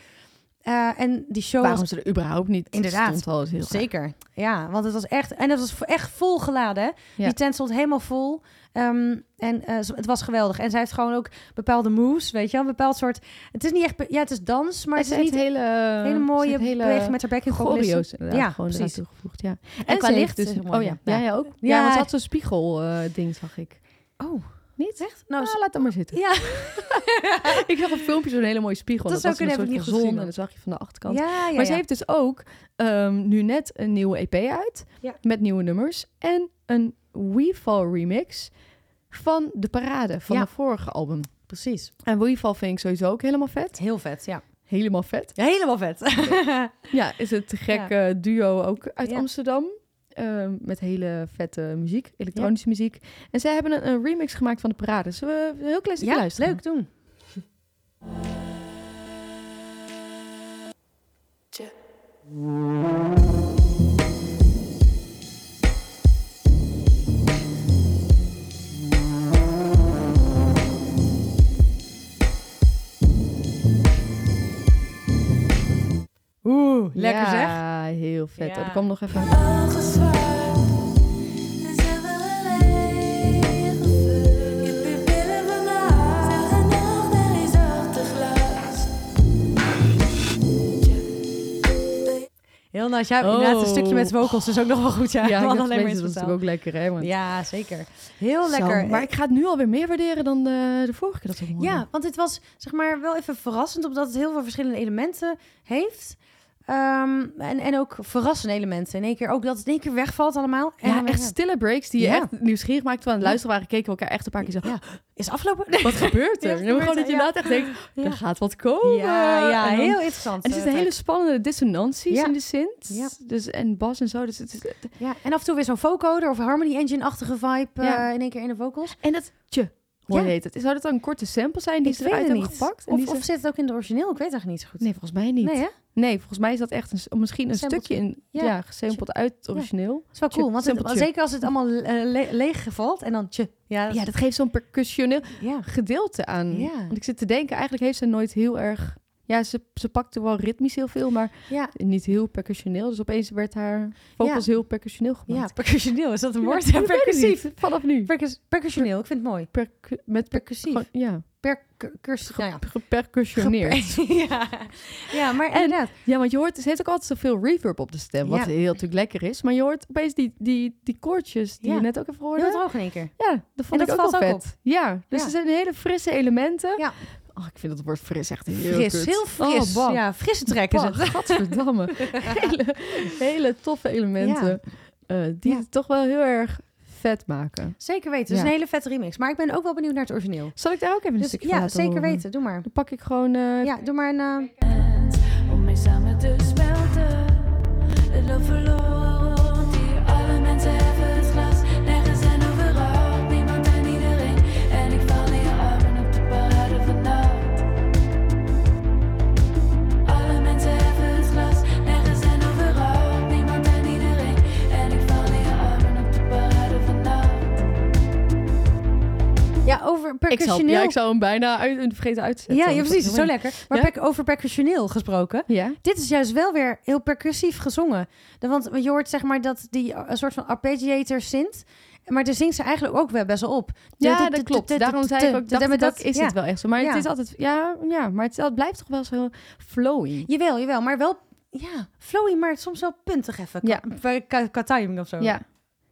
Speaker 2: Eh, en die show
Speaker 1: Waarom
Speaker 2: was
Speaker 1: ze er überhaupt niet
Speaker 2: Inderdaad.
Speaker 1: stond al is heel raar.
Speaker 2: zeker. Ja, want het was echt en dat was vo- echt vol geladen. hè.
Speaker 1: Ja.
Speaker 2: Die tent stond helemaal vol Ehm, en eh, ze- het was geweldig. En zij heeft gewoon ook bepaalde moves, weet je, wel, een bepaald soort. Het is niet echt, be- ja, het is dans, maar
Speaker 1: Maar
Speaker 2: het,
Speaker 1: ze
Speaker 2: is
Speaker 1: heeft
Speaker 2: niet
Speaker 1: hele,
Speaker 2: hele mooie
Speaker 1: hele
Speaker 2: beweging met haar backing vocalisten.
Speaker 1: choreo's inderdaad.
Speaker 2: Ja,
Speaker 1: Ja, gewoon eraan
Speaker 2: precies.
Speaker 1: toegevoegd, ja. En,
Speaker 2: qua
Speaker 1: ze heeft
Speaker 2: licht is heel mooi,
Speaker 1: oh ja, ja, ja, ook. Ja,
Speaker 2: Ja.
Speaker 1: want ze had zo'n spiegel eh, ding, zag ik.
Speaker 2: Oh,
Speaker 1: Niet? Echt? Nou,
Speaker 2: Nou, ze-
Speaker 1: laat dat maar zitten.
Speaker 2: ja,
Speaker 1: ik zag een filmpje, zo'n hele mooie spiegel.
Speaker 2: Dat
Speaker 1: Dat,
Speaker 2: zou
Speaker 1: was een
Speaker 2: kunnen,
Speaker 1: soort van
Speaker 2: heb ik niet gezien
Speaker 1: zon en
Speaker 2: dan.
Speaker 1: dat zag je van de achterkant.
Speaker 2: ja, ja.
Speaker 1: maar ze
Speaker 2: ja.
Speaker 1: heeft dus ook ehm, nu net een nieuwe EP uit.
Speaker 2: Ja.
Speaker 1: Met nieuwe nummers. En een WeFall remix van de parade van
Speaker 2: Ja.
Speaker 1: haar vorige album.
Speaker 2: precies.
Speaker 1: En WeFall vind ik sowieso ook helemaal vet.
Speaker 2: Heel vet, ja.
Speaker 1: Helemaal vet.
Speaker 2: Ja, helemaal vet.
Speaker 1: Ja, is het te gek eh, duo ook uit
Speaker 2: Ja.
Speaker 1: Amsterdam. Ehm, met hele vette muziek, elektronische muziek. En zij hebben een, een remix gemaakt van de parade. Zullen we een heel klein stukje
Speaker 2: ja,
Speaker 1: luisteren?
Speaker 2: leuk doen. Oeh, lekker
Speaker 1: ja,
Speaker 2: zeg.
Speaker 1: heel vet.
Speaker 2: Ja.
Speaker 1: Oh, er kwam nog even...
Speaker 2: Heel nice. Ja, inderdaad, een
Speaker 1: Oh.
Speaker 2: stukje met vocals is ook nog wel goed. Ja,
Speaker 1: Ja,
Speaker 2: Want
Speaker 1: ik
Speaker 2: alleen
Speaker 1: dacht,
Speaker 2: maar
Speaker 1: mensen, dat is
Speaker 2: instrumentaal.
Speaker 1: natuurlijk ook lekker, hè? Want
Speaker 2: Ja, zeker. Heel
Speaker 1: Zo,
Speaker 2: lekker.
Speaker 1: maar ik ga het nu alweer meer waarderen dan de, de vorige keer dat we hoorden.
Speaker 2: Ja, want het was zeg maar wel even verrassend, omdat het heel veel verschillende elementen heeft. Ehm, Ehm, en, en ook verrassende elementen. In één keer ook dat het in één keer wegvalt allemaal. En
Speaker 1: Ja,
Speaker 2: dan-
Speaker 1: echt stille breaks die je
Speaker 2: Ja.
Speaker 1: echt nieuwsgierig maakt. Terwijl we aan het luisteren waren, keken we elkaar echt een paar keer zo...
Speaker 2: Ja. Is afgelopen?
Speaker 1: Wat gebeurt er?
Speaker 2: Ja, wat
Speaker 1: En dan gewoon dat
Speaker 2: gebeurt
Speaker 1: je
Speaker 2: er? Ja.
Speaker 1: inderdaad echt denkt,
Speaker 2: Ja.
Speaker 1: er gaat wat komen.
Speaker 2: Ja, ja
Speaker 1: En dan-
Speaker 2: heel interessant.
Speaker 1: En er
Speaker 2: eh,
Speaker 1: zitten hele spannende dissonanties
Speaker 2: Ja.
Speaker 1: in de synths.
Speaker 2: Ja.
Speaker 1: Dus, en bas en zo. Dus het is,
Speaker 2: Ja, en af en toe weer zo'n vocoder of harmony engine-achtige vibe eh,
Speaker 1: Ja.
Speaker 2: in één keer in de vocals.
Speaker 1: en dat tje, hoor
Speaker 2: Ja.
Speaker 1: heet het. Zou dat dan korte samples zijn die
Speaker 2: Ik
Speaker 1: ze
Speaker 2: weet
Speaker 1: eruit
Speaker 2: het
Speaker 1: hebben
Speaker 2: niet.
Speaker 1: gepakt? En
Speaker 2: Of,
Speaker 1: die ze-
Speaker 2: of zit het ook in de origineel? Ik weet het eigenlijk niet zo goed.
Speaker 1: Nee, volgens mij niet.
Speaker 2: Nee,
Speaker 1: Nee,
Speaker 2: hè?
Speaker 1: volgens mij is dat echt een, s- misschien een
Speaker 2: Sampletje.
Speaker 1: stukje in,
Speaker 2: Ja.
Speaker 1: ja. gesampleld uit het origineel.
Speaker 2: Dat is wel
Speaker 1: Tje,
Speaker 2: cool, want het-
Speaker 1: simpeltje.
Speaker 2: zeker als het allemaal eh, le- leeg valt en dan tje. Ja,
Speaker 1: Ja,
Speaker 2: ja.
Speaker 1: dat geeft zo'n percussioneel
Speaker 2: ja.
Speaker 1: gedeelte aan.
Speaker 2: Ja.
Speaker 1: Want ik zit te denken, eigenlijk heeft ze nooit heel erg... Ja, ze, ze pakte wel ritmisch heel veel, maar
Speaker 2: ja.
Speaker 1: niet heel percussioneel. Dus opeens werd haar vocals heel percussioneel gemaakt.
Speaker 2: percussioneel, is dat een woord?
Speaker 1: Ja, percussief, vanaf nu.
Speaker 2: Percus- percussioneel, ik vind het mooi.
Speaker 1: Percu- met per-
Speaker 2: Percussief.
Speaker 1: gewoon- ja,
Speaker 2: Percursief. Nou ja.
Speaker 1: gepercussioneerd.
Speaker 2: ja. ja, maar
Speaker 1: En-
Speaker 2: inderdaad.
Speaker 1: Ja, want je hoort, ze heeft ook altijd zoveel reverb op de stem, wat
Speaker 2: Ja.
Speaker 1: heel natuurlijk lekker is. Maar je hoort opeens die, die, die koortjes die
Speaker 2: Ja.
Speaker 1: je net ook hebt gehoord.
Speaker 2: Heel droog in één keer.
Speaker 1: Ja, dat vond
Speaker 2: En
Speaker 1: ik
Speaker 2: dat
Speaker 1: ook
Speaker 2: valt
Speaker 1: wel
Speaker 2: ook
Speaker 1: vet. Ja, dus
Speaker 2: Ja.
Speaker 1: er zijn hele frisse elementen.
Speaker 2: Ja.
Speaker 1: Oh, ik vind dat woord fris echt heel
Speaker 2: Fris,
Speaker 1: kut.
Speaker 2: heel fris.
Speaker 1: Oh, bah.
Speaker 2: ja, frisse trek is
Speaker 1: Bah,
Speaker 2: het.
Speaker 1: gadverdamme. hele, hele toffe elementen eh, die
Speaker 2: Ja.
Speaker 1: het toch wel heel erg vet maken.
Speaker 2: Zeker weten, het is
Speaker 1: Ja.
Speaker 2: een hele vette remix. Maar ik ben ook wel benieuwd naar het origineel.
Speaker 1: Zal ik daar ook even een
Speaker 2: Dus
Speaker 1: stukje van
Speaker 2: ja,
Speaker 1: laten
Speaker 2: zeker
Speaker 1: horen?
Speaker 2: weten. Doe maar.
Speaker 1: Dan pak ik gewoon... eh,
Speaker 2: Ja, doe maar een... eh,
Speaker 3: Om mij samen te smelten. Het loopt verloren rond hier. Alle mensen heffen het glas. Nergens en overal. Niemand en iedereen. En ik val in je armen op de parade vannacht. Alle mensen heffen het glas. Nergens en overal. Niemand en iedereen. En ik val in je armen op de parade vannacht.
Speaker 2: Ja, over
Speaker 1: ik, zal,
Speaker 2: percussioneel.
Speaker 1: ja, ik zou hem bijna uit, eh, vergeten uit te zetten.
Speaker 2: Ja, ja,
Speaker 1: Dat
Speaker 2: precies.
Speaker 1: is
Speaker 2: Zo
Speaker 1: helemaal-
Speaker 2: lekker. Maar
Speaker 1: Ja.
Speaker 2: per- over percussioneel gesproken.
Speaker 1: Ja?
Speaker 2: Dit is juist wel weer heel percussief gezongen. De- Want je hoort zeg maar dat die eh, een soort van arpeggiator zingt. Maar daar zingt ze eigenlijk ook wel best wel op.
Speaker 1: Ja, dat klopt. Daarom zei ik ook, dacht ik ook, is
Speaker 2: ja.
Speaker 1: het wel echt zo. Maar
Speaker 2: Ja.
Speaker 1: het is altijd, ja, ja maar het, is al- het blijft toch wel zo flowy.
Speaker 2: Jawel, jawel. Maar wel, ja, flowy, maar soms wel puntig even.
Speaker 1: Ja.
Speaker 2: Qua, qua- qua, qua timing of zo.
Speaker 1: Ja.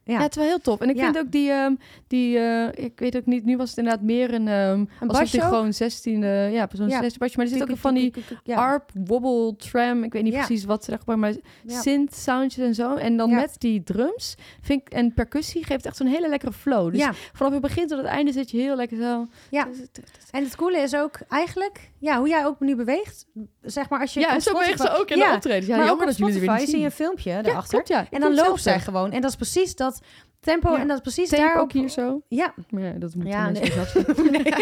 Speaker 2: Ja.
Speaker 1: Ja. het is wel heel tof. En ik
Speaker 2: Ja.
Speaker 1: vind ook die, ehm, die eh, ik weet ook niet, nu was het inderdaad meer een, ehm
Speaker 2: Een
Speaker 1: alsof
Speaker 2: basje
Speaker 1: die
Speaker 2: ook?
Speaker 1: gewoon 16, eh ja, zo'n
Speaker 2: Ja.
Speaker 1: 16 basje. Maar er zit ook een van die
Speaker 2: Ja.
Speaker 1: arp, wobble, tram, ik weet niet
Speaker 2: Ja.
Speaker 1: precies wat ze echt maar, maar
Speaker 2: Ja.
Speaker 1: synth soundjes en zo. En dan
Speaker 2: Ja.
Speaker 1: met die drums vind ik, en percussie geeft echt zo'n hele lekkere flow. Dus
Speaker 2: ja.
Speaker 1: vanaf het begin tot het einde zit je heel lekker zo. Dus
Speaker 2: Ja. En het coole is ook eigenlijk, ja, hoe jij ook nu beweegt, zeg maar als je
Speaker 1: Ja,
Speaker 2: op
Speaker 1: zo beweegt ze
Speaker 2: Spotify-
Speaker 1: ook in
Speaker 2: Ja,
Speaker 1: de optredens. Ja,
Speaker 2: maar ook
Speaker 1: jammer
Speaker 2: op
Speaker 1: dat jullie er weer
Speaker 2: Spotify
Speaker 1: niet
Speaker 2: zie je
Speaker 1: zien.
Speaker 2: een filmpje
Speaker 1: Ja,
Speaker 2: daarachter.
Speaker 1: klopt, ja.
Speaker 2: En
Speaker 1: Ik
Speaker 2: dan
Speaker 1: doe
Speaker 2: loopt zij
Speaker 1: hetzelfde.
Speaker 2: gewoon. En dat is precies dat tempo
Speaker 1: Ja.
Speaker 2: en dat is precies
Speaker 1: Tape
Speaker 2: daarop.
Speaker 1: ook hier zo.
Speaker 2: Ja,
Speaker 1: Maar ja, dat moet
Speaker 2: Ja,
Speaker 1: ja,
Speaker 2: nee.
Speaker 1: nee.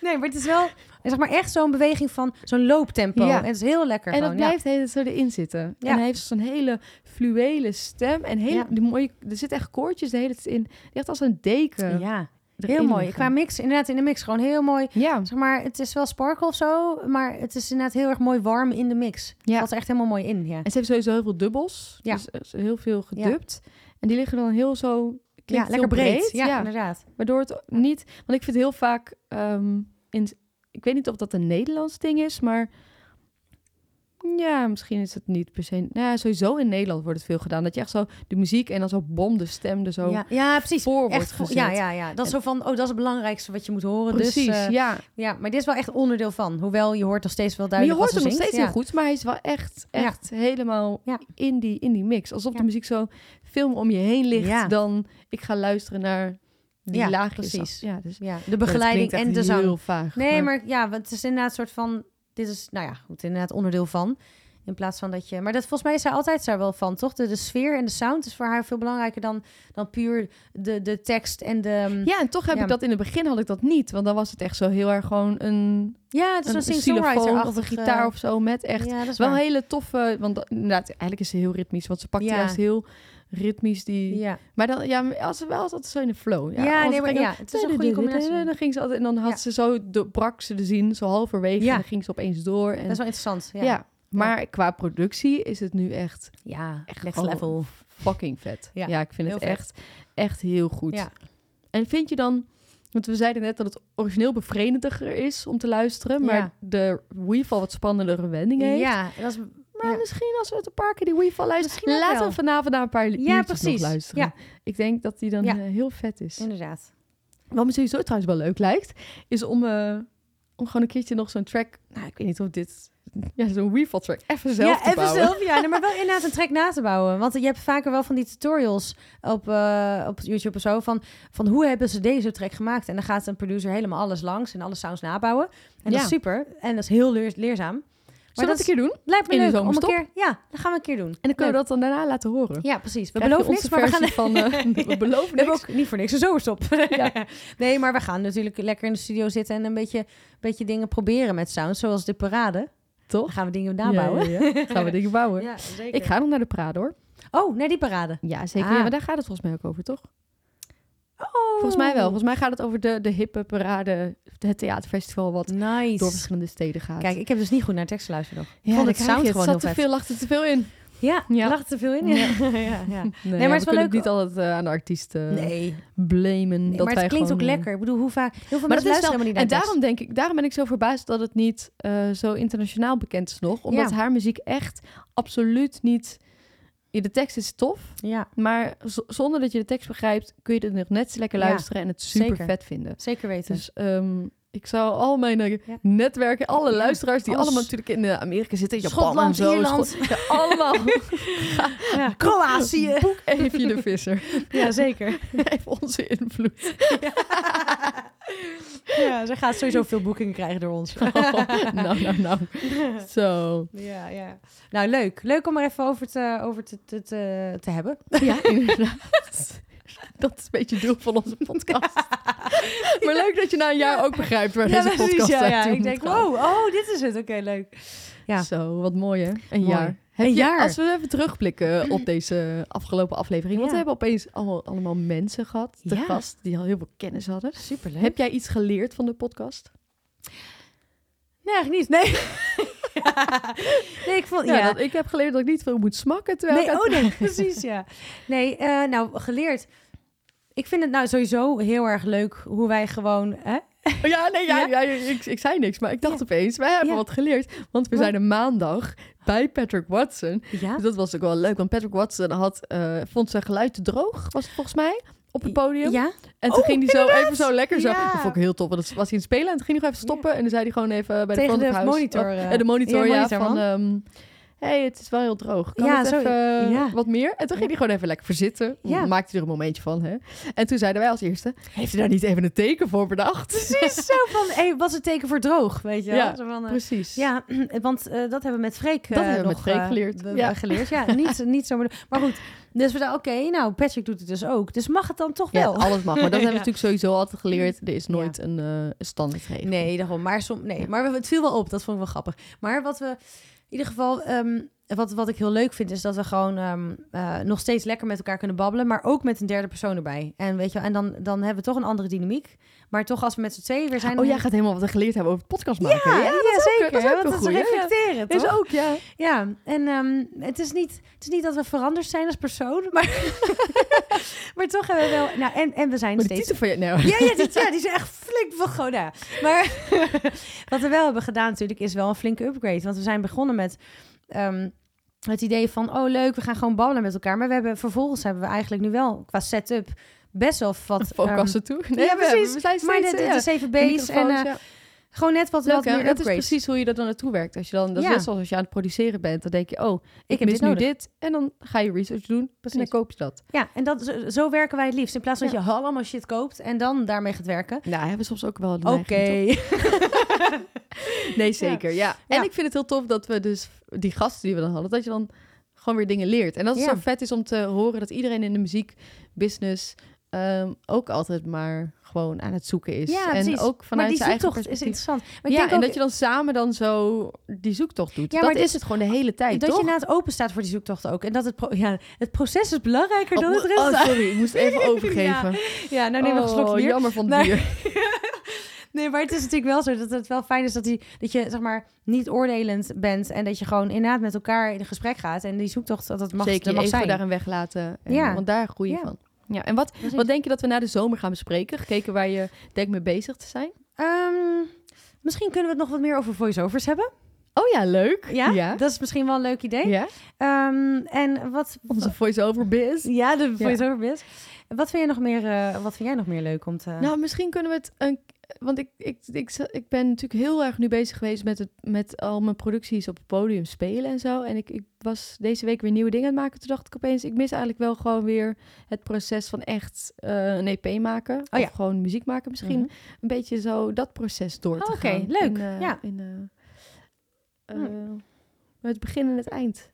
Speaker 2: nee, maar het is wel zeg maar echt zo'n beweging van zo'n looptempo.
Speaker 1: Ja.
Speaker 2: En het is heel lekker
Speaker 1: En dat
Speaker 2: gewoon. ja.
Speaker 1: blijft de hele tijd zo erin zitten.
Speaker 2: Ja.
Speaker 1: En hij heeft zo'n hele fluwele stem. En hele,
Speaker 2: Ja.
Speaker 1: die mooie, er zitten echt koortjes de hele tijd in. Die echt als een deken.
Speaker 2: Ja,
Speaker 1: erin
Speaker 2: heel mooi.
Speaker 1: liggen.
Speaker 2: Qua mix, inderdaad in de mix gewoon heel mooi.
Speaker 1: Ja,
Speaker 2: Zeg maar, het is wel sparkle of zo, maar het is inderdaad heel erg mooi warm in de mix.
Speaker 1: Ja.
Speaker 2: Valt er echt helemaal mooi in, ja.
Speaker 1: en ze heeft sowieso heel veel dubbels.
Speaker 2: Ja.
Speaker 1: Dus eh, ze- heel veel
Speaker 2: Ja.
Speaker 1: gedubt. En die liggen dan heel zo...
Speaker 2: Ja,
Speaker 1: klinkt
Speaker 2: lekker
Speaker 1: heel
Speaker 2: breed. Ja, inderdaad.
Speaker 1: Waardoor het niet... Want ik vind heel vaak... ehm, in, ik weet niet of dat een Nederlands ding is, maar... Ja, misschien is het niet per se... Nou ja, sowieso in Nederland wordt het veel gedaan. Dat je echt zo de muziek en dan zo bom de stem er zo
Speaker 2: Ja, ja, precies.
Speaker 1: voor wordt
Speaker 2: Echt,
Speaker 1: gezet.
Speaker 2: ja, ja, ja. Dat is zo van, oh, dat is het belangrijkste wat je moet horen.
Speaker 1: Precies,
Speaker 2: dus, eh,
Speaker 1: ja.
Speaker 2: Ja, maar dit is wel echt onderdeel van. Hoewel je hoort nog steeds wel
Speaker 1: Maar je hoort
Speaker 2: duidelijk wat
Speaker 1: hem nog
Speaker 2: ze zingt.
Speaker 1: steeds heel goed, maar hij is wel echt,
Speaker 2: Ja.
Speaker 1: echt helemaal
Speaker 2: Ja.
Speaker 1: in, die, in die mix. Alsof
Speaker 2: Ja.
Speaker 1: de muziek zo film om je heen ligt
Speaker 2: Ja.
Speaker 1: dan ik ga luisteren naar die
Speaker 2: Ja,
Speaker 1: laagjes.
Speaker 2: precies.
Speaker 1: Ja, dus
Speaker 2: Ja, de
Speaker 1: Ja,
Speaker 2: begeleiding
Speaker 1: dat
Speaker 2: en
Speaker 1: klinkt
Speaker 2: de
Speaker 1: echt
Speaker 2: zang.
Speaker 1: heel vaag.
Speaker 2: Nee, maar ja, want het is inderdaad een soort van... Dit is, nou ja, goed, inderdaad onderdeel van. In plaats van dat je... Maar dat, volgens mij is zij altijd daar wel van, toch? De, de sfeer en de sound is voor haar veel belangrijker dan, dan puur de, de tekst en de...
Speaker 1: Ja, en toch heb
Speaker 2: Ja.
Speaker 1: ik dat in het begin had ik dat niet. Want dan was het echt zo heel erg gewoon een,
Speaker 2: ja het is
Speaker 1: een,
Speaker 2: zo'n
Speaker 1: een
Speaker 2: singer-songwriter
Speaker 1: xylofoon of een gitaar of zo. Met echt
Speaker 2: Ja, dat is
Speaker 1: wel
Speaker 2: waar.
Speaker 1: hele toffe... Want dat- inderdaad, eigenlijk is ze heel ritmisch. Want ze pakt
Speaker 2: Ja.
Speaker 1: juist heel ritmisch die...
Speaker 2: Ja,
Speaker 1: Maar dan, ja, maar als ze wel altijd zo in de flow.
Speaker 2: ja,
Speaker 1: Ja, anders
Speaker 2: nee, maar
Speaker 1: ging
Speaker 2: ja, het is een goede combinatie.
Speaker 1: Dan ging ze altijd en dan had
Speaker 2: Ja.
Speaker 1: ze zo de, brak ze de zin zo halverwege
Speaker 2: Ja.
Speaker 1: en dan ging ze opeens door en
Speaker 2: Dat is wel interessant. Ja,
Speaker 1: ja. Maar qua productie is het nu echt
Speaker 2: Ja,
Speaker 1: Echt
Speaker 2: next
Speaker 1: gewoon-
Speaker 2: level.
Speaker 1: fucking vet.
Speaker 2: Ja,
Speaker 1: Ja, ik vind het
Speaker 2: heel vet.
Speaker 1: echt echt heel goed.
Speaker 2: Ja.
Speaker 1: En vind je dan want we zeiden net dat het origineel bevredigender is om te luisteren, maar
Speaker 2: Ja.
Speaker 1: de Weefall wat spannendere wendingen heeft.
Speaker 2: Ja, dat is
Speaker 1: Maar
Speaker 2: Ja.
Speaker 1: misschien als we het een paar keer die Weefall
Speaker 2: Misschien
Speaker 1: luisteren,
Speaker 2: ook
Speaker 1: laten
Speaker 2: wel.
Speaker 1: we vanavond naar een paar li-
Speaker 2: Ja,
Speaker 1: liedjes
Speaker 2: precies.
Speaker 1: nog luisteren.
Speaker 2: Ja.
Speaker 1: Ik denk dat die dan
Speaker 2: Ja.
Speaker 1: eh, heel vet is.
Speaker 2: inderdaad.
Speaker 1: Wat me sowieso trouwens wel leuk lijkt, is om eh, om gewoon een keertje nog zo'n track... Nou, ik weet niet of dit... Ja, zo'n reval track. Even zelf
Speaker 2: ja,
Speaker 1: te
Speaker 2: even
Speaker 1: bouwen.
Speaker 2: zelf, ja, nee, maar wel inderdaad een track na te bouwen. Want je hebt vaker wel van die tutorials op, eh, op YouTube of zo van, van hoe hebben ze deze track gemaakt. En dan gaat een producer helemaal alles langs en alle sounds nabouwen. En dat
Speaker 1: Ja.
Speaker 2: is super. En dat is heel leer- leerzaam. Maar
Speaker 1: Zullen we dat een keer doen?
Speaker 2: lijkt me
Speaker 1: in de
Speaker 2: leuk om een
Speaker 1: zomerstop?
Speaker 2: keer. Ja, dat gaan we een keer doen.
Speaker 1: En dan kunnen we
Speaker 2: Leuk.
Speaker 1: dat dan daarna laten horen.
Speaker 2: Ja, precies. We
Speaker 1: Krijg je
Speaker 2: beloven niks,
Speaker 1: onze
Speaker 2: maar we gaan
Speaker 1: versie van, eh, we beloven
Speaker 2: We hebben
Speaker 1: niks.
Speaker 2: ook niet voor niks een zomerstop.
Speaker 1: Ja.
Speaker 2: Nee, maar we gaan natuurlijk lekker in de studio zitten en een beetje, beetje dingen proberen met sound. Zoals de parade.
Speaker 1: Toch?
Speaker 2: Dan gaan we dingen
Speaker 1: Ja,
Speaker 2: nabouwen.
Speaker 1: ja, ja. Gaan we dingen bouwen.
Speaker 2: zeker.
Speaker 1: Ik ga nog naar de Prado hoor.
Speaker 2: Oh, naar die parade.
Speaker 1: Ja, zeker.
Speaker 2: Ah.
Speaker 1: Ja, maar daar gaat het volgens mij ook over, toch?
Speaker 2: Oh.
Speaker 1: Volgens mij wel. Volgens mij gaat het over de, de hippe parade, het theaterfestival wat
Speaker 2: Nice.
Speaker 1: door verschillende steden gaat.
Speaker 2: Kijk, ik heb dus niet goed naar tekst geluisterd nog.
Speaker 1: ja,
Speaker 2: vond
Speaker 1: dan
Speaker 2: het
Speaker 1: krijg
Speaker 2: sound
Speaker 1: je
Speaker 2: gewoon
Speaker 1: zat
Speaker 2: heel
Speaker 1: te veel, lag er te veel in.
Speaker 2: Ja,
Speaker 1: Ja.
Speaker 2: lag te veel in. Ja. ja, ja.
Speaker 1: Nee,
Speaker 2: maar
Speaker 1: ja,
Speaker 2: het is
Speaker 1: we
Speaker 2: wel
Speaker 1: kunnen
Speaker 2: leuk-
Speaker 1: het niet altijd eh, aan de artiesten
Speaker 2: Nee,
Speaker 1: blamen. dat
Speaker 2: maar
Speaker 1: wij
Speaker 2: het klinkt
Speaker 1: gewoon,
Speaker 2: ook
Speaker 1: eh,
Speaker 2: lekker. Ik bedoel, hoe vaak... Heel veel
Speaker 1: Maar
Speaker 2: mensen
Speaker 1: dat is
Speaker 2: luisteren
Speaker 1: wel,
Speaker 2: helemaal niet naar
Speaker 1: en
Speaker 2: tekst.
Speaker 1: daarom denk ik, daarom ben ik zo verbaasd dat het niet eh, zo internationaal bekend is nog. Omdat
Speaker 2: Ja.
Speaker 1: haar muziek echt absoluut niet. ja, De tekst is tof,
Speaker 2: Ja,
Speaker 1: maar z- zonder dat je de tekst begrijpt, kun je het nog net zo lekker
Speaker 2: Ja,
Speaker 1: luisteren en het super
Speaker 2: zeker.
Speaker 1: vet vinden.
Speaker 2: zeker weten.
Speaker 1: Dus ehm, ik zou al mijn eh,
Speaker 2: Ja.
Speaker 1: netwerken, alle
Speaker 2: Ja,
Speaker 1: luisteraars die
Speaker 2: alles.
Speaker 1: allemaal natuurlijk in eh, Amerika zitten, Japan
Speaker 2: Schotland,
Speaker 1: en zo,
Speaker 2: Ierland.
Speaker 1: Schot- ja, allemaal.
Speaker 2: Ja. Kroatië.
Speaker 1: Boek even de visser.
Speaker 2: Ja, zeker.
Speaker 1: Even onze invloed.
Speaker 2: Ja, ze gaat sowieso veel boekingen krijgen door ons.
Speaker 1: nou, nou, nou. Zo.
Speaker 2: Ja, ja. Nou, leuk. Leuk om er even over te, over te, te, te, te hebben.
Speaker 1: Ja, inderdaad. Dat is een beetje het doel van onze podcast. Maar leuk dat je na een jaar ook begrijpt waar deze podcast
Speaker 2: Ja, ja.
Speaker 1: naartoe
Speaker 2: Ik
Speaker 1: moet
Speaker 2: denk,
Speaker 1: gaan.
Speaker 2: wow, oh, dit is het. Oké, leuk. ja.
Speaker 1: Zo, wat mooi hè? Een jaar.
Speaker 2: Een
Speaker 1: Heb je-
Speaker 2: jaar.
Speaker 1: Als we even terugblikken op deze afgelopen aflevering. Want
Speaker 2: Ja.
Speaker 1: we hebben opeens allemaal, allemaal mensen gehad, de
Speaker 2: Ja.
Speaker 1: gast, die al heel veel kennis hadden.
Speaker 2: Superleuk.
Speaker 1: Heb jij iets geleerd van de podcast?
Speaker 2: Nee, eigenlijk niet. Nee. nee, ik vond...
Speaker 1: Ja, Nou, dat ik heb geleerd dat ik niet veel moet smakken terwijl ik
Speaker 2: Nee,
Speaker 1: aan
Speaker 2: oh nee, precies, ja. Nee, eh, nou, geleerd. Ik vind het nou sowieso heel erg leuk hoe wij gewoon... Hè?
Speaker 1: Oh Ja, nee, ja, ja?
Speaker 2: Ja?
Speaker 1: ik, ik zei niks, maar ik dacht
Speaker 2: Ja.
Speaker 1: opeens, wij hebben
Speaker 2: Ja.
Speaker 1: wat geleerd. Want we
Speaker 2: Wat?
Speaker 1: zijn een maandag bij Patrick Watson.
Speaker 2: Ja?
Speaker 1: Dus dat was ook wel leuk, want Patrick Watson had, eh, vond zijn geluid te droog, was het volgens mij, op het podium.
Speaker 2: Ja?
Speaker 1: En toen
Speaker 2: Oh,
Speaker 1: ging hij zo
Speaker 2: inderdaad.
Speaker 1: even zo lekker zo.
Speaker 2: Ja.
Speaker 1: Dat vond ik heel tof, want dat was hij aan het spelen. En toen ging hij nog even stoppen en dan zei hij gewoon even bij de
Speaker 2: Tegen
Speaker 1: front of
Speaker 2: de
Speaker 1: house,
Speaker 2: monitor. eh.
Speaker 1: oh, eh, de monitor, ja,
Speaker 2: monitor,
Speaker 1: van...
Speaker 2: man.
Speaker 1: ehm, hey, het is wel heel droog. Kan
Speaker 2: Ja,
Speaker 1: het
Speaker 2: zo,
Speaker 1: even eh,
Speaker 2: ja.
Speaker 1: wat meer? En toen ging hij gewoon even lekker verzitten.
Speaker 2: Ja.
Speaker 1: Maakte hij er een momentje van, hè? En toen zeiden wij als eerste... Heeft hij daar niet even een teken voor bedacht?
Speaker 2: Precies zo van, hé, wat is het teken voor droog, weet je wel?
Speaker 1: Ja,
Speaker 2: Zo van, eh,
Speaker 1: Precies.
Speaker 2: Ja, want eh, dat hebben we met Freek
Speaker 1: Dat
Speaker 2: eh,
Speaker 1: hebben we met
Speaker 2: nog,
Speaker 1: Freek
Speaker 2: eh,
Speaker 1: geleerd.
Speaker 2: be-
Speaker 1: Ja.
Speaker 2: geleerd. Ja, niet, niet zo maar, maar goed, dus we dachten, oké, nou, Patrick doet het dus ook. Dus mag het dan toch
Speaker 1: Ja,
Speaker 2: wel?
Speaker 1: alles mag. Maar dat hebben we
Speaker 2: Ja.
Speaker 1: natuurlijk sowieso altijd geleerd. Er is nooit een eh standaardregel.
Speaker 2: Nee, daarom. Maar, som, nee.
Speaker 1: Ja.
Speaker 2: maar we- het viel wel op. Dat vond ik wel grappig. Maar wat we in ieder geval. ehm, wat, wat ik heel leuk vind, is dat we gewoon ehm, eh, nog steeds lekker met elkaar kunnen babbelen. Maar ook met een derde persoon erbij. En, weet je, wel, en dan, dan hebben we toch een andere dynamiek. Maar toch, als we met z'n tweeën weer zijn.
Speaker 1: Oh,
Speaker 2: dan- Ah,
Speaker 1: jij gaat helemaal wat we geleerd hebben over het podcast maken. Ja, dat is ook-
Speaker 2: zeker.
Speaker 1: dat is ook
Speaker 2: want
Speaker 1: een
Speaker 2: dat
Speaker 1: goeie,
Speaker 2: is reflecteren.
Speaker 1: is
Speaker 2: Toch?
Speaker 1: ook, ja.
Speaker 2: Ja, en ehm, het, is niet, het is niet dat we veranderd zijn als persoon. Maar, maar toch hebben we wel. Nou, en, en we zijn
Speaker 1: Maar de
Speaker 2: steeds
Speaker 1: titel van je... nou, Nee, hoor.
Speaker 2: Ja, ja, die, ja, die is echt flink van gewoon. nou ja. Maar wat we wel hebben gedaan natuurlijk is wel een flinke upgrade. Want we zijn begonnen met ehm, het idee van... oh leuk, we gaan gewoon babbelen met elkaar. Maar we hebben, vervolgens hebben we eigenlijk nu wel qua setup best wel wat...
Speaker 1: Podcast
Speaker 2: ehm,
Speaker 1: ertoe.
Speaker 2: ja,
Speaker 1: we-
Speaker 2: precies.
Speaker 1: We zijn
Speaker 2: maar
Speaker 1: steeds...
Speaker 2: dit,
Speaker 1: eh,
Speaker 2: dit is even
Speaker 1: de
Speaker 2: base en
Speaker 1: microfoons,
Speaker 2: eh,
Speaker 1: ja.
Speaker 2: gewoon net wat,
Speaker 1: Leuk,
Speaker 2: wat
Speaker 1: hè?
Speaker 2: meer
Speaker 1: dat is
Speaker 2: upgrades.
Speaker 1: precies hoe je dat dan naartoe werkt. Als je dan, dat
Speaker 2: Ja.
Speaker 1: is net zoals als je aan het produceren bent. Dan denk je, oh, ik,
Speaker 2: heb
Speaker 1: mis
Speaker 2: dit
Speaker 1: nu
Speaker 2: nodig.
Speaker 1: dit. En dan ga je research doen.
Speaker 2: Precies.
Speaker 1: En dan koop je dat.
Speaker 2: Ja, en dat, zo, zo werken wij het liefst. In plaats van
Speaker 1: Ja.
Speaker 2: dat je allemaal shit koopt en dan daarmee gaat werken.
Speaker 1: Nou, hebben we soms ook wel de
Speaker 2: Oké.
Speaker 1: neiging, toch? Nee, zeker. Ja. En
Speaker 2: Ja.
Speaker 1: ik vind het heel tof dat we dus die gasten die we dan hadden, dat je dan gewoon weer dingen leert. En dat het
Speaker 2: Ja.
Speaker 1: zo vet is om te horen dat iedereen in de muziekbusiness ehm, ook altijd maar gewoon aan het zoeken is.
Speaker 2: Ja,
Speaker 1: en
Speaker 2: precies.
Speaker 1: ook vanuit
Speaker 2: maar die
Speaker 1: zijn eigen
Speaker 2: zoektocht is
Speaker 1: perspectief.
Speaker 2: interessant. Maar ik
Speaker 1: ja,
Speaker 2: denk
Speaker 1: en
Speaker 2: ook,
Speaker 1: dat je dan samen dan zo die zoektocht doet.
Speaker 2: Ja,
Speaker 1: dat
Speaker 2: maar dit-
Speaker 1: is het gewoon de hele tijd,
Speaker 2: dat
Speaker 1: toch?
Speaker 2: je na het open staat voor die zoektocht ook. En dat het, pro- ja, het proces is belangrijker dan
Speaker 1: Oh,
Speaker 2: het resultaat.
Speaker 1: oh, sorry, ik moest even overgeven.
Speaker 2: Ja, nou neem nog een slokje
Speaker 1: oh,
Speaker 2: bier.
Speaker 1: jammer van het
Speaker 2: Nee.
Speaker 1: bier.
Speaker 2: Nee, maar het is natuurlijk wel zo dat het wel fijn is dat, die, dat je zeg maar niet oordelend bent. En dat je gewoon inderdaad met elkaar in een gesprek gaat. En die zoektocht, dat, dat mag,
Speaker 1: Zeker,
Speaker 2: dat
Speaker 1: je
Speaker 2: mag
Speaker 1: ego
Speaker 2: zijn.
Speaker 1: daarin weglaten. En,
Speaker 2: Ja.
Speaker 1: eh, Want daar groei je
Speaker 2: Ja.
Speaker 1: van. Ja, en wat,
Speaker 2: Precies.
Speaker 1: wat denk je dat we na de zomer gaan bespreken? Gekeken waar je denkt mee bezig te zijn?
Speaker 2: Ehm, misschien kunnen we het nog wat meer over voiceovers hebben.
Speaker 1: Oh ja, leuk.
Speaker 2: Ja,
Speaker 1: Ja.
Speaker 2: dat is misschien wel een leuk idee.
Speaker 1: Ja?
Speaker 2: Ehm, en wat...
Speaker 1: Onze voice-over biz.
Speaker 2: Ja, de
Speaker 1: Ja.
Speaker 2: voice-over biz. Wat vind, jij nog meer, eh, wat vind jij nog meer leuk om te...
Speaker 1: Nou, misschien kunnen we het een. Want ik, ik, ik, ik ben natuurlijk heel erg nu bezig geweest met, het, met al mijn producties op het podium spelen en zo. En ik, ik was deze week weer nieuwe dingen aan het maken. Toen dacht ik opeens, ik mis eigenlijk wel gewoon weer het proces van echt eh, een EP maken.
Speaker 2: Oh ja.
Speaker 1: Of gewoon muziek maken misschien.
Speaker 2: Mhm.
Speaker 1: Een beetje zo dat proces door te
Speaker 2: Oh, oké,
Speaker 1: gaan.
Speaker 2: leuk.
Speaker 1: In, eh,
Speaker 2: Ja.
Speaker 1: in, eh,
Speaker 2: Hm.
Speaker 1: eh, het begin en het eind.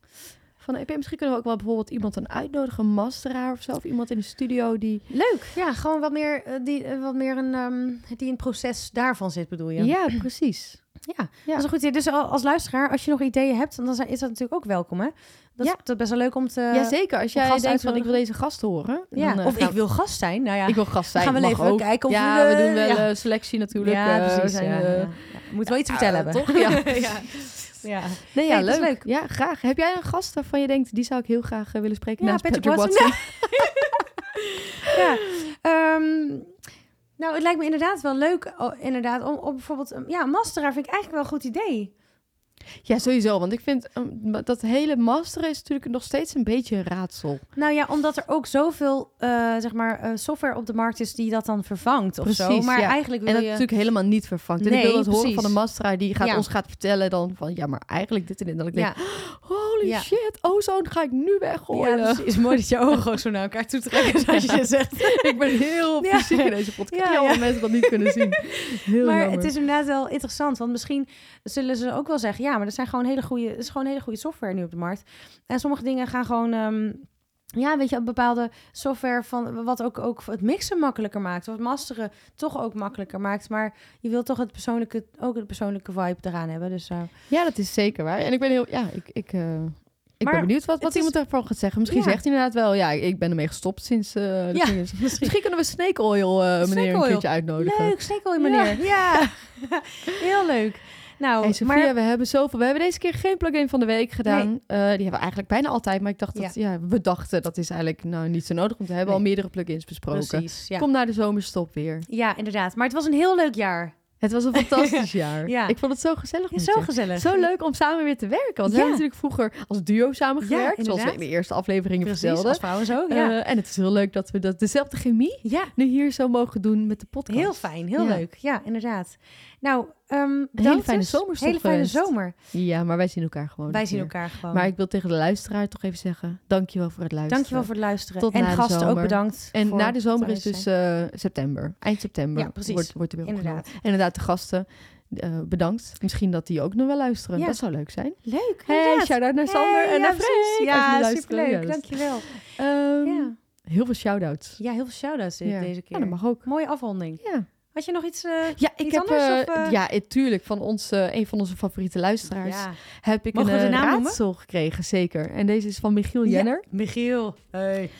Speaker 1: Van een EP, misschien kunnen we ook wel bijvoorbeeld iemand dan uitnodigen, een masteraar of zo. Of iemand in de studio die...
Speaker 2: Leuk. Ja, gewoon wat meer, eh, die, eh, wat meer een, ehm, die in het proces daarvan zit, bedoel je?
Speaker 1: ja precies.
Speaker 2: Ja, dat is een goed idee. Dus al- als luisteraar, als je nog ideeën hebt, dan zijn- is dat natuurlijk ook welkom, hè? Dat,
Speaker 1: Ja.
Speaker 2: is, dat is best wel leuk om te...
Speaker 1: ja, zeker. Als
Speaker 2: om
Speaker 1: jij denkt
Speaker 2: gasten
Speaker 1: van ik
Speaker 2: uitnodigen.
Speaker 1: wil deze gast horen.
Speaker 2: Ja,
Speaker 1: dan, eh,
Speaker 2: of
Speaker 1: gaan-
Speaker 2: ik wil gast zijn. Nou ja,
Speaker 1: ik wil gast zijn.
Speaker 2: gaan we
Speaker 1: mag
Speaker 2: even
Speaker 1: ook.
Speaker 2: kijken of
Speaker 1: ja, we doen wel
Speaker 2: ja.
Speaker 1: eh, selectie natuurlijk. eh,
Speaker 2: ja, precies.
Speaker 1: zijn,
Speaker 2: ja,
Speaker 1: eh,
Speaker 2: ja, ja. Moet wel iets te
Speaker 1: ja,
Speaker 2: vertellen hebben.
Speaker 1: eh, toch? Ja.
Speaker 2: ja. ja.
Speaker 1: Nee, ja,
Speaker 2: Hey, dat
Speaker 1: leuk.
Speaker 2: is leuk.
Speaker 1: Ja, graag. Heb jij een gast waarvan je denkt, die zou ik heel graag eh, willen spreken
Speaker 2: Ja,
Speaker 1: naast
Speaker 2: Patrick
Speaker 1: Patrick,
Speaker 2: Watson.
Speaker 1: Watson?
Speaker 2: Ja. Ehm, nou, het lijkt me inderdaad wel leuk oh, inderdaad, om, om bijvoorbeeld... een- Ja, een masteraar vind ik eigenlijk wel een goed idee.
Speaker 1: Ja, sowieso. Want ik vind ehm, dat hele masteren is natuurlijk nog steeds een beetje een raadsel.
Speaker 2: Nou ja, omdat er ook zoveel eh, zeg maar, eh, software op de markt is die dat dan vervangt of zo.
Speaker 1: Precies,
Speaker 2: Maar
Speaker 1: ja.
Speaker 2: eigenlijk
Speaker 1: En
Speaker 2: wil
Speaker 1: dat
Speaker 2: je...
Speaker 1: natuurlijk helemaal niet vervangt. En
Speaker 2: Nee,
Speaker 1: ik wil dat horen
Speaker 2: precies.
Speaker 1: van een masteraar die gaat,
Speaker 2: Ja.
Speaker 1: ons gaat vertellen dan van... Ja, maar eigenlijk dit en dit. En dat ik
Speaker 2: Ja,
Speaker 1: denk, holy
Speaker 2: Ja.
Speaker 1: shit, ozone ga ik nu weggooien.
Speaker 2: ja, precies. Mooi dat je ogen ook zo naar elkaar toe trekken, zoals je
Speaker 1: Ja.
Speaker 2: dit zegt.
Speaker 1: ik ben heel
Speaker 2: Ja.
Speaker 1: fysiek in deze podcast.
Speaker 2: Ja,
Speaker 1: Ja,
Speaker 2: ja.
Speaker 1: Alle mensen dat niet kunnen zien. Heel
Speaker 2: Maar
Speaker 1: jammer.
Speaker 2: het is inderdaad wel interessant, want misschien zullen ze ook wel zeggen... Ja, maar er, zijn gewoon hele goede, er is gewoon hele goede software nu op de markt. En sommige dingen gaan gewoon... ehm, ja, weet je, bepaalde software van wat ook, ook het mixen makkelijker maakt. Of het masteren toch ook makkelijker maakt. Maar je wilt toch het persoonlijke, ook het persoonlijke vibe eraan hebben. Dus eh,
Speaker 1: Ja, dat is zeker waar. En ik ben heel... Ja, ik, ik, eh, ik
Speaker 2: Maar
Speaker 1: ben benieuwd wat,
Speaker 2: het
Speaker 1: wat
Speaker 2: is-
Speaker 1: iemand daarvan gaat zeggen. Misschien
Speaker 2: Ja.
Speaker 1: zegt hij inderdaad wel... Ja, ik ben ermee gestopt sinds... eh, dat
Speaker 2: Ja,
Speaker 1: ding is. Misschien kunnen we Snake Oil eh, meneer
Speaker 2: oil.
Speaker 1: een keertje uitnodigen.
Speaker 2: Leuk, stekel je meneer. Ja. Heel leuk. Nou,
Speaker 1: Hey Sophia,
Speaker 2: maar
Speaker 1: we hebben zoveel. We hebben deze keer geen plug-in van de week gedaan. Eh, die hebben we eigenlijk bijna altijd. Maar ik dacht dat, ja, we dachten dat is eigenlijk nou niet zo nodig. Want we hebben
Speaker 2: Nee.
Speaker 1: al meerdere plug-ins besproken.
Speaker 2: precies. Ja.
Speaker 1: Kom naar de zomerstop weer.
Speaker 2: ja, inderdaad. Maar het was een heel leuk jaar.
Speaker 1: Het was een fantastisch jaar.
Speaker 2: Ja.
Speaker 1: Ik vond het zo gezellig.
Speaker 2: Ja,
Speaker 1: met
Speaker 2: zo
Speaker 1: je.
Speaker 2: gezellig.
Speaker 1: Zo leuk om samen weer te werken. Want we
Speaker 2: Ja.
Speaker 1: hebben natuurlijk vroeger als duo samengewerkt.
Speaker 2: Ja,
Speaker 1: zoals we in de
Speaker 2: inderdaad.
Speaker 1: eerste afleveringen
Speaker 2: Precies, als
Speaker 1: vertelden.
Speaker 2: vrouwen zo. Ja.
Speaker 1: Eh, en het is heel leuk dat we dat, dezelfde chemie
Speaker 2: ja.
Speaker 1: nu hier zo mogen doen met de podcast.
Speaker 2: Heel fijn, heel
Speaker 1: Ja.
Speaker 2: leuk. Ja, inderdaad. Nou, ehm
Speaker 1: Een hele
Speaker 2: bedankt
Speaker 1: fijne
Speaker 2: dus.
Speaker 1: zomerstop
Speaker 2: Hele fijne
Speaker 1: geweest.
Speaker 2: zomer.
Speaker 1: Ja, maar wij zien elkaar gewoon.
Speaker 2: Wij
Speaker 1: nog
Speaker 2: zien
Speaker 1: weer.
Speaker 2: elkaar gewoon.
Speaker 1: Maar ik wil tegen de luisteraar toch even zeggen: dankjewel voor het luisteren.
Speaker 2: Dankjewel voor het luisteren.
Speaker 1: Tot
Speaker 2: en
Speaker 1: na de
Speaker 2: gasten ook
Speaker 1: zomer.
Speaker 2: bedankt.
Speaker 1: En
Speaker 2: voor
Speaker 1: na de zomer
Speaker 2: het
Speaker 1: is dus
Speaker 2: aanwezig
Speaker 1: eh, september. Eind september
Speaker 2: Ja, precies.
Speaker 1: wordt, wordt er weer
Speaker 2: zijn.
Speaker 1: opgenomen.
Speaker 2: Inderdaad.
Speaker 1: En inderdaad, de gasten eh, bedankt. Misschien dat die ook nog wel luisteren.
Speaker 2: Ja.
Speaker 1: Dat zou leuk zijn.
Speaker 2: Leuk,
Speaker 1: Hey,
Speaker 2: inderdaad.
Speaker 1: shout-out naar Sander
Speaker 2: Hey,
Speaker 1: en
Speaker 2: ja,
Speaker 1: naar Freek.
Speaker 2: precies.
Speaker 1: als jullie
Speaker 2: Ja,
Speaker 1: luisteren.
Speaker 2: superleuk.
Speaker 1: Ja, dat is-
Speaker 2: Dankjewel.
Speaker 1: Ehm,
Speaker 2: Ja.
Speaker 1: Heel veel shout-outs.
Speaker 2: ja, heel veel shout-outs dit-
Speaker 1: Ja.
Speaker 2: deze keer.
Speaker 1: Ja, dat mag ook.
Speaker 2: Mooie afronding.
Speaker 1: Ja,
Speaker 2: Had je nog iets? eh,
Speaker 1: ja ik
Speaker 2: Iets
Speaker 1: heb
Speaker 2: anders,
Speaker 1: eh,
Speaker 2: of, eh?
Speaker 1: ja, eh, tuurlijk van ons, eh, een van onze favoriete luisteraars
Speaker 2: ja.
Speaker 1: heb ik
Speaker 2: Mogen
Speaker 1: een
Speaker 2: we de
Speaker 1: eh,
Speaker 2: naam noemen?
Speaker 1: raadsel gekregen, zeker. En deze is van Michiel
Speaker 2: Ja.
Speaker 1: Jenner.
Speaker 2: Michiel. Hey.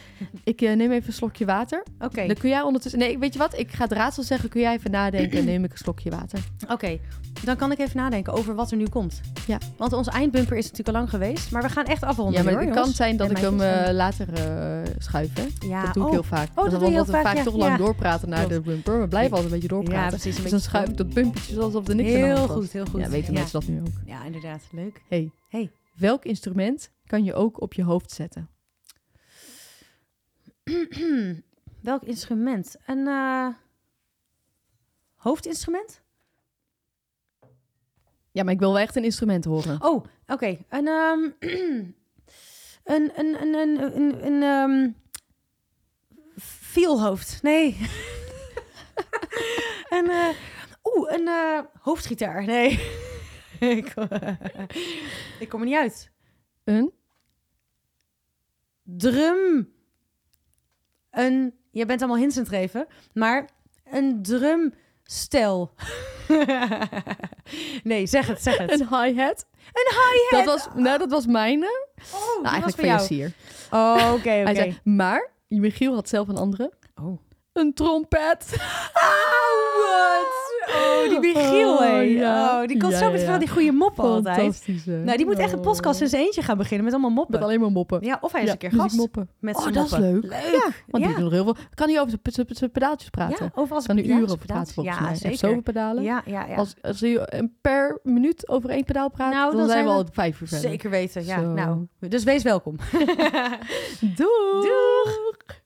Speaker 1: Ik eh, neem even een slokje water.
Speaker 2: Oké,
Speaker 1: Dan kun jij ondertussen. Nee, weet je wat? Ik ga het raadsel zeggen. Kun jij even nadenken? En neem ik een slokje water.
Speaker 2: oké. dan kan ik even nadenken over wat er nu komt.
Speaker 1: Ja.
Speaker 2: Want onze eindbumper is natuurlijk al lang geweest, maar we gaan echt afronden.
Speaker 1: ja, maar
Speaker 2: hoor,
Speaker 1: het kan
Speaker 2: jongens.
Speaker 1: zijn dat
Speaker 2: En
Speaker 1: ik hem
Speaker 2: meisjes.
Speaker 1: eh, later eh, schuif. Hè?
Speaker 2: ja,
Speaker 1: dat doe ik
Speaker 2: oh.
Speaker 1: heel vaak. Want
Speaker 2: doe je
Speaker 1: dan-
Speaker 2: heel
Speaker 1: omdat we
Speaker 2: vaak,
Speaker 1: vaak
Speaker 2: ja.
Speaker 1: toch lang
Speaker 2: Ja.
Speaker 1: doorpraten naar
Speaker 2: Klopt.
Speaker 1: de bumper. We blijven altijd een beetje
Speaker 2: Ja,
Speaker 1: doorpraten.
Speaker 2: precies. Een
Speaker 1: dus
Speaker 2: beetje
Speaker 1: dan schuif ik dat bumpertje alsof er niks aan de hand
Speaker 2: Heel
Speaker 1: was.
Speaker 2: goed, heel goed.
Speaker 1: Ja, weten mensen dat nu ook.
Speaker 2: Ja, inderdaad. Leuk.
Speaker 1: Hey.
Speaker 2: Hey.
Speaker 1: Welk instrument kan je ook op je hoofd zetten?
Speaker 2: Welk instrument? Een eh, hoofdinstrument?
Speaker 1: Ja, maar ik wil wel echt een instrument horen.
Speaker 2: Oh, oké. Een, ehm, een, een, een, een, een, een ehm, vielhoofd. Nee. een, eh, oeh, een eh, hoofdgitaar. Nee. ik, eh, ik kom er niet uit.
Speaker 1: Een?
Speaker 2: Drum. Een, je bent allemaal hints aan het geven, maar een drumstel. nee, zeg het, zeg het.
Speaker 1: Een hi-hat?
Speaker 2: Een
Speaker 1: Dat
Speaker 2: hi-hat.
Speaker 1: was, nou, dat was mijne.
Speaker 2: Oh,
Speaker 1: Nou, eigenlijk van
Speaker 2: jou.
Speaker 1: Yassir.
Speaker 2: Oh, oké, oké.
Speaker 1: Hij zei, maar Michiel had zelf een andere.
Speaker 2: Oh.
Speaker 1: Een trompet.
Speaker 2: Ah, wat? Oh, die Michiel,
Speaker 1: Oh,
Speaker 2: hé.
Speaker 1: ja.
Speaker 2: Oh, die komt
Speaker 1: Ja,
Speaker 2: zo
Speaker 1: ja,
Speaker 2: met
Speaker 1: ja.
Speaker 2: van die goede moppen altijd.
Speaker 1: Fantastisch. hè? Oh.
Speaker 2: Nou, die moet echt een podcast in zijn eentje gaan beginnen met allemaal moppen.
Speaker 1: Met alleen maar moppen.
Speaker 2: Ja, of hij is
Speaker 1: Ja,
Speaker 2: een keer
Speaker 1: muziek
Speaker 2: gast
Speaker 1: moppen.
Speaker 2: met
Speaker 1: Oh,
Speaker 2: zijn
Speaker 1: dat is
Speaker 2: moppen.
Speaker 1: leuk.
Speaker 2: Leuk.
Speaker 1: Want die
Speaker 2: ja.
Speaker 1: doen er heel veel. Kan hij over zijn pedaaltjes praten?
Speaker 2: Ja, of als
Speaker 1: Kan hij
Speaker 2: ja,
Speaker 1: uren
Speaker 2: als
Speaker 1: over praten volgens
Speaker 2: ja,
Speaker 1: mij. Hij heeft
Speaker 2: zeker.
Speaker 1: zoveel pedalen.
Speaker 2: Ja, ja, ja.
Speaker 1: Als, als hij een per minuut over één pedaal praat,
Speaker 2: Nou,
Speaker 1: dan, zijn
Speaker 2: dan zijn
Speaker 1: we
Speaker 2: we-
Speaker 1: al vijf uur verder.
Speaker 2: Nou, Zeker weten, ja.
Speaker 1: Zo.
Speaker 2: Nou, dus wees welkom.
Speaker 1: Doei!
Speaker 2: Doeg!